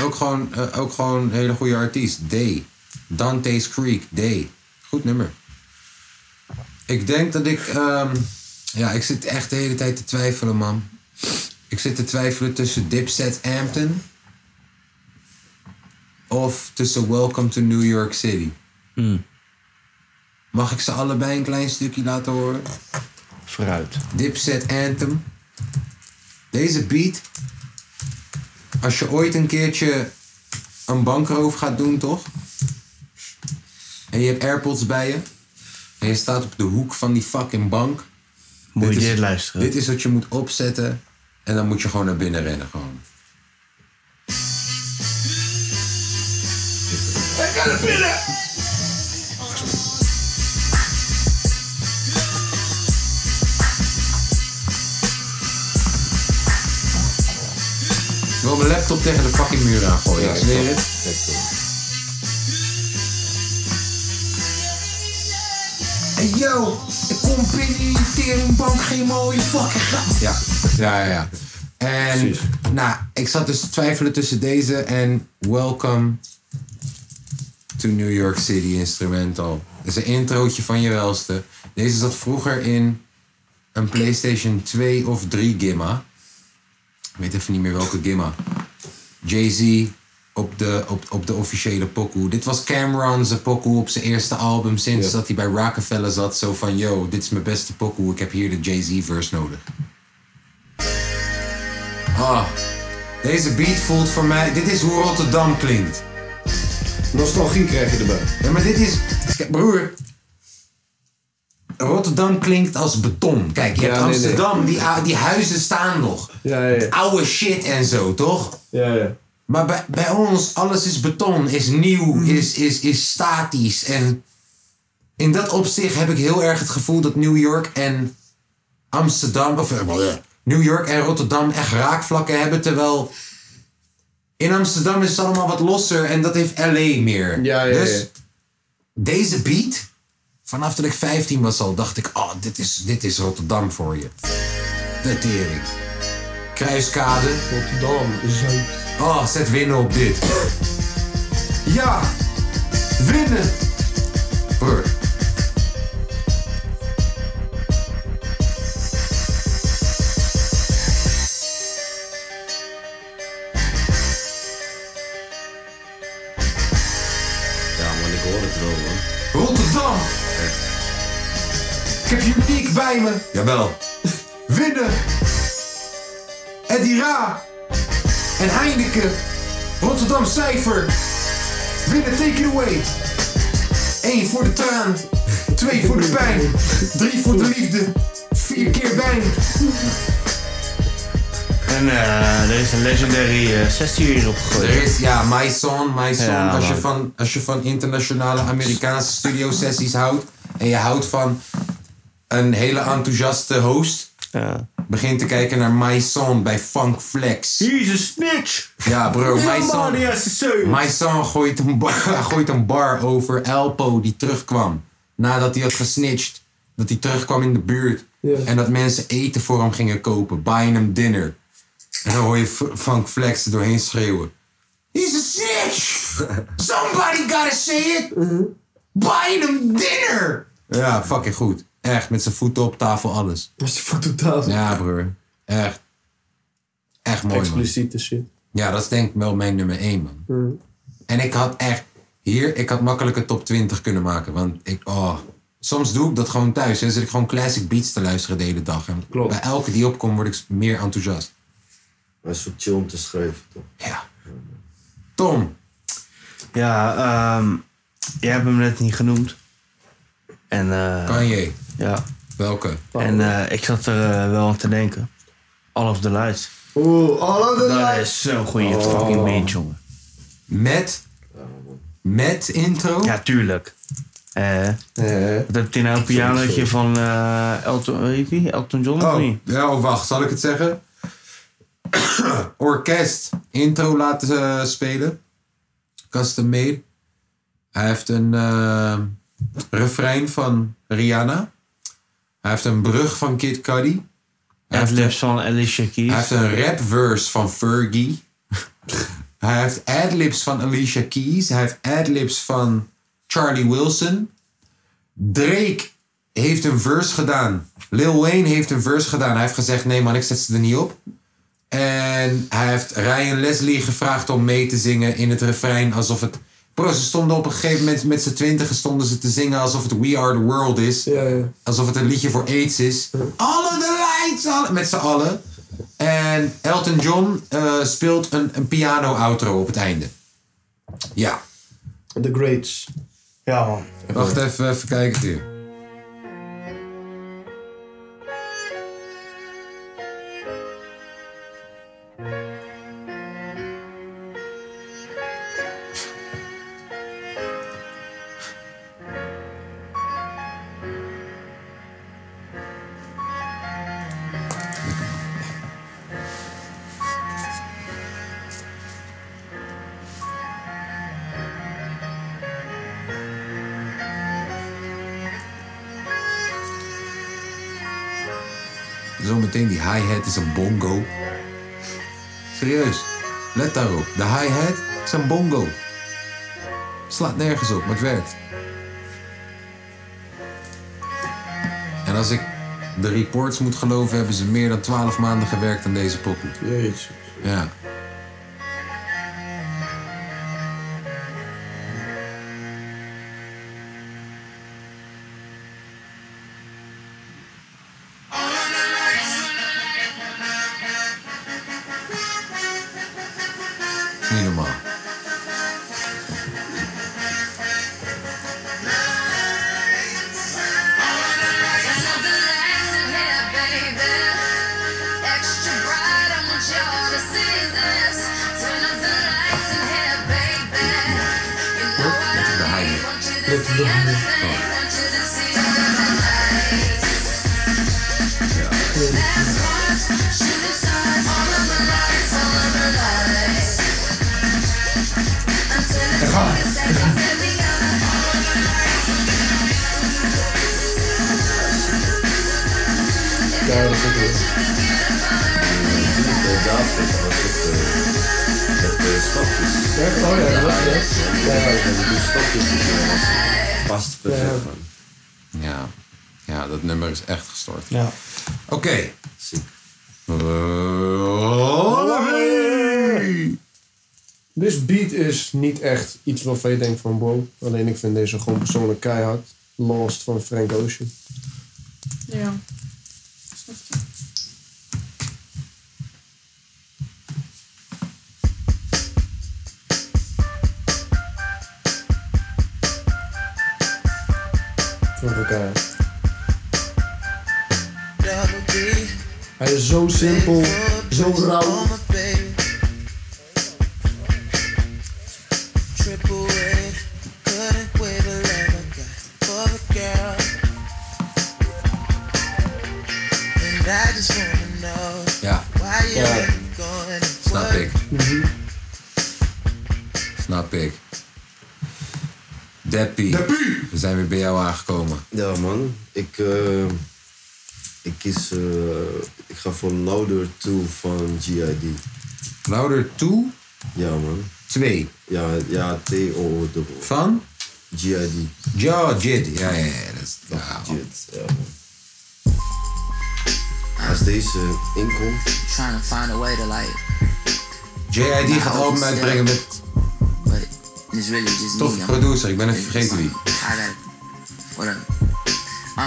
Ook gewoon, eh, ook gewoon een hele goede artiest. D. Dante's Creek. D. Goed nummer. Ik denk dat ik... ehm, ja, ik zit echt de hele tijd te twijfelen, man. Ik zit te twijfelen tussen Dipset Hampton... of tussen Welcome to New York City. Hmm. Mag ik ze allebei een klein stukje laten horen? Vooruit. Dipset Anthem. Deze beat. Als je ooit een keertje een bankroof gaat doen, toch? En je hebt AirPods bij je. En je staat op de hoek van die fucking bank. Moet je Dit is- dit luisteren? Dit is wat je moet opzetten. En dan moet je gewoon naar binnen rennen. Gewoon. Ik wil mijn laptop tegen de fucking muur aangooien. Ik zweer het. Hey yo, ik kom binnen in die teringbank, geen mooie fucking grap. Ja, ja, ja. ja. En nou, ik zat dus te twijfelen tussen deze en Welcome to New York City Instrumental. Dat is een introotje van je welste. Deze zat vroeger in een PlayStation 2 of 3 Gimma. Ik weet even niet meer welke Gimma. Jay-Z op de, op, op de officiële pokoe. Dit was Cameron's pokoe op zijn eerste album sinds dat hij bij Rockefeller zat. Zo van, yo, dit is mijn beste pokoe. Ik heb hier de Jay-Z verse nodig. Ah, deze beat voelt voor mij... Dit is hoe Rotterdam klinkt. Nostalgie krijg je erbij. Ja, maar dit is. Kijk, Broer. Rotterdam klinkt als beton. Kijk, je hebt nee, nee. Amsterdam, Die, ou- die huizen staan nog. Ja, ja, ja. Oude shit en zo, toch? ja, ja. Maar bij, bij ons, alles is beton, is nieuw, Hmm. is, is, is statisch. En in dat opzicht heb ik heel erg het gevoel dat New York en Amsterdam, of eh, bleh, New York en Rotterdam echt raakvlakken hebben. Terwijl in Amsterdam is het allemaal wat losser en dat heeft LA meer. Ja, ja, ja. dus deze beat, vanaf dat ik 15 was al, dacht ik: oh, dit is, dit is Rotterdam voor je. De tering. Kruiskade. Rotterdam, Zuid. Oh, zet winnen op dit. Ja, winnen. Brr. Ja, man, ik hoor hoor het wel, man. Rotterdam! Ik heb je uniek bij me. Jawel. Winnen! Eddie Ra! En Heineken! Rotterdam Cijfer! Winnen, take it away! Eén voor de traan, twee voor de pijn, drie voor de liefde, vier keer wijn. En eh, er is een legendary eh, 16 uur opgegooid. Er is, ja, My Son, My Son. Ja, als, je man. van, als je van internationale Amerikaanse studiosessies houdt en je houdt van een hele enthousiaste host, Ja. begin te kijken naar My Son bij Funk Flex. Jesus snitch! Ja, bro, My man, Son. die is de zeus. My Son gooit een, bar, gooit een bar over Elpo die terugkwam. Nadat hij had gesnitcht. Dat hij terugkwam in de buurt. En dat mensen eten voor hem gingen kopen. Buying him dinner. En dan hoor je F- Funk Flex er doorheen schreeuwen. He's a snitch! Somebody gotta say it! Buying him dinner! Ja, fucking goed. Echt, met zijn voeten op tafel, alles. Dat is voor totaal Ja, broer. Echt. Echt mooi, man. expliciete shit. Ja, dat is denk ik wel mijn nummer 1, man. En ik had echt hier, ik had makkelijk een top 20 kunnen maken. Want ik, oh. Soms doe ik dat gewoon thuis. Dan zit ik gewoon classic beats te luisteren de hele dag. En Klopt. bij elke die opkomt word ik meer enthousiast. Maar het is zo chill om te schrijven, toch? Ja. Tom. Ja, ehm, jij hebt hem net niet genoemd. En eh, Kanye. ja, Welke? en eh, ik zat er eh, wel aan te denken. All of the Lights. Oeh, oh, all of the Dat lights. is zo'n goede Oh. fucking beat, jongen. Oh. Met? Met intro? Ja, tuurlijk. Eh, wat heb je nou een pianootje van eh, Elton, weet je wie? Elton John of Oh, niet? ja, oh, wacht, zal ik het zeggen? Orkest, intro laten eh, spelen. Custom made. Hij heeft een eh, refrein van Rihanna. Hij heeft een brug van Kid Cudi. Hij heeft, Adlibs van Alicia hij Keys. heeft een rap verse van Fergie. hij heeft adlibs van Alicia Keys. Hij heeft adlibs van Charlie Wilson. Drake heeft een verse gedaan. Lil Wayne heeft een verse gedaan. Hij heeft gezegd: nee, man, ik zet ze er niet op. En hij heeft Ryan Leslie gevraagd om mee te zingen in het refrein. Alsof het. Bro, ze stonden op een gegeven moment met z'n twintigen stonden ze te zingen alsof het We Are the World is. Ja, ja. Alsof het een liedje voor AIDS is. Alle de lights, alle, met z'n allen. En Elton John eh, speelt een, een piano-outro op het einde. Ja, The Greats. Ja, man. wacht even, even kijken hier. Zometeen die hi-hat is een bongo. Serieus, let daarop. De hi-hat is een bongo. Slaat nergens op, maar het werkt. En als ik de reports moet geloven, hebben ze meer dan 12 maanden gewerkt aan deze pokoe. Jeetje. Ja. Is Niet normaal. Eh, David was het. eh, Met de stapjes. Echt? Oh ja, dat is En die stapjes die eh, was- past perfect, man. Ja. ja, dat nummer is echt gestoord. Ja. Oké. Eh, oh. Ziek. Rollaway. Dus beat is niet echt iets waarvan je denkt van wow. Alleen ik vind deze gewoon persoonlijk keihard. Lost van Frank Ocean. Ja. Vond ik ook keihard. Hij is zo simpel, zo rauw. Triple A, couldn't wait to let her go for the girl. And I just wanna know Ja, why you Ja. ain't going to snap work. ik. Snap ik. Deppie. We zijn weer bij jou aangekomen. Ja, man. Ik, eh, ik kies... eh, ik ga voor Louder 2 van G.I.D. Louder 2, Ja, man. 2. Ja, ja T-O-O dubbel. Van? G.I.D. Ja, Jid. Ja, ja, ja. Dat is, nou. ja. Jit. Ja, man. Als deze inkomt... Trying to find a way to like, JID gaat album uitbrengen met but it's really just me. tof I'm- producer. Ik ben even vergeten wie. I gotta, whatever. Uh,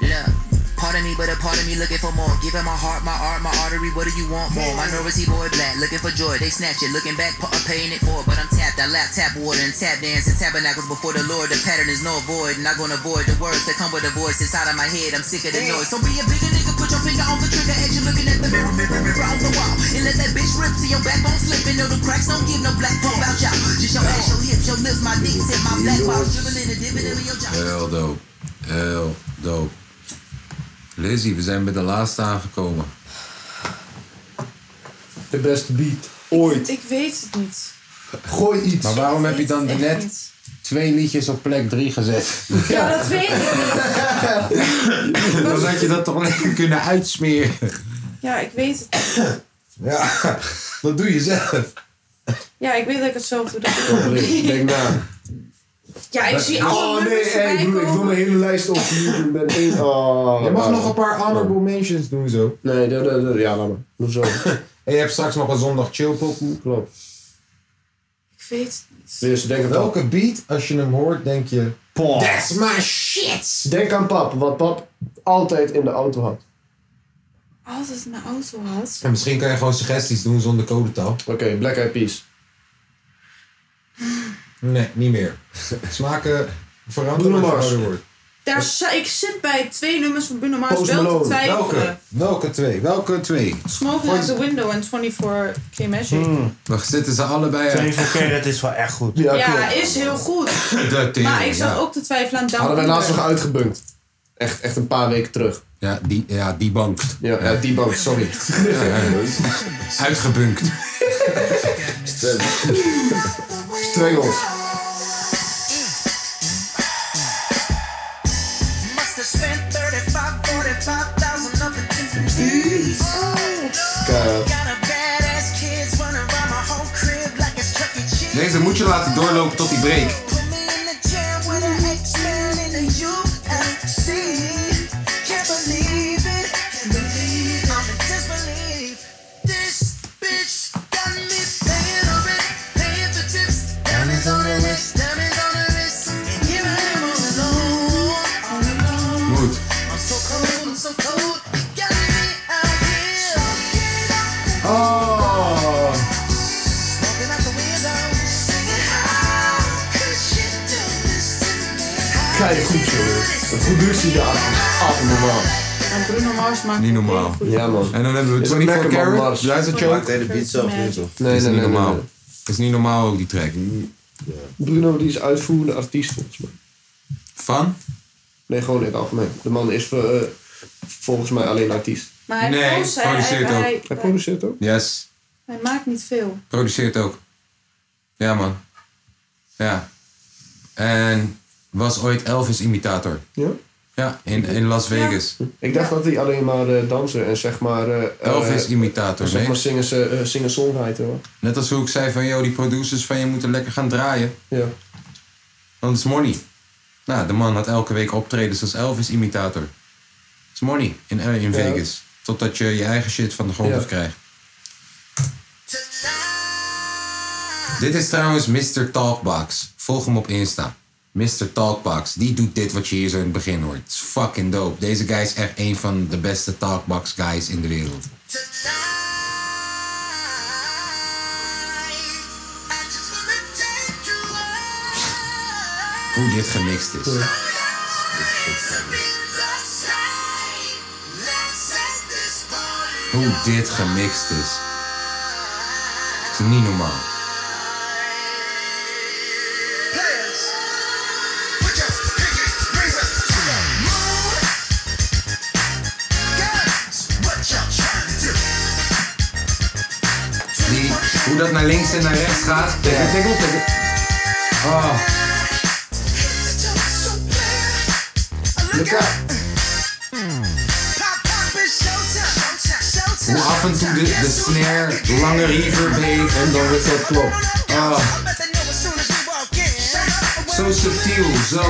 look. Pardon me, but a part of me looking for more. Giving my heart, my art, my artery. What do you want more? My nervous, he boy black, looking for joy. They snatch it, looking back, pa- I'm paying it for. it. But I'm tapped, I lap tap water and tap dance and tabernacles before the Lord. The pattern is no void, and I gonna avoid the words that come with the voice inside of my head. I'm sick of the noise. So be a bigger nigga, put your finger on the trigger as you're looking at the mirror, mirror, mirror on the wall, and let that bitch rip till your backbone slipping. No, the cracks don't give no black pump out y'all. Just your ass, your hips, your lips, my dick, tip, my black while dribbling and dipping in your jaw. Heel dope. Heel dope. Lizzie, we zijn bij de laatste aangekomen. De beste beat ooit. Ik weet het niet. Gooi iets. Maar waarom heb je Ik weet dan het echt net niet. twee liedjes op plek 3 gezet? Ja, dat weet ik niet. Dan had je dat toch lekker kunnen uitsmeren. Ja, ik weet het niet. Ja, dat doe je zelf. Ja, ik weet dat ik het zo doe. Denk na. Ja, ik zie alle Oh nee, nummers hey, ik, wil, ik voorbij wil komen. mijn hele lijst op YouTube. Ben één. Oh, Je mag nou. nog een paar honorable mentions doen zo. Nee, dat, dat, dat- ja, laat maar. Doe zo. En je hebt straks nog een zondag chillpop. Klopt. Ik weet het niet. Dus denk aan pap. Welke beat, als je hem hoort, denk je... That's my shit! Denk aan pap, wat pap altijd in de auto had. Altijd mijn auto had. En misschien kan je gewoon suggesties doen zonder codetaal. Oké, Black Eyed Peas. Nee, niet meer. Smaken veranderen. Bruno Mars. als je ouder wordt. Daar za- ik zit bij twee nummers van Bruno Mars Post wel te Malone. twijfelen. Welke? Welke twee? Welke twee? Smoking at the Window en 24K Magic. Dan zitten ze allebei uit. 24K, dat is wel echt goed. Hmm, Ja, ja, klopt. is heel goed. de tering, Maar ik zat ja. ook te twijfelen aan Down Hadden wij Under. laatst nog uitgebunkt. Echt, echt een paar weken terug. Ja, die, ja, die bank. Ja, ja. die bank, sorry. Uitgebunkt. Strengels. Must have spent 35, 45,000 up in Tiffany's. Got a badass kids running around my whole crib like it's Chuck E. Cheese. Deze moet je laten doorlopen tot die break. Put me in the jam with an X-Man in the UFC. Can't believe it. Can't believe it. I'm in disbelief. This bitch got me paying the rent, paying for tips. Diamonds on the wrist, diamonds on the wrist. And here I am all alone, all alone. Goed. I'm so cold, I'm so cold. You got me out here. Oh. Smoking out the window, singing how could she do this to me? How Kijk goed, jongen. De productie daar. Abnormaal. En Bruno Mars maakt Niet ook hele normaal. goede- Ja, man. En dan hebben we Is het 24 Lekkerman Karat. Mars? Luister, Maakt Choke. hij de beat zelf niet, toch? Nee, Is nee, niet nee, normaal. nee, Is niet normaal ook die track. nee. Bruno die is uitvoerende artiest volgens mij. Van? Nee, gewoon in het algemeen. De man is eh, volgens mij alleen artiest. Maar hij, Nee, post- hij- produceert hij, ook. hij- Hij hij- produceert ook. Yes. hij maakt niet veel. Produceert ook. Ja, man. Ja. En was ooit Elvis imitator. Ja? Ja, in, in Las Vegas. Ik dacht dat hij alleen maar eh, dansen en zeg maar... eh, Elvis eh, imitator, Zeg nee. maar zingen, eh, zingen songwriter hoor. Net als hoe ik zei van, yo, die producers van je moeten lekker gaan draaien. Ja. Want het is money. Nou, de man had elke week optredens als Elvis-imitator. Het is money in, eh, in Ja. Vegas. Totdat je je eigen shit van de grond Ja. af krijgt. Tonight Dit is trouwens Mr. Talkbox. Volg hem op Insta. Mr. Talkbox. Die doet dit wat je hier zo in het begin hoort. Het is fucking dope. Deze guy is echt een van de beste Talkbox guys in de wereld. Hoe dit gemixt is. Hoe dit gemixt is. Het is niet normaal. Die, hoe dat naar links en naar rechts gaat. Tikkel, tikkel, tikkel. Oh. Hoe af en toe de, de snare langer reverb heeft en dan weer dat klopt. Oh. Zo subtiel, zo.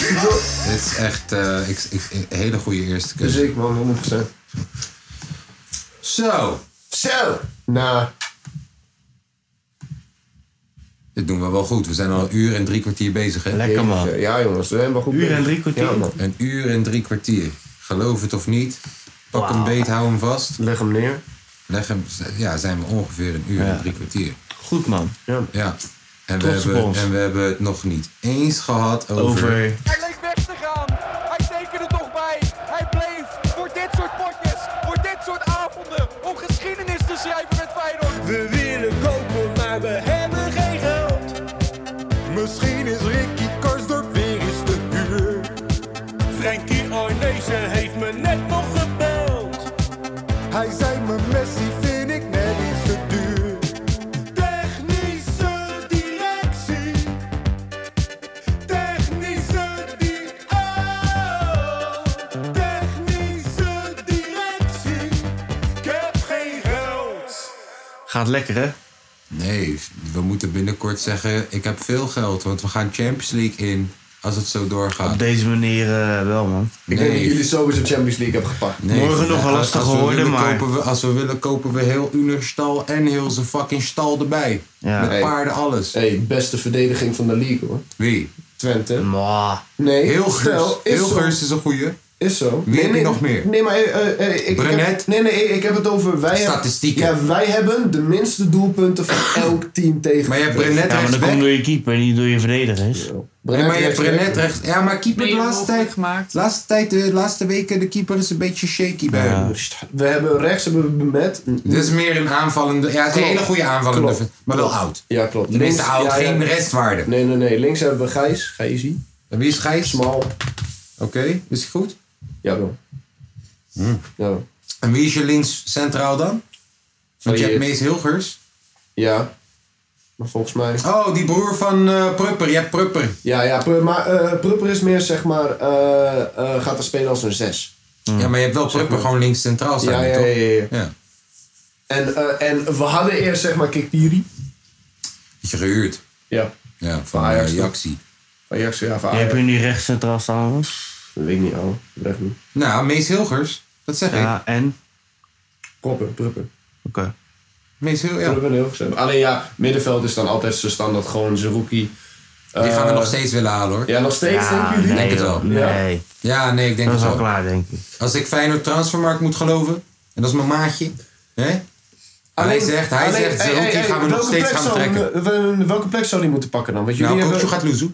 Heel goed. Dit is echt eh, ik, ik, ik- een hele goede eerste keuze. Dus ik, man, 100%. Zo. Zo. Nou. Dit doen we wel goed. We zijn al een uur en drie kwartier bezig, hè? Lekker, man. Ja, jongens, we zijn wel goed Uur en bezig. drie kwartier? Ja, man. een uur en drie kwartier. Geloof het of niet. Pak hem beet, hou hem vast. Leg hem neer. Leg hem, ja, zijn we ongeveer een uur en drie kwartier. Goed, man. Ja. En, we Trots op hebben, ons. en we hebben het nog niet eens gehad over... Over- Hij leek weg te gaan. Hij tekende toch bij. Hij bleef voor dit soort potjes, voor dit soort avonden, om geschiedenis te schrijven met Feyenoord. We willen kopen, maar we hebben geen geld. Misschien is Ricky Karsdorp weer eens te huur. Frankie Arnezen heeft me net nog gebeld. Hij zei me Messi vind ik net iets te duur. Technische directie. Technische di- oh, technische directie. Ik heb geen geld. Gaat lekker, hè? Nee, we moeten binnenkort zeggen... ik heb veel geld, want we gaan Champions League in... als het zo doorgaat. Op deze manier eh, wel, man. Ik denk dat jullie sowieso Champions League hebben gepakt. Nee, Morgen nog wel als- lastig als we geworden, willen, maar... Kopen we, als we willen, kopen we heel Unerstal en heel zijn fucking stal erbij. Met Hey. paarden, alles. Hey, beste verdediging van de league, hoor. Wie? Twente. Nee, Hilgers. stel, is Hilgers zo. is een goeie. Is zo. Wie heb je nog meer? Nee, maar eh, eh, eh, ik- ik, Brenet? heb, nee, nee, ik heb het over wij hebben- Statistieken. ja, wij hebben de minste doelpunten van elk team tegen. Ja, maar dat komt door je keeper, niet door je verdedigers. Nee, maar je hebt Brenet rechts. Ja, maar keeper de laatste tijd. Laatste tijd, de laatste weken, de keeper is een beetje shaky bij hem. We hebben rechts hebben we Brenet. Dit is meer een aanvallende. Ja, het is een Klopt. hele goede aanvallende. Klopt. ver- Maar wel Klopt. oud. Ja, klopt. Tenminste, oud, ja, geen ja. restwaarde. Nee, nee, nee. Links hebben we Gijs. Gijsy. En wie is Gijs? Smal. Oké, is hij goed? Hmm. Jawel. Jawel. En wie is je links centraal dan? Want je hebt Mees Hilgers. Ja. Maar volgens mij... Oh, die broer van eh, Prupper. Je hebt Prupper. Ja, ja. Pru- Maar eh Prupper is meer, zeg maar, eh, eh, gaat er spelen als een zes. Ja, maar je hebt wel Prupper gewoon links centraal staan, Ja, Hmm. ja, toch? ja, ja, Ja. En, eh, en we hadden eerst, zeg maar, Kikpiri. Is je gehuurd? Ja. Ja, van eh, Ajax, toch? Jaxi. Ajax, ja, van Je hebt Ajax. hier nu rechts centraal staan, man. Dat weet ik niet, al. Recht niet. Nou, Mees Hilgers. Dat zeg ik. Ja, en? Prupper, Prupper. Oké. Mees Hilgers. Ja. Prupper en Hilgers hebben- Alleen ja, middenveld is dan altijd zo standaard gewoon zijn rookie. Die gaan we nog steeds willen halen hoor. Ja, nog steeds, denken jullie? denk het wel. Nee. Ja, nee, ik denk Dat het is wel. al klaar, denk ik. Als ik Feyenoord transfermarkt moet geloven, en dat is mijn maatje, hè? hij zegt, hij alleen- zegt, hey, Zerouki hey, hey, gaan we nog welke steeds plek gaan zou- eh, trekken. we- we- welke plek zou die moeten pakken dan? Want jullie Nou, Kokju hebben... gaat loezoe.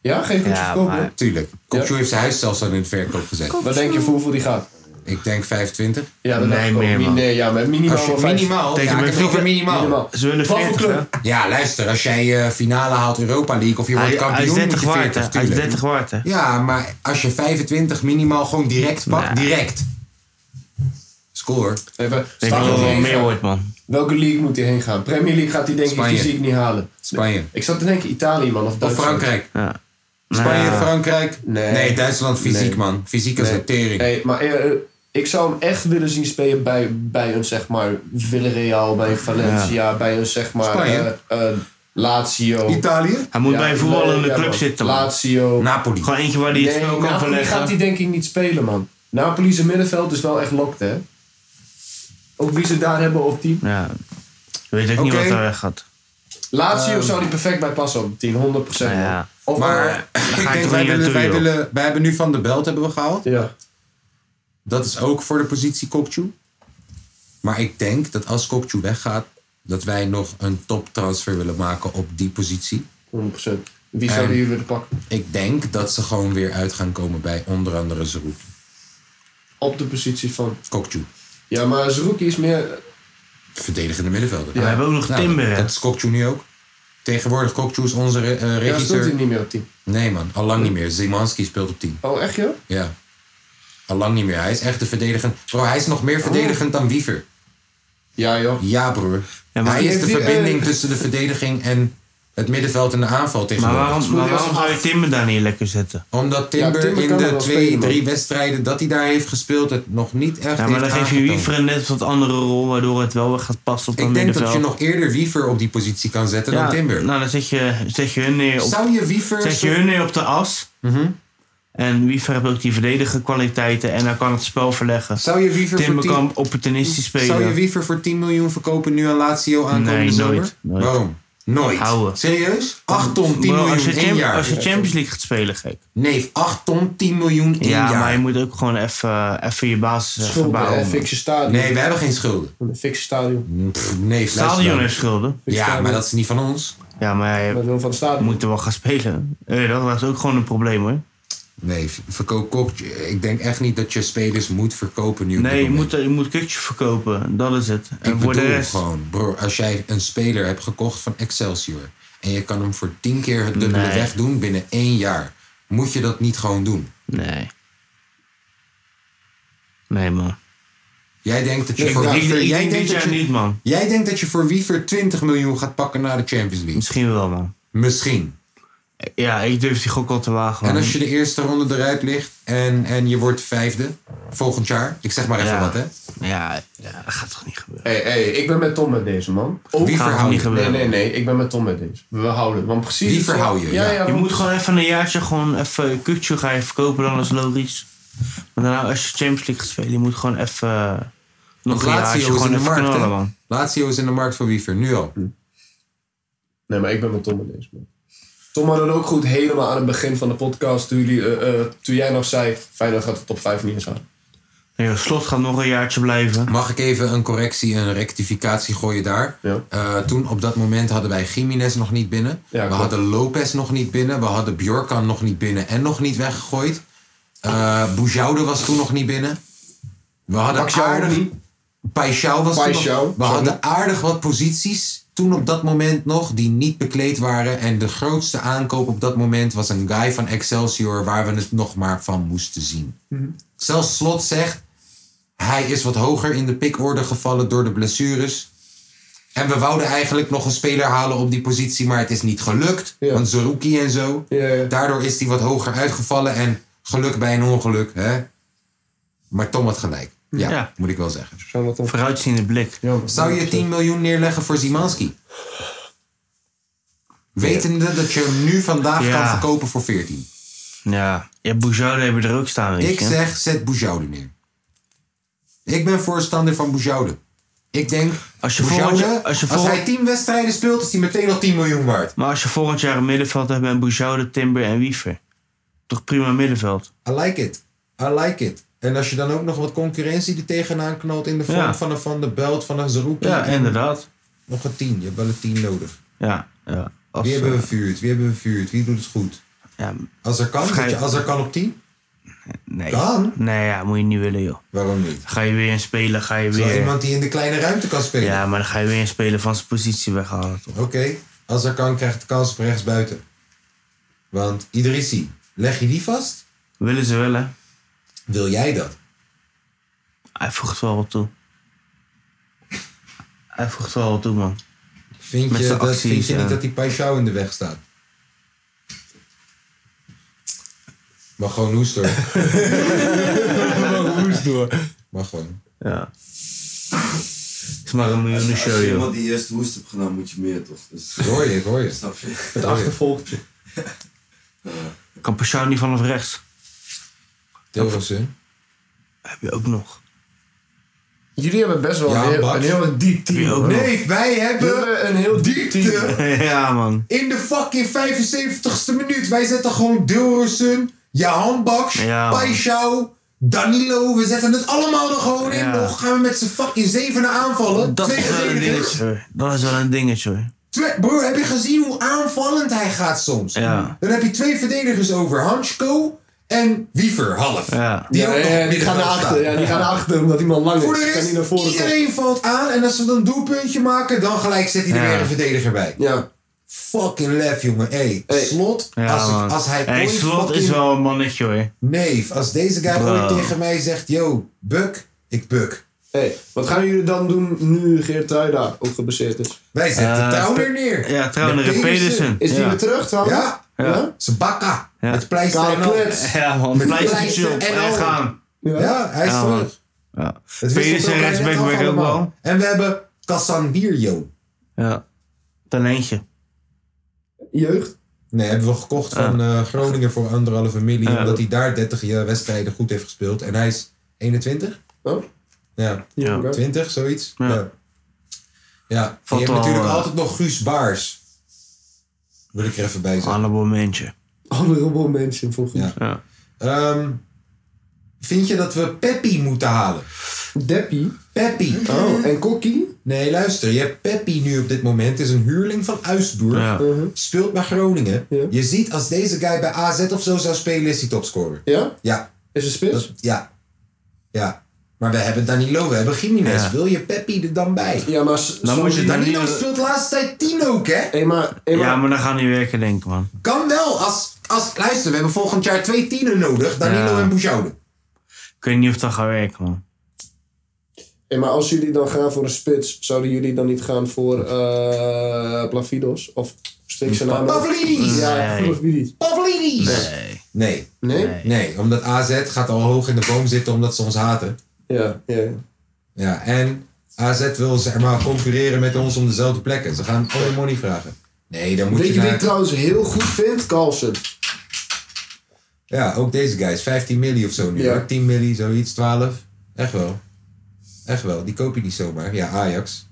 Ja, geen Kokju verkopen? Tuurlijk. Kokju heeft zijn huis zelfs al in de verkoop gezet. Wat denk je voor hoeveel die gaat? Ik denk 25. Ja, dat dacht ik ook. Min- Nee, ja, maar minimaal Als je, wel vijf. minimaal. Ja, ik heb het over minimaal. Ze willen Wat voor 40, club? Ja, luister. Als jij eh, finale haalt Europa League of je wordt Hij- hij is kampioen, 30 moet je waard, 40, hè? Hij is tuurlijk. 30 waard, hè? Ja, maar als je 25 minimaal gewoon direct pakt, direct. Score. Even, Ik denk dat er wel meer wordt, man. Welke league moet hij heen gaan? Premier League gaat hij denk Spanje. ik fysiek niet halen. Spanje. Ik zat te denken Italië, man. Of, Of Duitsland. Frankrijk. Nou Spanje, ja. Nou. Frankrijk. Nee, Duitsland fysiek, Nee. man. Fysieke Nee. sortering. Hey, maar eh, eh, Ik zou hem echt willen zien spelen bij, bij een zeg maar Villarreal, bij Valencia, bij een zeg maar Spanje. eh, eh, Lazio. Italië? Hij moet bij een voetballende ja, club man. zitten, man. Lazio. Napoli. Gewoon eentje waar hij het Nee, spel kan Napoli verleggen. gaat hij denk ik niet spelen, man. Napoli zijn middenveld is wel echt locked, hè? Ook wie ze daar hebben op team. Ja. Weet ik niet Oké. wat er weg gaat. Lazio Ehm. zou die perfect bij passen op 10, 100%. Ja. Of Maar eh, ik denk, wij, willen, wij, willen, wij hebben nu Van de Belt hebben we gehaald. Ja. Dat is ook voor de positie Kokchu. Maar ik denk dat als Kokchu weggaat, dat wij nog een toptransfer willen maken op die positie. 100%. Wie Ehm. zouden jullie willen pakken? Ik denk dat ze gewoon weer uit gaan komen bij onder andere Zeroet. Op de positie van? Kokchu. Ja, maar Zerouki is meer... Verdedigende middenvelder. Ja, we hebben ook nog Timber, Nou, Dat, hè? dat is Kokchu nu ook. Tegenwoordig Kokchu is onze re- eh, regisseur. speelt hij niet meer op 10? Nee man, al lang niet meer. Zimanski speelt op 10. Oh, echt joh? Ja. Al lang niet meer. Hij is echt de verdedigend. Bro, hij is nog meer verdedigend dan Wiever. Oh. Ja, joh. Ja, broer. maar hij die- is de die- verbinding eh, tussen de verdediging en het middenveld en de aanval Maar tegenwoordig. waarom, maar waarom zou je Timber daar niet lekker zetten? Omdat Timber, in de twee, drie wedstrijden dat hij daar heeft gespeeld, het nog niet echt Ja, maar dan heeft geef je aangetoond. Wiever net wat andere rol, waardoor het wel weer gaat passen op dat Ik denk dat middenveld. je nog eerder Wiever op die positie kan zetten Ja, dan Timber. Nou, dan zet je, zet je hun neer op, Zou je Wiever... Mhm. zet je hun neer op de as. En Wiever heeft ook die verdedige kwaliteiten en hij kan het spel verleggen. Zou je Wiever Timber voor tien- kan opportunistisch spelen. Zou je Wiever voor 10 miljoen verkopen nu aan Lazio aankomende Nee, zomer? nooit, nooit. Waarom? Nooit. Houden. Serieus? 8 ton, 10 Bro, miljoen als je, in één champ- jaar. als je Champions League gaat spelen, gek. Nee, 8 ton, 10 miljoen in één Ja, jaar. maar je moet ook gewoon even even je basis eh, Schulden, verbouwen. hè, man. fix je stadion. Nee, we hebben geen schulden. Een fix stadion. Pff, nee, Stadion heeft schulden. Ja, maar dat is niet van ons. Ja, maar je van stadion. moet er wel gaan spelen. Eh, dat was ook gewoon een probleem hoor. Nee, verkoop Kokje. Ik denk echt niet dat je spelers moet verkopen nu. op dit Nee, je moment. moet, je moet kutje verkopen. Dat is het. Ik En voor de bedoel rest. gewoon, bro, als jij een speler hebt gekocht van Excelsior... en je kan hem voor 10 keer het dubbele Nee. weg doen binnen één jaar... moet je dat niet gewoon doen. Nee. Nee, man. Jij denkt dat je Ik voor denk- Wiever- ik jij denk denkt dit dat jaar je- niet, man. Jij denkt dat je voor Wiever 20 miljoen gaat pakken naar de Champions League? Misschien wel, man. Misschien. Ja, ik durf die gok al te wagen. En man. als je de eerste ronde eruit ligt en, en je wordt vijfde volgend jaar. Ik zeg maar even Ja. wat, hè? Ja, ja, dat gaat toch niet gebeuren. Hé, hey, ik ben met Tom met deze, man. Ook- Wie verhouden? niet gebeuren. Nee, nee, nee. Ik ben met Tom met deze. We houden. Want precies... Die verhouden je moet gewoon even een jaartje gewoon even een kutje gaan je verkopen, dan is logisch. Maar daarna, als je Champions League gaat spelen, je moet gewoon even eh, nog Want een jaartje Lazio is in gewoon de even markt, knallen, hè? man. Lazio is in de markt voor Wiever, nu al. Nee, maar ik ben met Tom met deze, man. Tom had het ook goed helemaal aan het begin van de podcast... toen, jullie, eh, eh, toen jij nog zei... Feyenoord gaat de top 5 niet eens halen. Nee, slot gaat nog een jaartje blijven. Mag ik even een correctie, een rectificatie gooien daar? Eh, toen op dat moment hadden wij Jiménez nog niet binnen. we klopt. hadden Lopez nog niet binnen. We hadden Bjorkan nog niet binnen en nog niet weggegooid. Eh Boujoude was toen nog niet binnen. We hadden Paxiao aardig... niet. Paixão was toen nog- Paixão, We sorry. hadden aardig wat posities toen op dat moment nog die niet bekleed waren. En de grootste aankoop op dat moment was een guy van Excelsior waar we het nog maar van moesten zien. Zelfs Slot zegt, hij is wat hoger in de pickorde gevallen door de blessures. En we wouden eigenlijk nog een speler halen op die positie, maar het is niet gelukt. Want Zerouki en zo. Daardoor is hij wat hoger uitgevallen en geluk bij een ongeluk. Hè? Maar Tom had gelijk. Ja, Ja. moet ik wel zeggen. Vooruitziende blik. Zou je 10 miljoen neerleggen voor Zimanski? Wetende dat je hem nu vandaag Ja. kan verkopen voor 14. Ja, ja Boujoude hebben we er ook staan, weet Ik je. zeg, zet Boujoude neer. Ik ben voorstander van Boujoude. Ik denk, Als je Boujoude, volgend jaar- als je volgend- hij 10 wedstrijden speelt, is hij meteen al 10 miljoen waard. Maar als je volgend jaar een middenveld hebt met Boujoude, Timber en Wiever. Toch prima middenveld. I like it. I like it. En als je dan ook nog wat concurrentie er tegenaan knalt in de vorm Ja. van een Van de Belt, van een Zerouki. Ja, inderdaad. Nog een 10. Je hebt wel een 10 nodig. Ja, ja. Als, Wie hebben eh, we vuurt? Wie hebben we vuurt? Wie doet het goed? als er kan, Vrij- zet je- als er kan op 10. Nee. Dan? Nee, ja, moet je niet willen, joh. Waarom niet? Ga je weer een spelen, ga je Zo weer... iemand die in de kleine ruimte kan spelen. Ja, maar dan ga je weer een speler van zijn positie weghalen, toch? Oké, als er kan, krijgt de kans op rechtsbuiten. Want Idrissi, leg je die vast? Willen ze wel, hè? Wil jij dat? Hij voegt wel wat toe. Hij voegt wel wat toe, man. Vind Met je, zijn dat, acties, eh. vind je ja. niet dat die Paixão in de weg staat? Mag gewoon hoest hoor. Mag gewoon hoest hoor. Maar gewoon. Ja. is maar een Als je- miljoenen Als show, je joh. iemand die eerst woest hebt gedaan, moet je meer toch? Dus, Hoor je, hoor je. Snap je? Het achtervolgtje. Kan Pashao niet vanaf rechts. Deelrozen. Heb je ook nog. Jullie hebben best wel Ja, een, heel, Bas. een heel diep team. Heb je ook hoor. nog? Oh. Nee, wij hebben Jullie hebben een heel diep team. ja, man. In de fucking 75ste minuut. Wij zetten gewoon Dilrosun, Jahan Baks, Ja, man. Paixão, Danilo. We zetten het allemaal er gewoon in. Ja. Nog gaan we met z'n fucking zevenen aanvallen. Dat Twee is wel een verdedigers. dingetje, hoor. Dat is wel een dingetje, hoor. Twee- Broer, heb je gezien hoe aanvallend hij gaat soms? Ja. Dan heb je twee verdedigers over. Hansko en Wiever, half. Ja. Die, ook Ja, nog ja, die gaan middenveld naar achter. staan. Ja, die gaan naar achter omdat iemand lang Voor de is. Die kan niet naar rest, voren komen. iedereen valt aan. En als we dan een doelpuntje maken, dan gelijk zet hij er Ja. weer een verdediger bij. Ja. Fucking lef, jongen. Hey, Slot, Ja, als, ik- man. als hij Hey, ooit Slot fucking- is wel een mannetje, hoor. Nee, als deze Dus guy Bro. ooit tegen mij zegt, yo, buk, ik buk. Hey, wat gaan jullie dan doen nu Geert Truida ook geblesseerd is? Wij zetten Eh, Trauner Pe- neer. ja, Trauner Met en Pedersen. Is die Ja. weer terug trouwens? Ja, Ja. ze bakka. Ja. Met pleister Karel en al. Klets. Ja, man. Met Pleistertje pleister op en en al. gaan. Ja, hij is Ja, man. terug. Ja. Het wisselt Pedersen elkaar net rechtsback af werkt ook allemaal. wel. En we hebben Kassan Bierjo. Ja. Talentje. Jeugd? Nee, hebben we gekocht van eh, Groningen voor anderhalve miljoen. Omdat hij daar 30 jaar wedstrijden goed heeft gespeeld. En hij is 21? Oh? Ja, Ja. 20, zoiets. Ja. ja. En Valt je hebt wel, natuurlijk eh, altijd nog Guus Baars. Wil ik er even bij zeggen. Alle momentje. Honorable mensen volgens mij. Ja. Ehm, vind je dat we Peppi moeten halen? Deppie. Peppi. Oh, en Kokkie? Nee, luister. Je hebt Peppi nu op dit moment. Is een huurling van Uisburg. Ja. Speelt bij Groningen. Mhm. Ja. Je ziet als deze guy bij AZ of zo zou spelen, is hij topscorer. Ja? Ja. Is een spits? Dat- ja. Ja. Maar we hebben Danilo, we hebben Gimenez. Ja. Wil je Peppi er dan bij? Ja, maar... s- Dan zo- moet je daar niet... Danilo speelt de laatste tijd tien ook, hè? Hé, maar... hé, maar- Ja, maar dat gaat niet werken, denk ik, man. Kan wel. Als, als, luister, we hebben volgend jaar twee tienen nodig. Danilo Ja. en Boujoude. Ik weet niet of dat gaat werken, man. hé, maar als jullie dan gaan voor een spits, zouden jullie dan niet gaan voor eh Plavidos? Of steek zijn naam? op? Pavlidis! Ja, Nee. Plavlidis. Pavlidis! Nee. Nee. Nee? Nee, omdat AZ gaat al hoog in de boom zitten omdat ze ons haten. Ja, ja. ja. Ja, en AZ wil zeg maar concurreren met ons om dezelfde plekken. Ze gaan alle money vragen. Nee, dan moet Weet je je wie ik naar... trouwens heel goed vind? Carlsen. Ja, ook deze guys. 15 milli of zo nu. Ja. hoor. 10 milli, zoiets. 12. Echt wel. Echt wel. Die koop je niet zomaar. Ja, Ajax.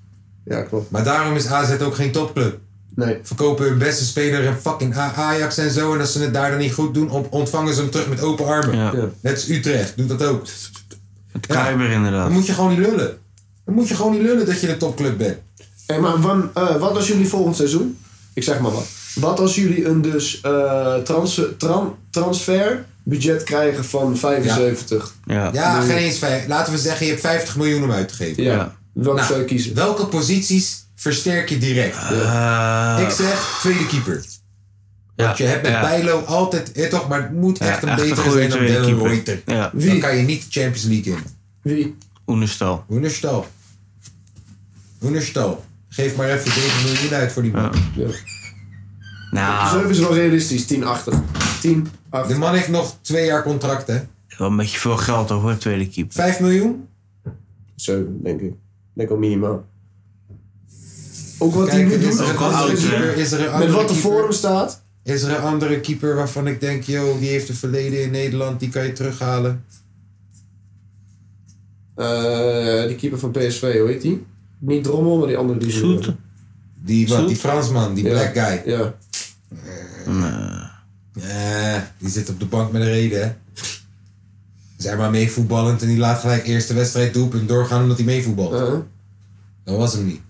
Ja, klopt. Maar daarom is AZ ook geen topclub. Nee. Verkopen hun beste speler en fucking A- Ajax en zo. En als ze het daar dan niet goed doen, ont- ontvangen ze hem terug met open armen. Ja. Ja. Net als Utrecht. Doet dat ook. Het Ja. Kuiber, Dan inderdaad. moet je gewoon niet lullen. Dan moet je gewoon niet lullen dat je een topclub bent. Hey, maar wan- eh, wat als jullie volgend seizoen? Ik zeg maar wat. Wat als jullie een dus eh trans, tran- transferbudget krijgen van 75? Ja. Ja, Nee. geen eens vijf. Laten we zeggen, je hebt 50 miljoen om uit te geven. Ja. Ja. Welke Nou, zou je kiezen? Welke posities versterk je direct? Eh, Ik zeg tweede keeper. ja. Je hebt met Ja. Bijlo altijd, eh, toch, maar het moet echt een echt een betere goede zijn dan tweede Dylan keeper. Reuter. Ja. Dan kan je niet de Champions League in. Wie? Oenestal. Hoenerstal. Hoenerstal. Geef maar even 7 miljoen uit voor die man. Ja. Nou, Zeven is wel realistisch. 10 achter. 10 De achter. man heeft nog twee jaar contract, hè? wel een beetje veel geld over het tweede keeper. 5 miljoen? 7, denk ik. Denk al minimaal. Ook wat hij Kijk, nu is doet. er een Ook al andere oud, hè? keeper? Is er een Met andere wat er voor keeper? hem staat. Is er een andere keeper waarvan ik denk, yo, die heeft een verleden in Nederland, die kan je terughalen? Eh, die keeper van PSV, hoe heet die? Niet Drommel, maar die andere die ze Zoet. hebben. Die, wat, die Fransman, die Ja. black guy. Ja. Eh, die zit op de bank met een reden, hè? Zeg maar meevoetballend en die laat gelijk eerste wedstrijd doelpunt doorgaan omdat hij meevoetbalt. Eh, Dat was hem niet.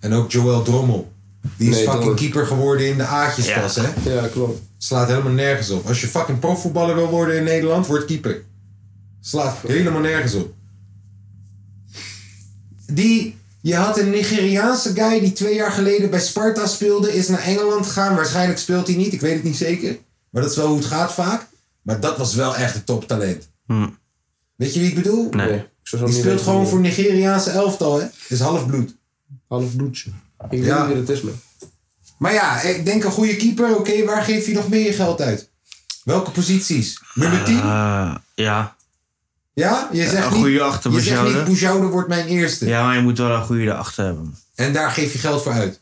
En ook Joël Drommel. Die Nee, is fucking Drommel. keeper geworden in de A'tjespas, hè? ja, klopt. Slaat helemaal nergens op. Als je fucking profvoetballer wil worden in Nederland, word keeper. Slaat helemaal nergens op. Die, je had een Nigeriaanse guy die twee jaar geleden bij Sparta speelde, is naar Engeland gegaan. Waarschijnlijk speelt hij niet, ik weet het niet zeker. Maar dat is wel hoe het gaat vaak. Maar dat was wel echt een toptalent. Hm. Weet je wie ik bedoel? Nee. Nee. Ik zou zo Die niet speelt weten gewoon wie- voor Nigeriaanse elftal, hè? Is half bloed. Half bloedje. Ik Ja. weet niet wie dat is, man. Maar ja, ik denk een goede keeper. Oké, waar geef je nog meer je geld uit? Welke posities? Nummer 10? Eh, ja. Ja? Je zegt Ah. een niet- goede achter je zegt Boujoude. niet, Boujoude wordt mijn eerste. Ja, maar je moet wel een goede erachter hebben. En daar geef je geld voor uit?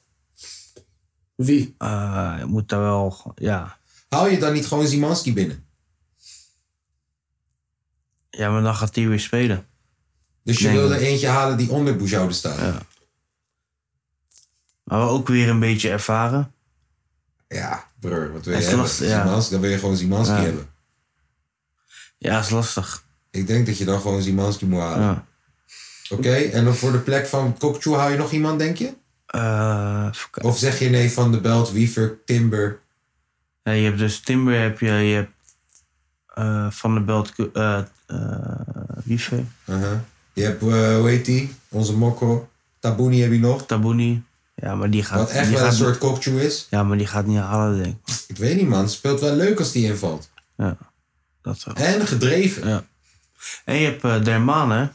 Wie? Eh, je moet daar wel, ja. Haal je dan niet gewoon Zimanski binnen? Ja, maar dan gaat hij weer spelen. Dus je Nee, wil man. er eentje halen die onder Boujoude staat? Maar ook weer een beetje ervaren. Ja, broer, wat wil Dat je is hebben? lastig, ja. Szymanski, dan wil je gewoon Zimanski Ja. hebben. Ja, is lastig. Ik denk dat je dan gewoon Zimanski moet halen. Ja. Oké, en dan voor de plek van Kokchu hou je nog iemand, denk je? Eh, of zeg je nee van de Belt, Wiever, Timber? Ja, je hebt dus Timber, heb je, je hebt eh, Van der Belt, eh eh, Wiever. Uh-huh. Je hebt, eh, hoe heet die? Onze mokko. Tabuni heb je nog. Tabuni. Ja, maar die gaat... Wat echt die wel gaat een soort niet- Kokchu is. Ja, maar die gaat niet halen, denk ik. Ik weet niet, man. Speelt wel leuk als die invalt. Ja, dat wel. En gedreven. Ja. En je hebt eh, Derman, hè?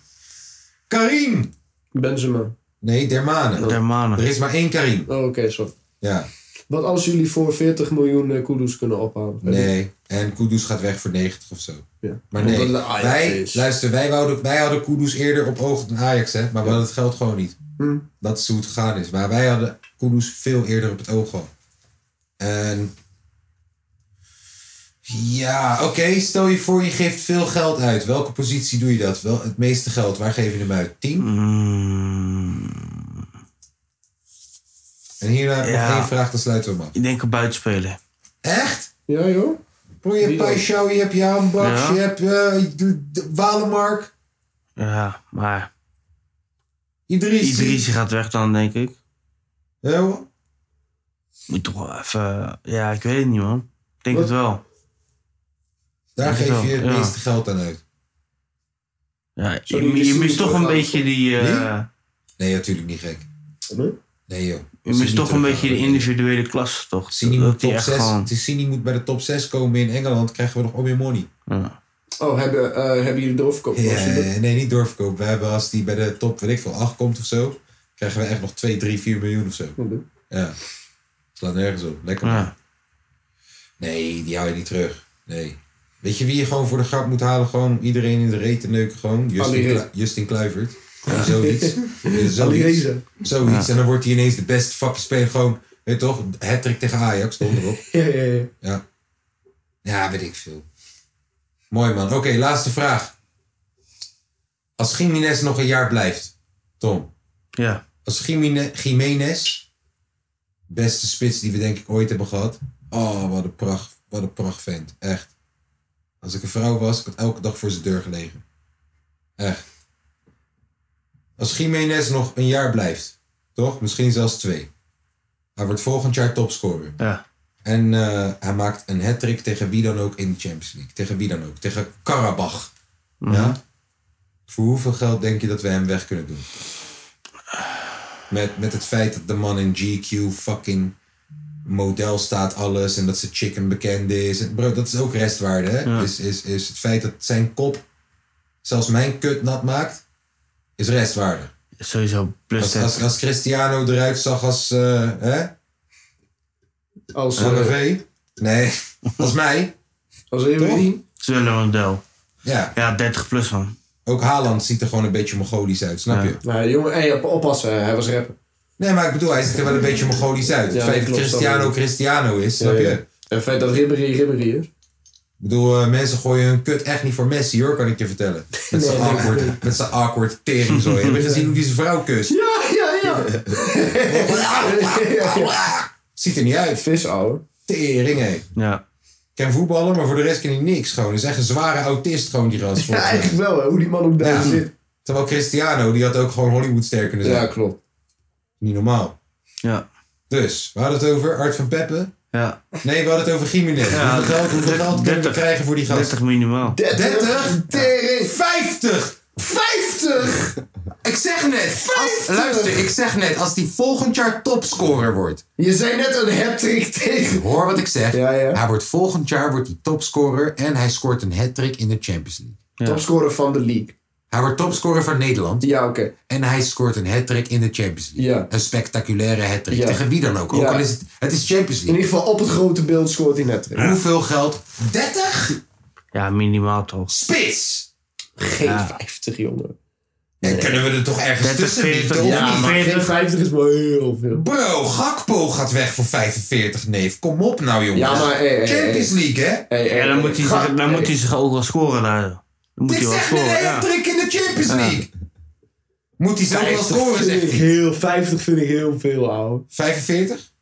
Karim! Benzema. Nee, Dermane. Oh, Dermane. Er is maar één Karim. Oh, oké, sorry. Ja. Wat als jullie voor 40 miljoen eh, kudos kunnen ophalen? Nee. En Kudus gaat weg voor 90 of zo. Ja. Maar nee, Omdat het Ajax wij, is. luister, wij, wouden, wij hadden Kudus eerder op oog dan Ajax, hè? Maar we hadden het geld gewoon niet. Hm. Dat is hoe het gegaan is. Maar wij hadden Kudus veel eerder op het oog gehad. En... Ja, oké. Stel je voor, je geeft veel geld uit. Welke positie doe je dat? Wel, het meeste geld, waar geef je hem uit? 10? En hierna heb ik nog Ja. één vraag, dan sluiten we hem af. Ik denk een buitenspeler. Echt? Ja, joh. Bro, je hebt Wie dan? Paisjouw, je hebt Jaanbaks, Ja. je hebt eh, de- de- Walemark. Ja, maar... Idrissi. Idrissi gaat weg dan, denk ik. Ja, hoor. Moet toch wel even... Ja, ik weet het niet, man. Ik denk het wel. Daar Denk geef wel, je het ja. meeste geld aan uit. Ja, je, Sorry, je Idrissi mist toch een teruggaan. beetje die... eh, Nee, natuurlijk niet gek. Nee, joh. je mist toch een beetje de individuele klasse, toch? Dat die top echt 6. gewoon... Tessini moet bij de top 6 komen in Engeland, krijgen we nog om je money. Ja. Oh, hebben, eh, hebben jullie doorverkoop? Ja, Als jullie- nee, niet doorverkoop. We hebben als die bij de top, weet ik veel, 8 komt of zo, krijgen we echt nog 2, 3, 4 miljoen of zo. Ja. Slaat nergens op. Lekker man. Nee, die hou je niet terug. Nee. Weet je wie je gewoon voor de grap moet halen? Gewoon om iedereen in de reet te neuken. Gewoon Justin, Alireza. Klu- Justin Kluivert. Gewoon Zoiets. Zoiets. Alireza. Zoiets. Ja. En dan wordt hij ineens de beste fucking speler. Gewoon, weet je toch, hattrick tegen Ajax. Stond erop. Ja, ja, ja. Ja. Ja, weet ik veel. Mooi man. Oké, laatste vraag. Als Jiménez nog een jaar blijft, Tom. Ja. Als Jimine- Jiménez, beste spits die we denk ik ooit hebben gehad. Oh, wat een pracht, wat een pracht vent. Echt. Als ik een vrouw was, ik had elke dag voor zijn deur gelegen. Echt. Als Jiménez nog een jaar blijft, toch? Misschien zelfs twee. Hij wordt volgend jaar topscorer. Ja. En eh, hij maakt een hat-trick tegen wie dan ook in de Champions League. Tegen wie dan ook. Tegen Karabach. Mhm. Ja? Voor hoeveel geld denk je dat we hem weg kunnen doen? Met, met het feit dat de man in GQ fucking model staat alles. En dat ze chicken bekend is. En bro, dat is ook restwaarde. Hè? Ja. Is, is, is het feit dat zijn kop zelfs mijn kut nat maakt. Is restwaarde. Sowieso plus Als, dat- als, als Cristiano eruit zag als... eh, hè? Als... Lange eh, V? Nee, als mij. Als Emery? Het is wel een model. Ja. Ja, 30 plus, man. Ook Haaland ziet er gewoon een beetje Mongolisch uit, snap je? Nou, jongen, hey, op- oppassen. hè. Hij was rapper. Nee, maar ik bedoel, hij ziet er wel een beetje Mongolisch uit. Het Ja, feit dat dat klopt, Cristiano dat- Cristiano is, snap Ja, ja. je? En het feit dat Ribéry Ribéry is. Ik bedoel, eh, mensen gooien hun kut echt niet voor Messi hoor, kan ik je vertellen. Met zijn Nee, nee, awkward, nee. met zijn awkward tering zo. Heb je gezien hoe die zijn vrouw kust? Ja, ja, ja. Ziet er niet uit. Vis, ouwe. Tering, hé. Ja. Kan voetballen, maar voor de rest kan hij niks gewoon. Hij is echt een zware autist gewoon, die ras. Ja, eigenlijk wel, hè, hoe die man ook daar zit. Terwijl Cristiano, die had ook gewoon Hollywoodster kunnen zijn. Ja, klopt. Niet normaal. Ja. Dus, we hadden het over Art van Peppe. Ja. Nee, we hadden het over Jiménez. Ja, hoeveel geld, hoeveel geld kunnen we 30. krijgen voor die gast? 30 minimaal. 30? Tering! 50! 50! Ik zeg net, als, luister, ik zeg net, als die volgend jaar topscorer wordt. Je zei net een hat-trick tegen. Hoor wat ik zeg. Hij wordt volgend jaar wordt hij topscorer en hij scoort een hat-trick in de Champions League. Topscorer van de league. Hij wordt topscorer van Nederland. Ja, oké. En hij scoort een hat-trick in de Champions League. Ja. Een spectaculaire hat-trick. Ja. Tegen wie dan ook. Ook Ja. al is het, het is Champions In League. ieder geval op het grote beeld scoort hij net. Hoeveel geld? 30? Ja, minimaal toch. Spits! Geen 50, jongen. En kunnen we er toch ergens 30, tussen 40, bieden? ja, maar geen 50 is wel heel veel. Bro, Gakpo gaat weg voor 45, neef. Kom op nou, jongens. Ja, maar, eh, hey, hey, Champions hey. League, hè? Ja, dan moet hij, zich- dan moet hij zich ook wel scoren daar. Dan moet Ik hij wel zeg net scoren. een ja. hat-trick in de Champions Ja. League. Moet hij zelf wel 50 scoren, vind zegt ik hij. heel, 50 vind ik heel veel, ouwe. 45?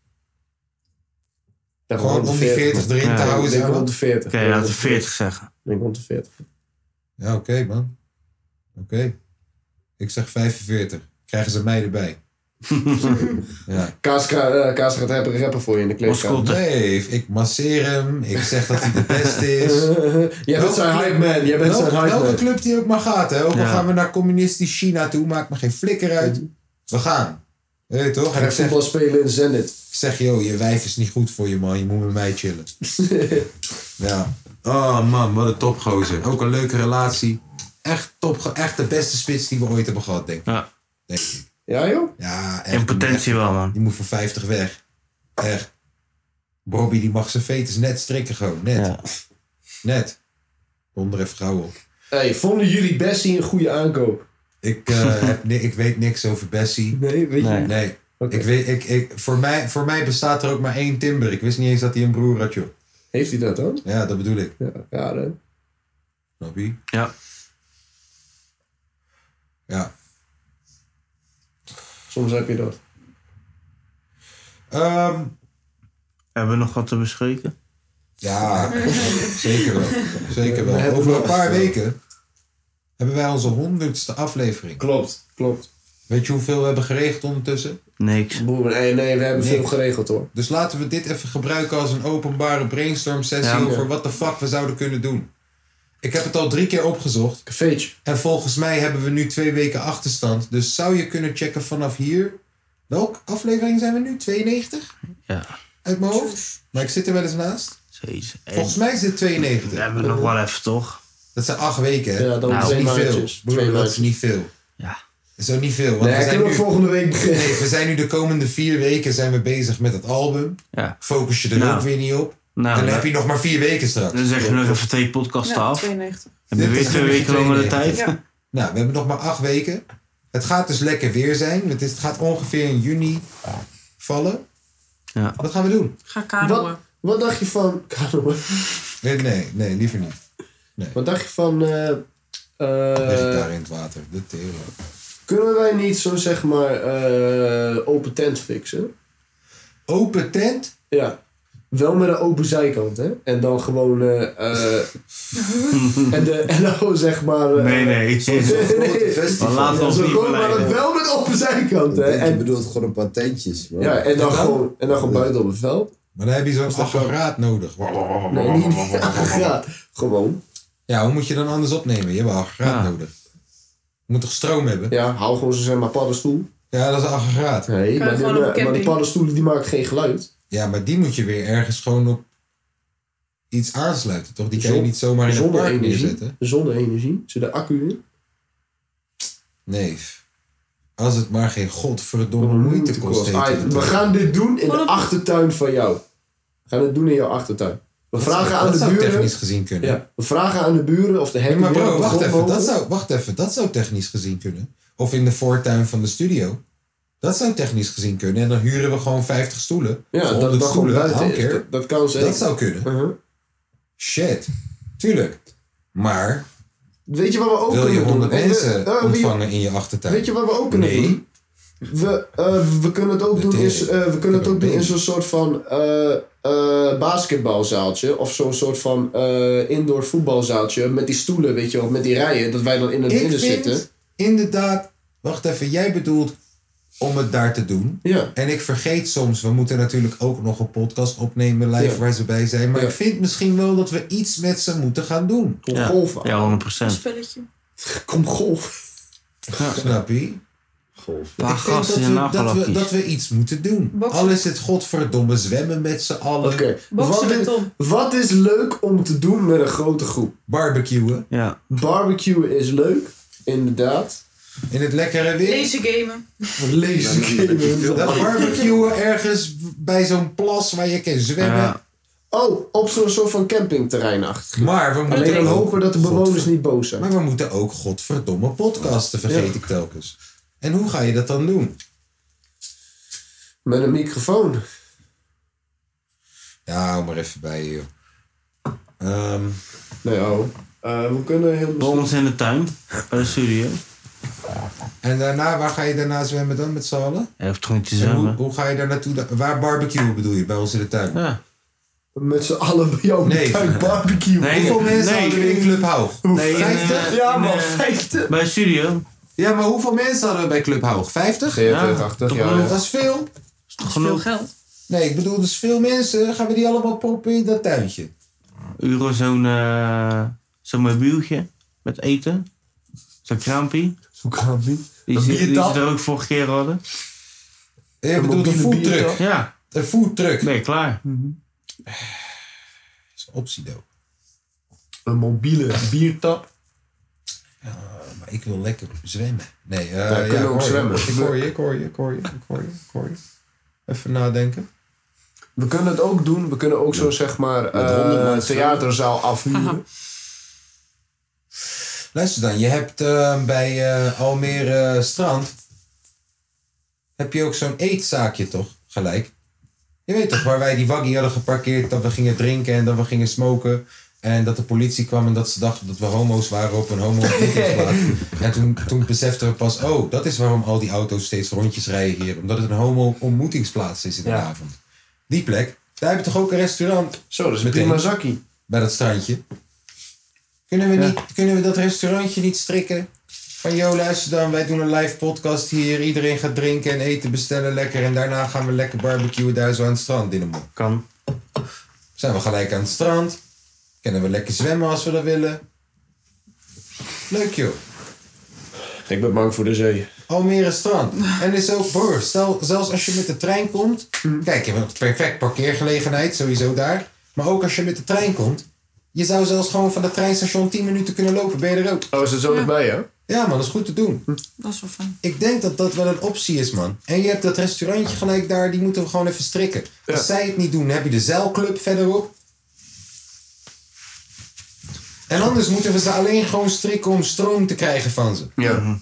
Gewoon om die 40 erin te houden, Ik zeg denk maar. rond de 40. Oké, laten we 40 zeggen. Ik denk rond de 40. Ja, oké, man. Oké. Ik zeg 45. Krijgen ze mij erbij. ja. Kaas, ka- eh, Kaas gaat rappen, rappen voor je in de kleedkamer. Nee, ik masseer hem. Ik zeg dat hij de beste is. Jij bent zijn hype man. Jij bent welke, zijn hype welke man. club die ook maar gaat, hè. Ook al Ja. gaan we naar communistisch China toe, maakt me geen flikker uit. We gaan. Hé, toch? En ik zeg, spelen in Zenit. Ik zeg, joh, je wijf is niet goed voor je, man. Je moet met mij chillen. ja. Oh, man, wat een topgozer. Ook een leuke relatie. Echt, top, echt de beste spits die we ooit hebben gehad, denk ik. Ja. Denk ik. Ja, joh? Ja, In potentie wel, man. Die moet voor 50 weg. Echt. Bobby, die mag zijn veters net strikken gewoon. Net. Net. Onder even gauw op. Hey, vonden jullie Bessie een goede aankoop? Ik, eh, heb ni- ik weet niks over Bessie. Nee, weet je Nee. niet? Ik weet, ik, ik, voor, mij, voor mij bestaat er ook maar één Timber. Ik wist niet eens dat hij een broer had, joh. Heeft hij dat dan? Ja, dat bedoel ik. Ja, ja dan. Snap je? Ja. Ja. Soms heb je dat. Ehm. Hebben we nog wat te bespreken? Ja, zeker wel. Zeker wel. Over een eh, paar weken hebben wij onze honderdste aflevering. Klopt, klopt. Weet je hoeveel we hebben geregeld ondertussen? Niks. Boer, nee, eh, nee, we hebben Niks. veel geregeld hoor. Dus laten we dit even gebruiken als een openbare brainstorm sessie Ja. over wat de fuck we zouden kunnen doen. Ik heb het al drie keer opgezocht. Cafeetje. En volgens mij hebben we nu twee weken achterstand. Dus zou je kunnen checken vanaf hier. Welke aflevering zijn we nu? 92? Ja. Uit mijn hoofd? Maar ik zit er wel eens naast. Jezus. Volgens mij is dit 92. We hebben nog wel even, toch? Dat zijn acht weken, hè? Ja, dan dat is twee niet veel. maandjes. Broer, Twee dat is maandjes. niet veel. Ja. Dat is ook niet veel. Want Nee, we ik zijn kan ook nu- volgende week beginnen. Nee, we zijn nu de komende vier weken zijn we bezig met het album. Ja. Focus je er Nou. ook weer niet op. Nou, en dan ja. heb je nog maar vier weken straks. Dan zeg je nog even twee podcasten Ja, af. 92. Hebben Dit we weer is twee nummer weken langere 92. tijd? Nou, we hebben nog maar acht weken. Het gaat dus lekker weer zijn. Het, is, het gaat ongeveer in juni vallen. Ja. Wat gaan we doen? Ga Wat, wat dacht je van... Kanoën? Nee, nee, nee, liever niet. Wat dacht je van... eh, Leg ik eh, daar in het water. De tering. kunnen wij niet zo zeg maar eh, open tent fixen? Open tent? Ja. Wel met een open zijkant, hè? En dan gewoon... eh, eh, en, de, en dan zeg maar... eh, Nee, nee. zo'n- Zo'n grote nee. festival. Maar laten we Ja, ons zo niet gewoon, Maar verleiden. dat wel met open zijkant, hè? Je En, bedoelt gewoon een paar tentjes. man. ja, en dan, gewoon, en dan gewoon buiten op het veld. Maar dan heb je zo'n apparaat nodig. Nee, niet apparaat. Gewoon. Ja, hoe moet je dan anders opnemen? Je hebt wel een aggregaat nodig. Je moet toch stroom hebben? Ja, hou gewoon zo zeg maar paddenstoel. Ja, dat is een aggregaat. Nee, maar, die, maar- maar die paddenstoelen die maken geen geluid. Ja, maar die moet je weer ergens gewoon op iets aansluiten, toch? Die kan je Zon- niet zomaar in een park zonne-energie. neerzetten. Zonne-energie. Zit er accu in? Nee. Als het maar geen godverdomme moeite kost. heet Alright, het we toch? gaan dus dit doen in de achtertuin van jou. We gaan het doen in jouw achtertuin. We Dat vragen zou- aan dat de zou buren. technisch gezien kunnen. Ja, we vragen aan de buren of de hekken. maar weer bro, op de wacht grond even. Dat mogen. zou, wacht even. Dat zou technisch gezien kunnen. Of in de voortuin van de studio. Dat zou technisch gezien kunnen. En dan huren we gewoon 50 stoelen. Ja, Of dat 100 het dan gewoon stoelen. buiten I don't is. care. Dat- dat kan zeker. Uh-huh. Dat zou kunnen. Shit. Tuurlijk. Maar Weet je wat we ook wil je kunnen 100 doen? En we- mensen eh, wie- ontvangen in je achtertuin? Weet je wat we ook kunnen Nee. doen? We, eh, we kunnen het ook doen in, zo- eh, we kunnen het ook doen in zo'n soort van eh, eh, basketbalzaaltje. Of zo'n soort van eh, indoor voetbalzaaltje. Met die stoelen, weet je wel, met die rijen. Dat wij dan in het Ik midden vind zitten. inderdaad... Wacht even, jij bedoelt om het daar te doen. Ja. En ik vergeet soms, we moeten natuurlijk ook nog een podcast opnemen live Ja. waar ze bij zijn. Maar Ja. ik vind misschien wel dat we iets met ze moeten gaan doen. Kom golf. Ja, 100%. Spelletje. Kom golf. Snap je? Golf. Paar ik vind gasten dat in we, dat, we, nagelakjes. dat we iets moeten doen. Al is het godverdomme zwemmen met z'n allen. Wat is, wat is leuk om te doen met een grote groep? Barbecuen. Ja. Barbecue is leuk, inderdaad. In het lekkere weer. Deze gamen. Lezen. Dat barbecuen ergens bij zo'n plas waar je kan zwemmen. Ja. Oh, op zo'n soort van campingterrein achter. Maar we Alleen dan hopen dat de bewoners niet boos zijn. Maar we moeten ook godverdomme podcasten, vergeet ik telkens. En hoe ga je dat dan doen? Met een microfoon. Ja, hou maar even bij je. Ehm nee, oh. Eh, we kunnen heel Bij ons in de tuin, bij de studio. En daarna, waar ga je daarna zwemmen dan met z'n allen? Hij hoeft gewoon niet te En hoe, zwemmen. hoe ga je daar naartoe? dan? Waar barbecue bedoel je? Bij ons in de tuin? Ja. Met z'n allen bij jou in de tuin barbecue. Nee, Hoeveel mensen nee. hadden we in Club Hoog? Nee, in, eh, 50? Ja, man, in, eh, 50. Bij de studio. Ja, maar hoeveel mensen hadden we bij Club Hoog? 50? 40, 80, toch ja, wel. ja. Dat is veel. Dat is veel geld. Nee, ik bedoel, dus veel mensen. Gaan we die allemaal proppen in dat tuintje? Euro zo'n eh, zo'n mobieltje met eten. Zo'n kraampie. Zo'n kraampie. Die Een ze die biertap. ze er ook vorige keer hadden. Je bedoelt een foodtruck? Ja. Een foodtruck? Nee, klaar. is een optie, doe. Een mobiele biertap. Maar ik wil lekker zwemmen. Nee, eh Ja, we kunnen ik ook hoor je. zwemmen. Ik hoor je, ik hoor je, ik hoor je, ik hoor je, ik hoor je. Even nadenken. We kunnen het ook doen. We kunnen ook zo zeg maar Met eh, honderd een mensen. theaterzaal afhuren. Luister dan, je hebt eh, bij eh, Almere Strand... heb je ook zo'n eetzaakje, toch? Gelijk. Je weet toch, waar wij die waggie hadden geparkeerd... dat we gingen drinken en dat we gingen smoken... En dat de politie kwam en dat ze dachten dat we homo's waren op een homo En toen, toen beseften we pas, oh, dat is waarom al die auto's steeds rondjes rijden hier. Omdat het een homo-ontmoetingsplaats is in de avond. Die plek, daar heb je toch ook een restaurant? Zo, dat is Meteen. prima zakkie. Bij dat strandje. Kunnen we, niet, kunnen we dat restaurantje niet strikken? Van, joh, luister dan, wij doen een live podcast hier. Iedereen gaat drinken en eten bestellen lekker. En daarna gaan we lekker barbecuen daar zo aan het strand in de mond. Kan. Zijn we gelijk aan het strand. Kunnen we lekker zwemmen als we dat willen. Leuk, joh. Ik ben bang voor de zee. Almere Strand. En is ook, broer, stel, zelfs als je met de trein komt. Hmm. Kijk, je hebt een perfect parkeergelegenheid, sowieso daar. Maar ook als je met de trein komt. Je zou zelfs gewoon van het treinstation 10 minuten kunnen lopen, ben je er ook. Oh, is het zo dichtbij, hè? Hmm. Ja, man, dat is goed te doen. Dat is wel fijn. Ik denk dat dat wel een optie is, man. En je hebt dat restaurantje gelijk daar, die moeten we gewoon even strikken. Als zij het niet doen, heb je de zeilclub verderop. En anders moeten we ze alleen gewoon strikken om stroom te krijgen van ze. Ja.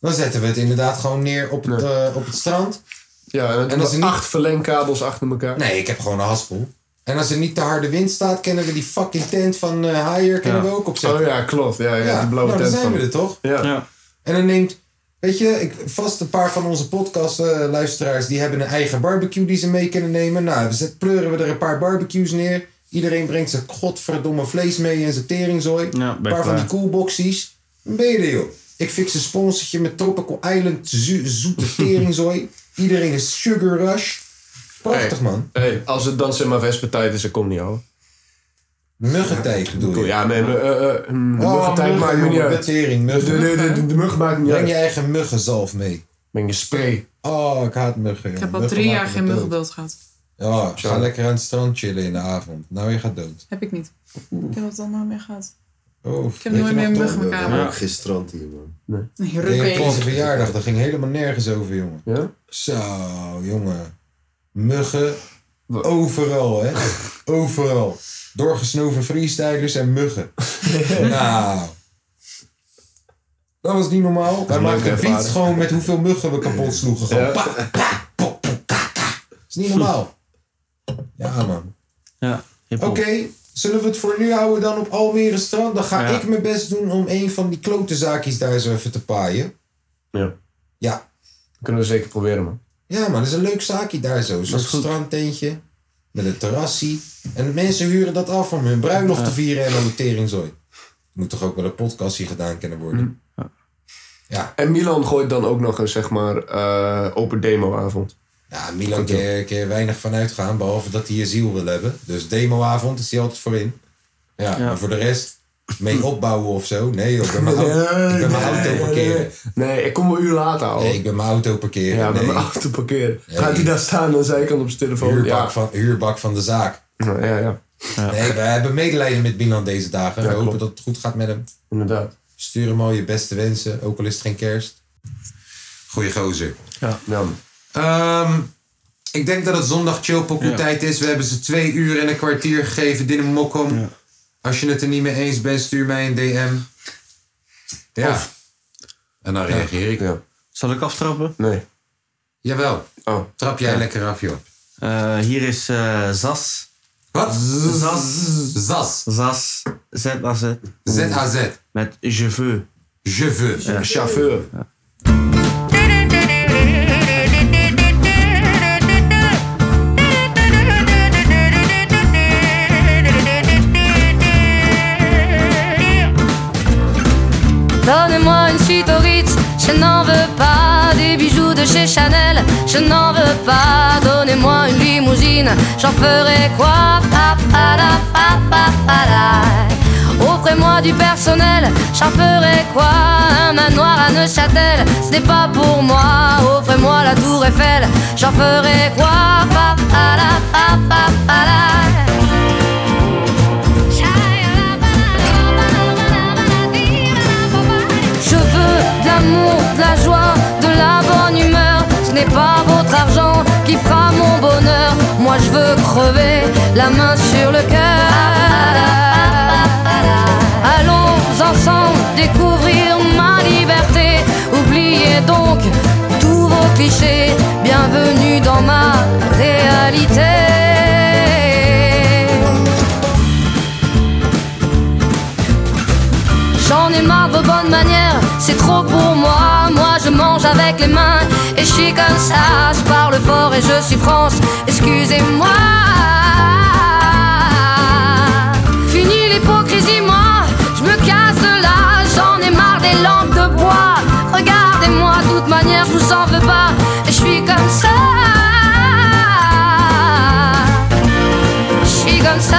Dan zetten we het inderdaad gewoon neer op het, eh, op het strand. Ja, en, En als als er niet- acht verlengkabels achter elkaar. Nee, ik heb gewoon een haspel. En als er niet te harde wind staat, kennen we die fucking tent van eh Haier kennen we ook opzetten. Oh ja, klopt. Ja, ja, Ja, die blauwe nou, tent. dan zijn van- we er toch? Ja. En dan neemt, weet je, ik, vast een paar van onze podcastluisteraars die hebben een eigen barbecue die ze mee kunnen nemen. Nou, we zet, pleuren we er een paar barbecues neer. Iedereen brengt zijn godverdomme vlees mee en zijn teringzooi. een paar van klaar. die coolboxies. Dan Ben je er, joh. Ik fix een sponsortje met Tropical Island zu- zoete teringzooi. Iedereen is sugar rush. Prachtig, Hey, man. Hey, als het dan zeg maar vespertijd is, dan kom niet hoor. Muggentijd bedoel je? Ja, nee, maar, eh, eh, mm, de Oh, muggentijd muggen, maakt me niet jongen, uit. tering, de, muggen. de, de, de, de mug maakt niet Breng uit. je eigen muggenzalf mee. Breng je spray. Oh, ik haat muggen, Ik heb al drie jaar geen muggenbeeld gehad. Ja, ga lekker aan het strand chillen in de avond. Nou, je gaat dood. Heb ik niet. Ik heb het al nooit meer gehad. Oh, Ik heb nooit meer een mug in mijn kamer. Ja. Geen strand hier, man. Nee, Nee, rukwees. op onze verjaardag, dat ging helemaal nergens over, jongen. Ja? Zo, jongen. Muggen. Overal, hè. Overal. Doorgesnoven freestylers en muggen. nou. Dat was niet normaal. Wij een leuke maakten beats ervaring. gewoon met hoeveel muggen we kapot sloegen. Gewoon. Ja. pa, pa, pop, pop, ta, ta. is niet normaal. Ja, man. Ja. Oké, zullen we het voor nu houden dan op Almere Strand? Dan ga Ja. ik mijn best doen om een van die klote zaakjes daar zo even te paaien. Ja. Ja. Kunnen we zeker proberen, man. Ja, man, dat is een leuk zaakje daar zo. Zo'n strandtentje met een terrassie. En mensen huren dat af om hun bruiloft te vieren en een teringzooi. Moet toch ook wel een podcastje gedaan kunnen Hm. worden? En Milan gooit dan ook nog een zeg maar eh, open demoavond. Ja, Milan kan je- kan je weinig van uitgaan, behalve dat hij je ziel wil hebben. Dus demoavond is hij altijd voor in. Ja, maar voor de rest, mee opbouwen of zo. Nee, joh, ik ben mijn auto, ik ben mijn auto parkeren. Nee, ik kom wel een uur later al. Nee, ik ben mijn auto parkeren. Ja, met nee. mijn auto parkeren. Gaat hij daar staan aan zijn kant op zijn telefoon? Huurbak, ja. van, huurbak van de zaak. Ja, ja, ja. Nee, we hebben medelijden met Milan deze dagen. Ja, we hopen klopt. dat het goed gaat met hem. inderdaad. Stuur hem al je beste wensen, ook al is het geen kerst. Goeie gozer. Ja. Ja, man. Ehm, Ik denk dat het zondag chillpokoe Ja. tijd is. We hebben ze twee uur en een kwartier gegeven. Dine Mokkom. Als je het er niet mee eens bent, stuur mij een DM. Ja. en dan reageer ik. Zal ik aftrappen? Nee. Jawel. Trap jij Ja. lekker af, joh. Eh, hier is eh, Zas. Wat? Zas. Zas. Zas. Z-A-Z. Z-A-Z. Met Je veux. Je veux. Ja. Chauffeur. Donnez-moi une suite au Ritz, je n'en veux pas des bijoux de chez Chanel, je n'en veux pas. Donnez-moi une limousine, j'en ferai quoi Pa, pa, la, pa, pa, pa, la. Offrez-moi du personnel, j'en ferai quoi Un manoir à Neuchâtel, ce n'est pas pour moi. Offrez-moi la tour Eiffel, j'en ferai quoi Pa, pa, la, pa, pa, pa, Je veux de l'amour, de la joie, de la bonne humeur. Ce n'est pas votre argent qui fera mon bonheur. Moi je veux crever la main sur le cœur. Allons ensemble découvrir ma liberté. Oubliez donc tous vos clichés. Bienvenue dans ma réalité. J'en ai marre de vos bonnes manières, c'est trop pour moi. Moi je mange avec les mains et je suis comme ça. Je parle fort et je suis France, excusez-moi. Fini l'hypocrisie, moi je me casse de là. J'en ai marre des lampes de bois. Regardez-moi, de toute manière je vous en veux pas et je suis comme ça. Je suis comme ça.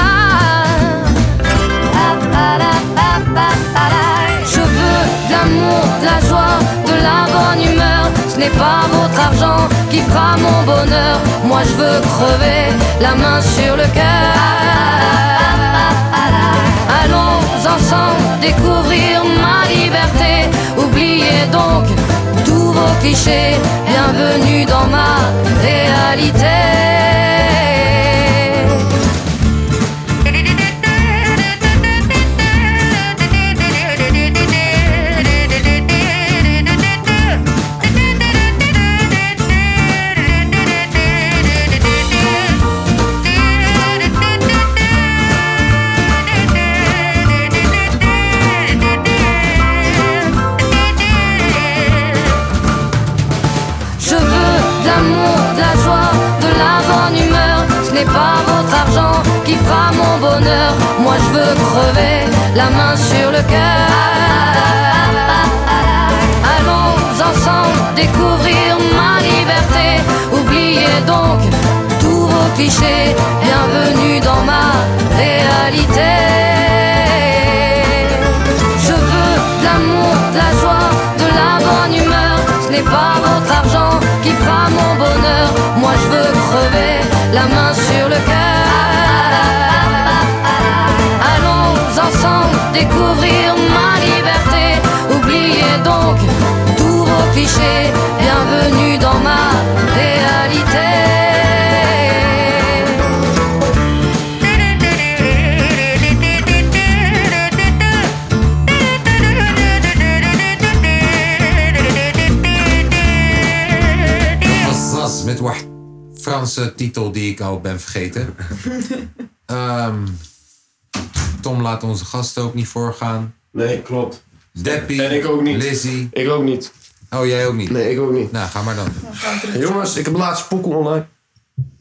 Je veux de l'amour, de la joie, de la bonne humeur. Ce n'est pas votre argent qui fera mon bonheur. Moi je veux crever la main sur le cœur. Allons ensemble découvrir ma liberté. Oubliez donc tous vos clichés. Bienvenue dans ma réalité. Je veux de l'amour, de la joie, de la bonne humeur. Ce n'est pas votre argent qui fera mon bonheur. Moi je veux crever la main sur le cœur. Allons ensemble découvrir ma liberté. Oubliez donc tous vos clichés. Bienvenue dans ma réalité. Je veux de l'amour, de la joie, de la bonne humeur. Ce n'est pas votre argent qui fera mon bonheur. Moi je veux crever la main sur le cœur. Allons ensemble découvrir ma liberté. Oubliez donc tous vos clichés. Bienvenue dans ma réalité. Dat was Zas met wat Franse titel die ik al ben vergeten. Ehm, Tom laat onze gasten ook niet voorgaan. Nee, klopt. Deppie. En ik ook niet. Lizzie. Ik ook niet. Oh, jij ook niet? Nee, ik ook niet. Nou, ga maar dan. Jongens, ik heb laatst pokoe online.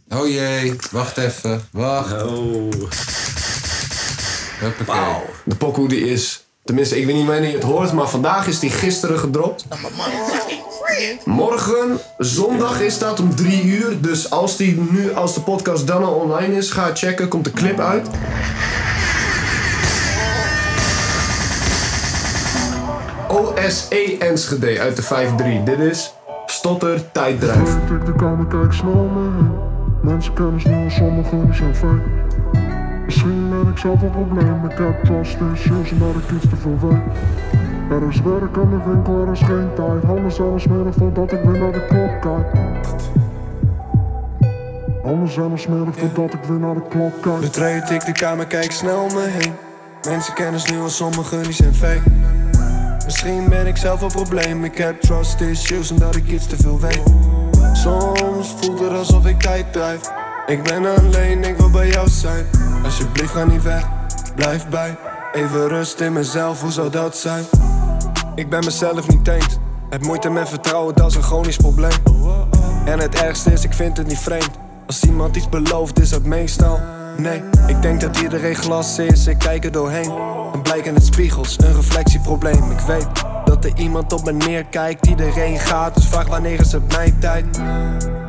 Oh jee, wacht even. Wacht. Wauw. De pokoe die is... Tenminste, ik weet niet wanneer je het hoort, maar vandaag is die gisteren Oh, gedropt. Morgen, zondag is dat om drie uur. Dus als, die nu, als de podcast dan al online is, ga checken. Komt de clip uit. OSE Enschede uit de 5-3. Dit is Stotter Tijddruif. Ik de kamer kijk snel me heen. Mensen kennen snel, sommigen zijn fijn. Misschien ben ik zelf een probleem. Ik heb vast issues omdat ik iets te veel weet. Er is werk aan de winkel, er is geen tijd. Handen zelfs smeren voordat ik weer naar de klok kijk. Anders zijn we smerig voordat ik weer naar de klok kijk. Betreed ik de kamer, kijk snel om me heen. Mensen kennen nu al sommigen, die zijn fake. Misschien ben ik zelf een probleem. Ik heb trust issues omdat ik iets te veel weet. Soms voelt het alsof ik tijd drijf. Ik ben alleen, ik wil bij jou zijn. Alsjeblieft, ga niet weg, blijf bij. Even rust in mezelf, hoe zou dat zijn? Ik ben mezelf niet eens. Heb moeite met vertrouwen, dat is een chronisch probleem. En het ergste is, ik vind het niet vreemd. Als iemand iets belooft, is dat meestal nee. Ik denk dat iedereen glas is, ik kijk er doorheen. En blijken het spiegels, een reflectieprobleem. Ik weet dat er iemand op me neerkijkt, iedereen gaat. Dus vraag wanneer is het mijn tijd?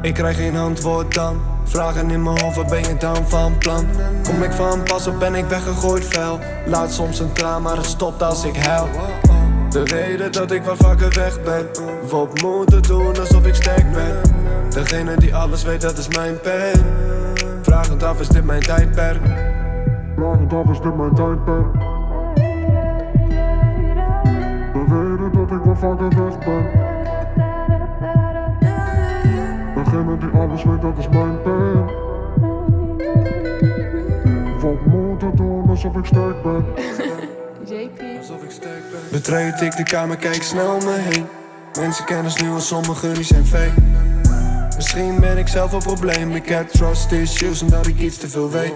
Ik krijg geen antwoord dan. Vragen in mijn hoofd, waar ben je dan van plan? Kom ik van pas of ben ik weggegooid vuil? Laat soms een traan, maar het stopt als ik huil. De reden dat ik wel vaker weg ben Wat moeten doen alsof ik sterk ben Degene die alles weet, dat is mijn pen Vragend af, is dit mijn tijdperk? Vragend af, is dit mijn tijdperk? We weten dat ik wel vaker weg ben. Degene die alles weet, dat is mijn pen. Wat moet het doen alsof ik sterk ben? Betreed ik de kamer, kijk snel om me heen. Mensen kennen nu al sommigen, die zijn fake. Misschien ben ik zelf een probleem. Ik heb trust issues omdat ik iets te veel weet.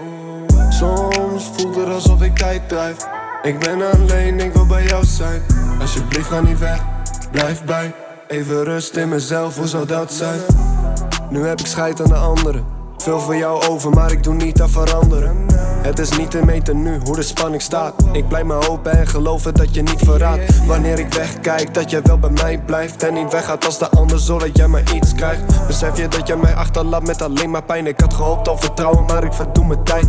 Soms voelt het alsof ik tijd drijf. Ik ben alleen, ik wil bij jou zijn. Alsjeblieft, ga niet weg, blijf bij. Even rust in mezelf, hoe zou dat zijn? Nu heb ik scheid aan de anderen. Veel voor jou over, maar ik doe niet aan veranderen. Het is niet te meten nu hoe de spanning staat. Ik blijf maar hopen en geloven dat je niet verraadt. Wanneer ik wegkijk, dat jij wel bij mij blijft. En niet weggaat als de ander, zodat jij maar iets krijgt. Besef je dat jij mij achterlaat met alleen maar pijn. Ik had gehoopt op vertrouwen, Oh, maar ik verdoe mijn tijd.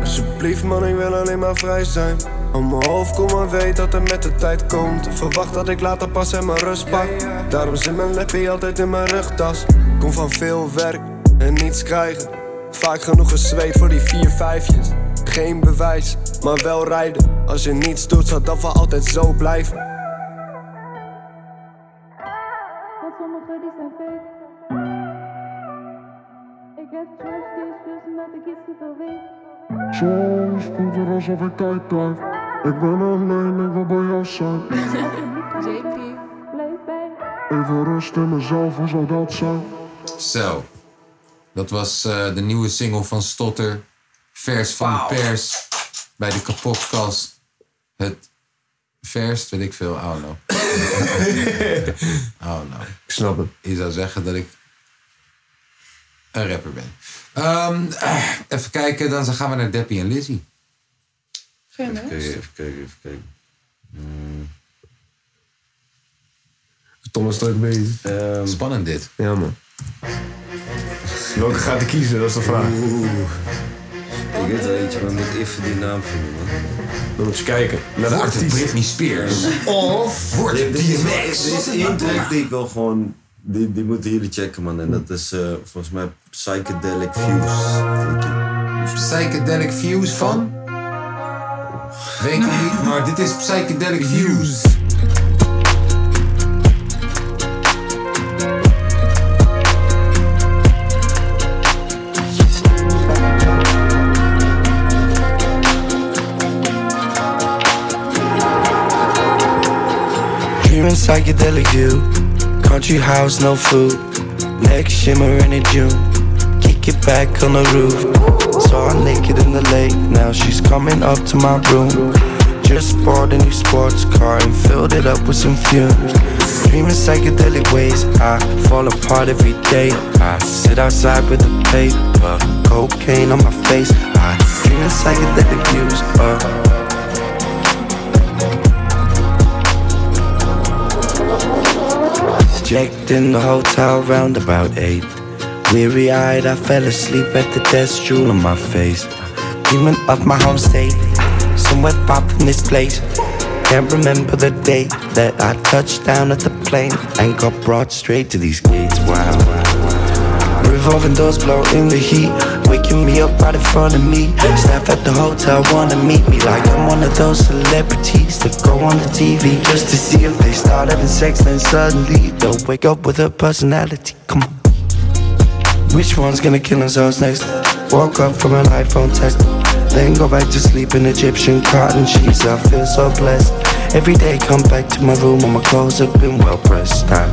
Alsjeblieft, man, ik wil alleen maar vrij zijn. Om mijn hoofd kom en weet dat er met de tijd komt. Verwacht dat ik later pas en mijn rust pak. Daarom zit mijn lappie altijd in mijn rugtas. Kom van veel werk en niets krijgen. Vaak genoeg gezweet voor die vier vijfjes. Geen bewijs, maar wel rijden. Als je niets doet, zal dat voor altijd zo blijven. Soms voelt het alsof ik tijd drijf. Ik ben alleen, ik wil bij jou zijn. eh. Even rust in mezelf, hoe zou dat zijn? Zo. Dat was eh, de nieuwe single van Stotter. Vers van de pers. Bij de kapotkast. Het vers, weet ik veel. Oh no. oh no. Ik snap het. Je zou zeggen dat ik een rapper ben. Ehm, eh, even kijken, dan gaan we naar Deppie en Lizzie. Even kijken, even kijken, even kijken. Hmm. Thomas is druk bezig. Ehm, Spannend dit. Ja, man. Welke gaat hij kiezen? Dat is de vraag. Ik weet wel eentje, maar ik moet even die naam vinden, man. Dan moet je kijken naar de Wordt het artiest. Britney Spears? Of wordt het Dit is- DMX? Dit is één track die ik wel gewoon... Die, die moeten jullie checken, man. En dat is eh, volgens mij Psychedelic Views. Psychedelic Views van? Weet ik niet, maar dit is Psychedelic Views. Dreaming psychedelic view. Country house, no food. Legs shimmering in June. Kick it back on the roof. Saw her naked in the lake. Now she's coming up to my room. Just bought a new sports car and filled it up with some fumes. Dreaming psychedelic ways. I fall apart every day. I sit outside with the paper. Cocaine on my face. I dreaming psychedelic views. Uh. Jacked in the hotel round about 8. Weary eyed, I fell asleep at the desk, jewel on my face. Dreaming of my home state, somewhere far from this place. Can't remember the day that I touched down at the plane and got brought straight to these gates. Wow. Revolving doors blow in the heat, waking me up right in front of me. Staff at the hotel wanna meet me like I'm one of those celebrities that go on the TV just to see if they start having sex. Then suddenly they'll wake up with a personality. Come on. Which one's gonna kill themselves next? Woke up from an iPhone text. Then go back to sleep in Egyptian cotton sheets. I feel so blessed. Every day come back to my room, all my clothes have been well pressed. I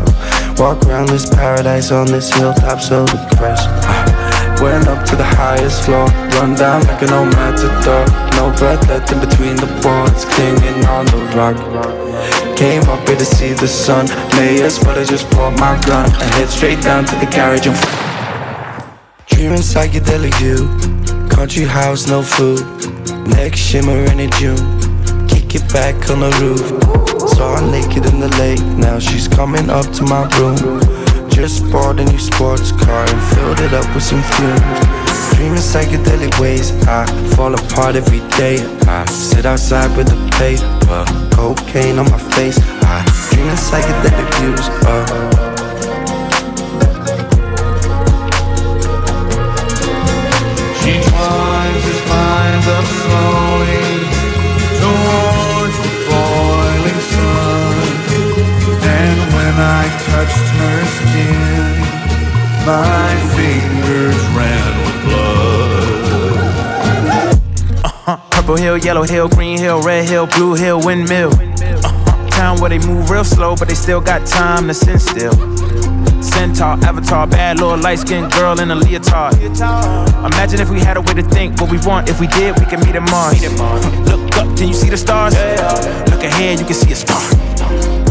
walk around this paradise on this hilltop, so depressed. Ah, Went up to the highest floor, run down like an old matador. No breath left in between the boards, clinging on the rock. Came up here to see the sun, may as well have just bought my gun. I head straight down to the garage and Dreaming psychedelic view, country house, no food. Next shimmering in June, kick it back on the roof. Saw her naked in the lake, now she's coming up to my room. Just bought a new sports car and filled it up with some fumes. Dreaming psychedelic ways, I fall apart every day. I sit outside with the paper, cocaine on my face. I dreaming psychedelic views. Uh, She twines his minds up slowly towards the boiling sun. And when I touched her skin, my fingers ran with blood. Uh-huh. Purple hill, yellow hill, green hill, red hill, blue hill, windmill. Uh-huh. Town where they move real slow, but they still got time to sit still. Centaur, avatar, bad little light skinned girl in a leotard. Imagine if we had a way to think what we want. If we did, we could meet in Mars. Look up, can you see the stars? Look ahead, you can see a star.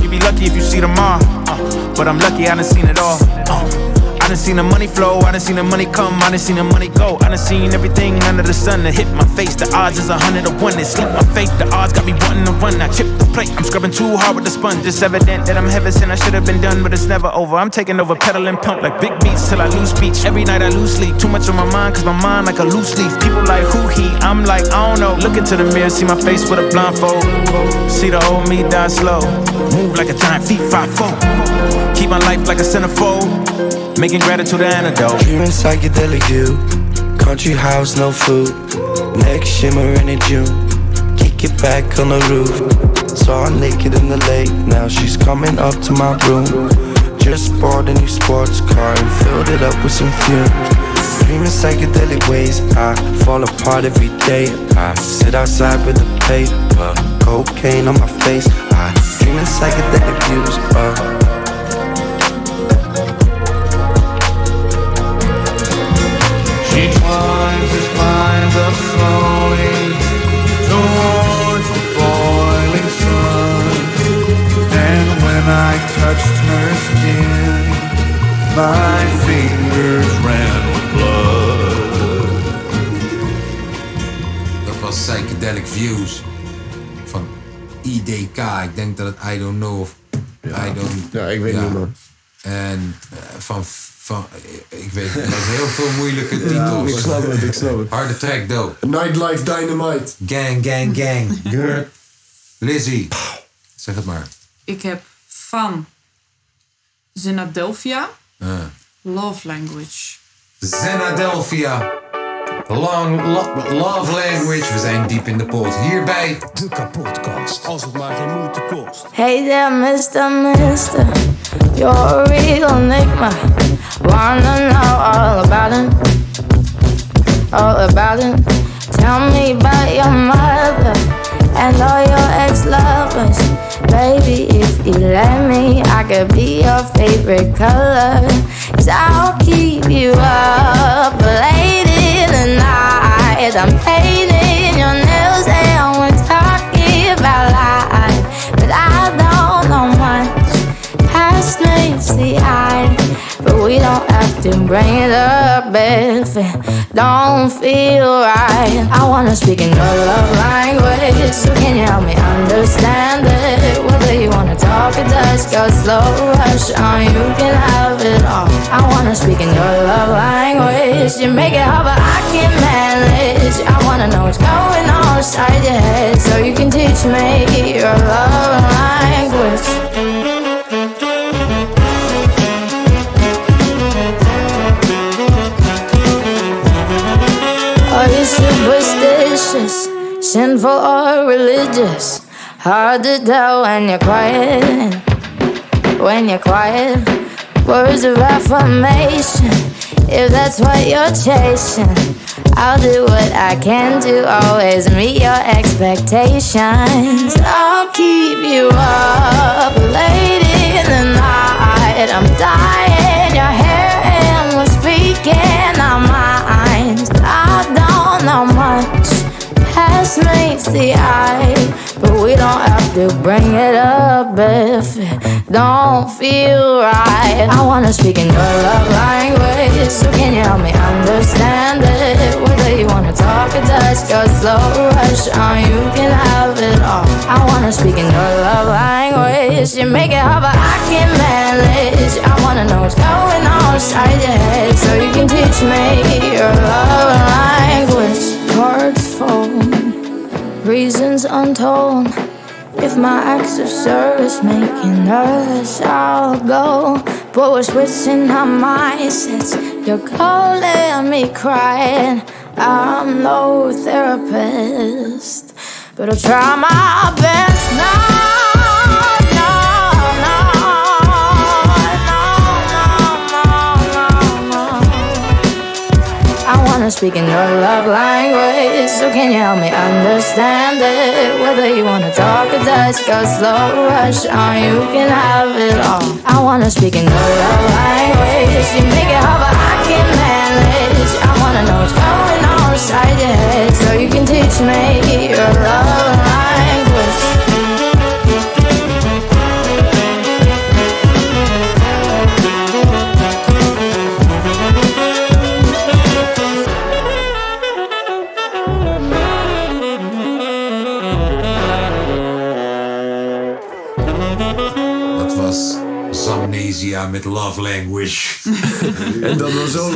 You be lucky if you see tomorrow. Uh, but I'm lucky I done seen it all. Uh, I done seen the money flow, I done seen the money come, I done seen the money go. I done seen everything under the sun that hit my face. The odds is a hundred to one. It slipped my faith, the odds got me wanting to run. I chipped the plate, I'm scrubbing too hard with the sponge. It's evident that I'm heaven sent, I should have been done, but it's never over. I'm taking over pedal and pump like big beats till I lose speech. Every night I lose sleep, too much on my mind, cause my mind like a loose leaf. People like who he, I'm like, I don't know. Look into the mirror, see my face with a blindfold. See the old me die slow. Move like a giant feet, five four. Keep my life like a centerfold. Making gratitude the antidote. Dreaming psychedelic view, country house, no food. Next shimmering in June, kick it back on the roof. Saw her naked in the lake, now she's coming up to my room. Just bought a new sports car and filled it up with some fumes. Dreaming psychedelic ways, I fall apart every day. I sit outside with the paper, cocaine on my face. I dreaming psychedelic views. Uh, She twines his minds up slowly towards the boiling sun. And when I touched her skin, my fingers ran with blood. Dat was Psychedelic Views van IDK. Ik denk dat het I Don't Know of I Don't... Ja, ik weet niet meer. En eh, van... van eh, ik weet het, dat is heel veel moeilijke titels. ik snap het, ik snap het. Harde track, dope. Nightlife Dynamite. Gang, gang, gang. Girl. Lizzie. Zeg het maar. Ik heb van Zenadelphia Ja. Love Language. Zenadelphia. Long lo- love language. We zijn diep in de pot. Hierbij de kapotkast. Als het maar geen moeite kost. Hey there, Mr. Mister. You're a real enigma. Wanna know all about it. All about it. Tell me about your mother and all your ex lovers. Baby, if you let me, I could be your favorite color. Cause I'll keep you up late in the night. I'm painting your nails and we're talking about life. But I don't know much past meets the eye. But we don't have to bring it up if it don't feel right. I wanna speak in your love language. So can you help me understand it? Whether you wanna talk or just go slow rush on, you can have it all. I wanna speak in your love language. You make it hard, but I can manage. I wanna know what's going on inside your head. So you can teach me your love language. Are you superstitious, sinful or religious? Hard to tell when you're quiet. When you're quiet, words of affirmation. If that's what you're chasing, I'll do what I can do. Always meet your expectations. I'll keep you up late in the night. I'm dying, your hair and we're speaking our minds. I don't know much. Past meets the eye, but we don't have to bring it up if it don't feel right. I wanna speak in your love language, so can you help me understand it? Whether you wanna talk or touch, go slow rush on, you can have it all. I wanna speak in your love language, you make it hard, but I can manage. I wanna know what's going on inside your head, so you can teach me your love language. Cards fold, reasons untold. If my acts of service make you nervous, I'll go. But we're switching our mindsets. You're calling me crying. I'm no therapist, but I'll try my best now. I wanna speak in your love language, so can you help me understand it? Whether you wanna talk or touch, go slow rush on, you can have it all. I wanna speak in your love language, you make it hard, but I can manage. I wanna know what's going on inside your head, so you can teach me your love language. Dat was Zamnesia met Love Language. En dat was ook-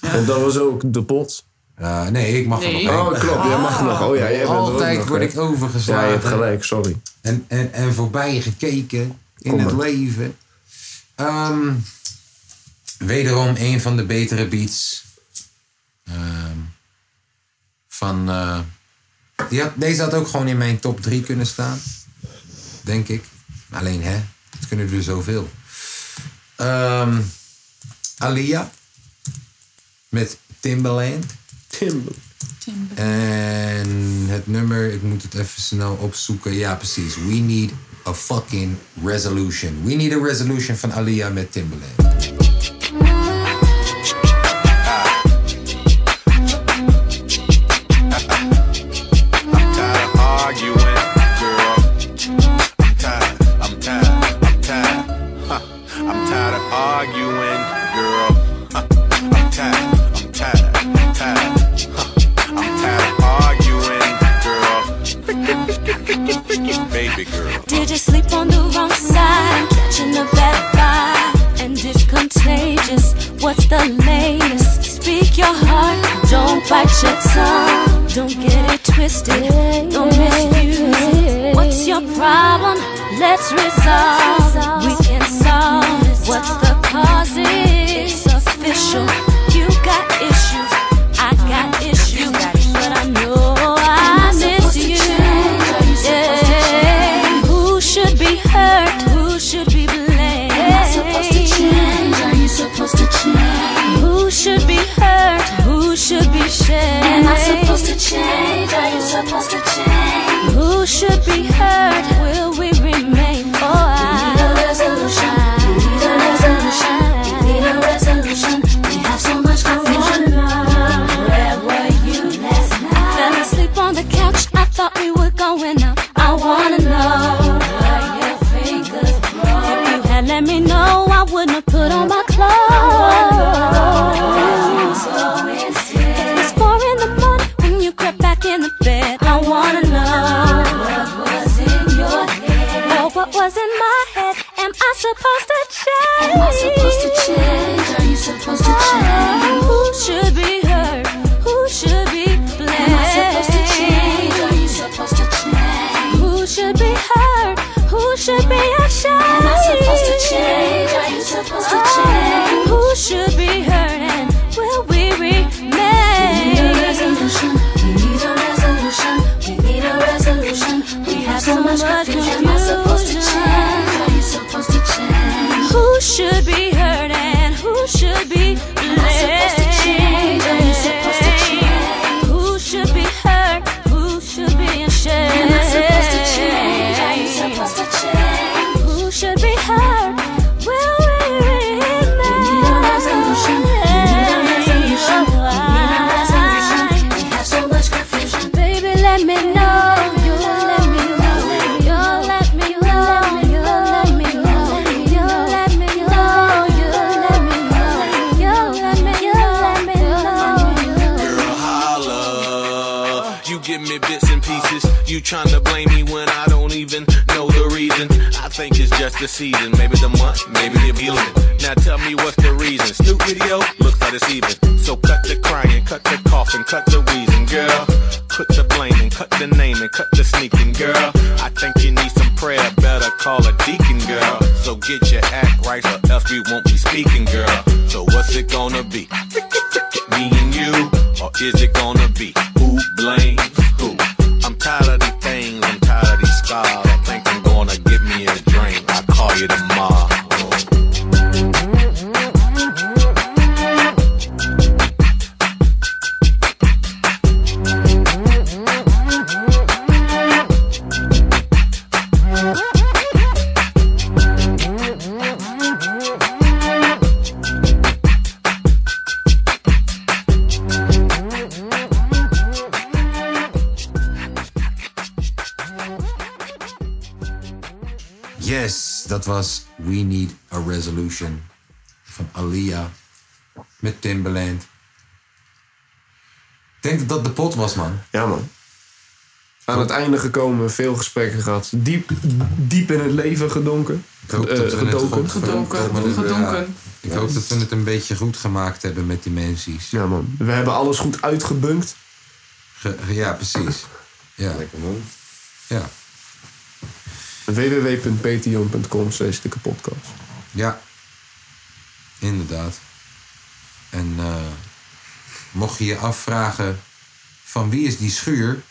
En dat was ook de pot. Eh, nee, ik mag er nog Oh, één. klopt. Jij mag er nog. Oh ja, jij bent er ook Altijd nog, word hè. ik overgeslagen. Ja, je hebt gelijk, sorry. En, en, en voorbij gekeken in Kom het maar. leven. Ehm, wederom een van de betere beats. Ehm, van, eh, die had- deze had ook gewoon in mijn top 3 kunnen staan. Denk ik. Alleen hè, het kunnen er zoveel. Ehm Alia. Met Timbaland. Timbaland. En het nummer, ik moet het even snel opzoeken. Ja, precies. We need a fucking resolution. We need a resolution van Alia met Timbaland. I'm tired of arguing, girl. I'm tired, I'm tired, I'm tired. Huh. I'm tired of arguing, girl. Huh. I'm tired, I'm tired, I'm tired. Huh. I'm tired of arguing, girl. Baby girl. Did you sleep on the wrong side? I'm catching a bad vibe, and it's contagious. What's the latest? Speak your heart, don't bite your tongue. Don't get it twisted, don't misuse it. What's your problem? Let's resolve. We can solve what's the cause. It's official. You got issues, I got issues, but I know I miss you. Yeah. Who should be hurt? Who should be blamed? Am I supposed to change? Are you supposed to change? Who should be hurt? Who should be shamed? Am I supposed to change? Are you supposed to change? Who should be hurt? Will we remain? Oh, I need a resolution. We need a resolution. We need a resolution. We have so much confusion. Where were you last night? Fell asleep on the couch. I thought we were going out. I wanna know. Were your fingers broke? If you had let me know, I wouldn't have put on my clothes. It's four in the morning when you crept back in the bed. I wanna know what was in your head. Oh, what was in my head? Am I supposed to change? Am I supposed to change? Are you supposed to change? Who should be hurt? Who should be blamed? Am I supposed to change? Are you supposed to change? Who should be hurt? Who should be ashamed? Am I supposed to change? Are you supposed to change? Who should be hurt and will we remain? We need a resolution. We need a resolution. We need a resolution. We have so much confusion. Am I supposed to change? Are you supposed to change? Who should be hurt and who me bits and pieces. You tryna blame me when I don't even know the reason. I think it's just the season, maybe the month, maybe the music. Now tell me what's the reason. Snoop video looks like it's even. So cut the crying, cut the coughing, cut the wheezing, girl. Cut the blaming, cut the naming, cut the sneaking, girl. I think you need some prayer, better call a deacon, girl. So get your act right, or else we won't be speaking, girl. So what's it gonna be? me and you, or is it gonna be who blames who? I'm tired of these things, I'm tired of these scars. I think I'm gonna give me a drink. I call you tomorrow. Yes, dat was We Need a Resolution van Alia met Timbaland. Ik denk dat dat de pot was, man. Ja, man. Aan het einde gekomen, veel gesprekken gehad. Diep, diep in het leven gedonken. Ik hoop dat we Eh, het gedoken. goed- eh, Gedonken. Ik hoop dat we het een beetje goed gemaakt hebben met dimensies. Ja, man. We hebben alles goed uitgebunkt. ja, precies. Ja. Lekker, man. Ja. www.patreon.com slash de kapotkast. Ja, inderdaad. En eh, mocht je je afvragen van wie is die schuur?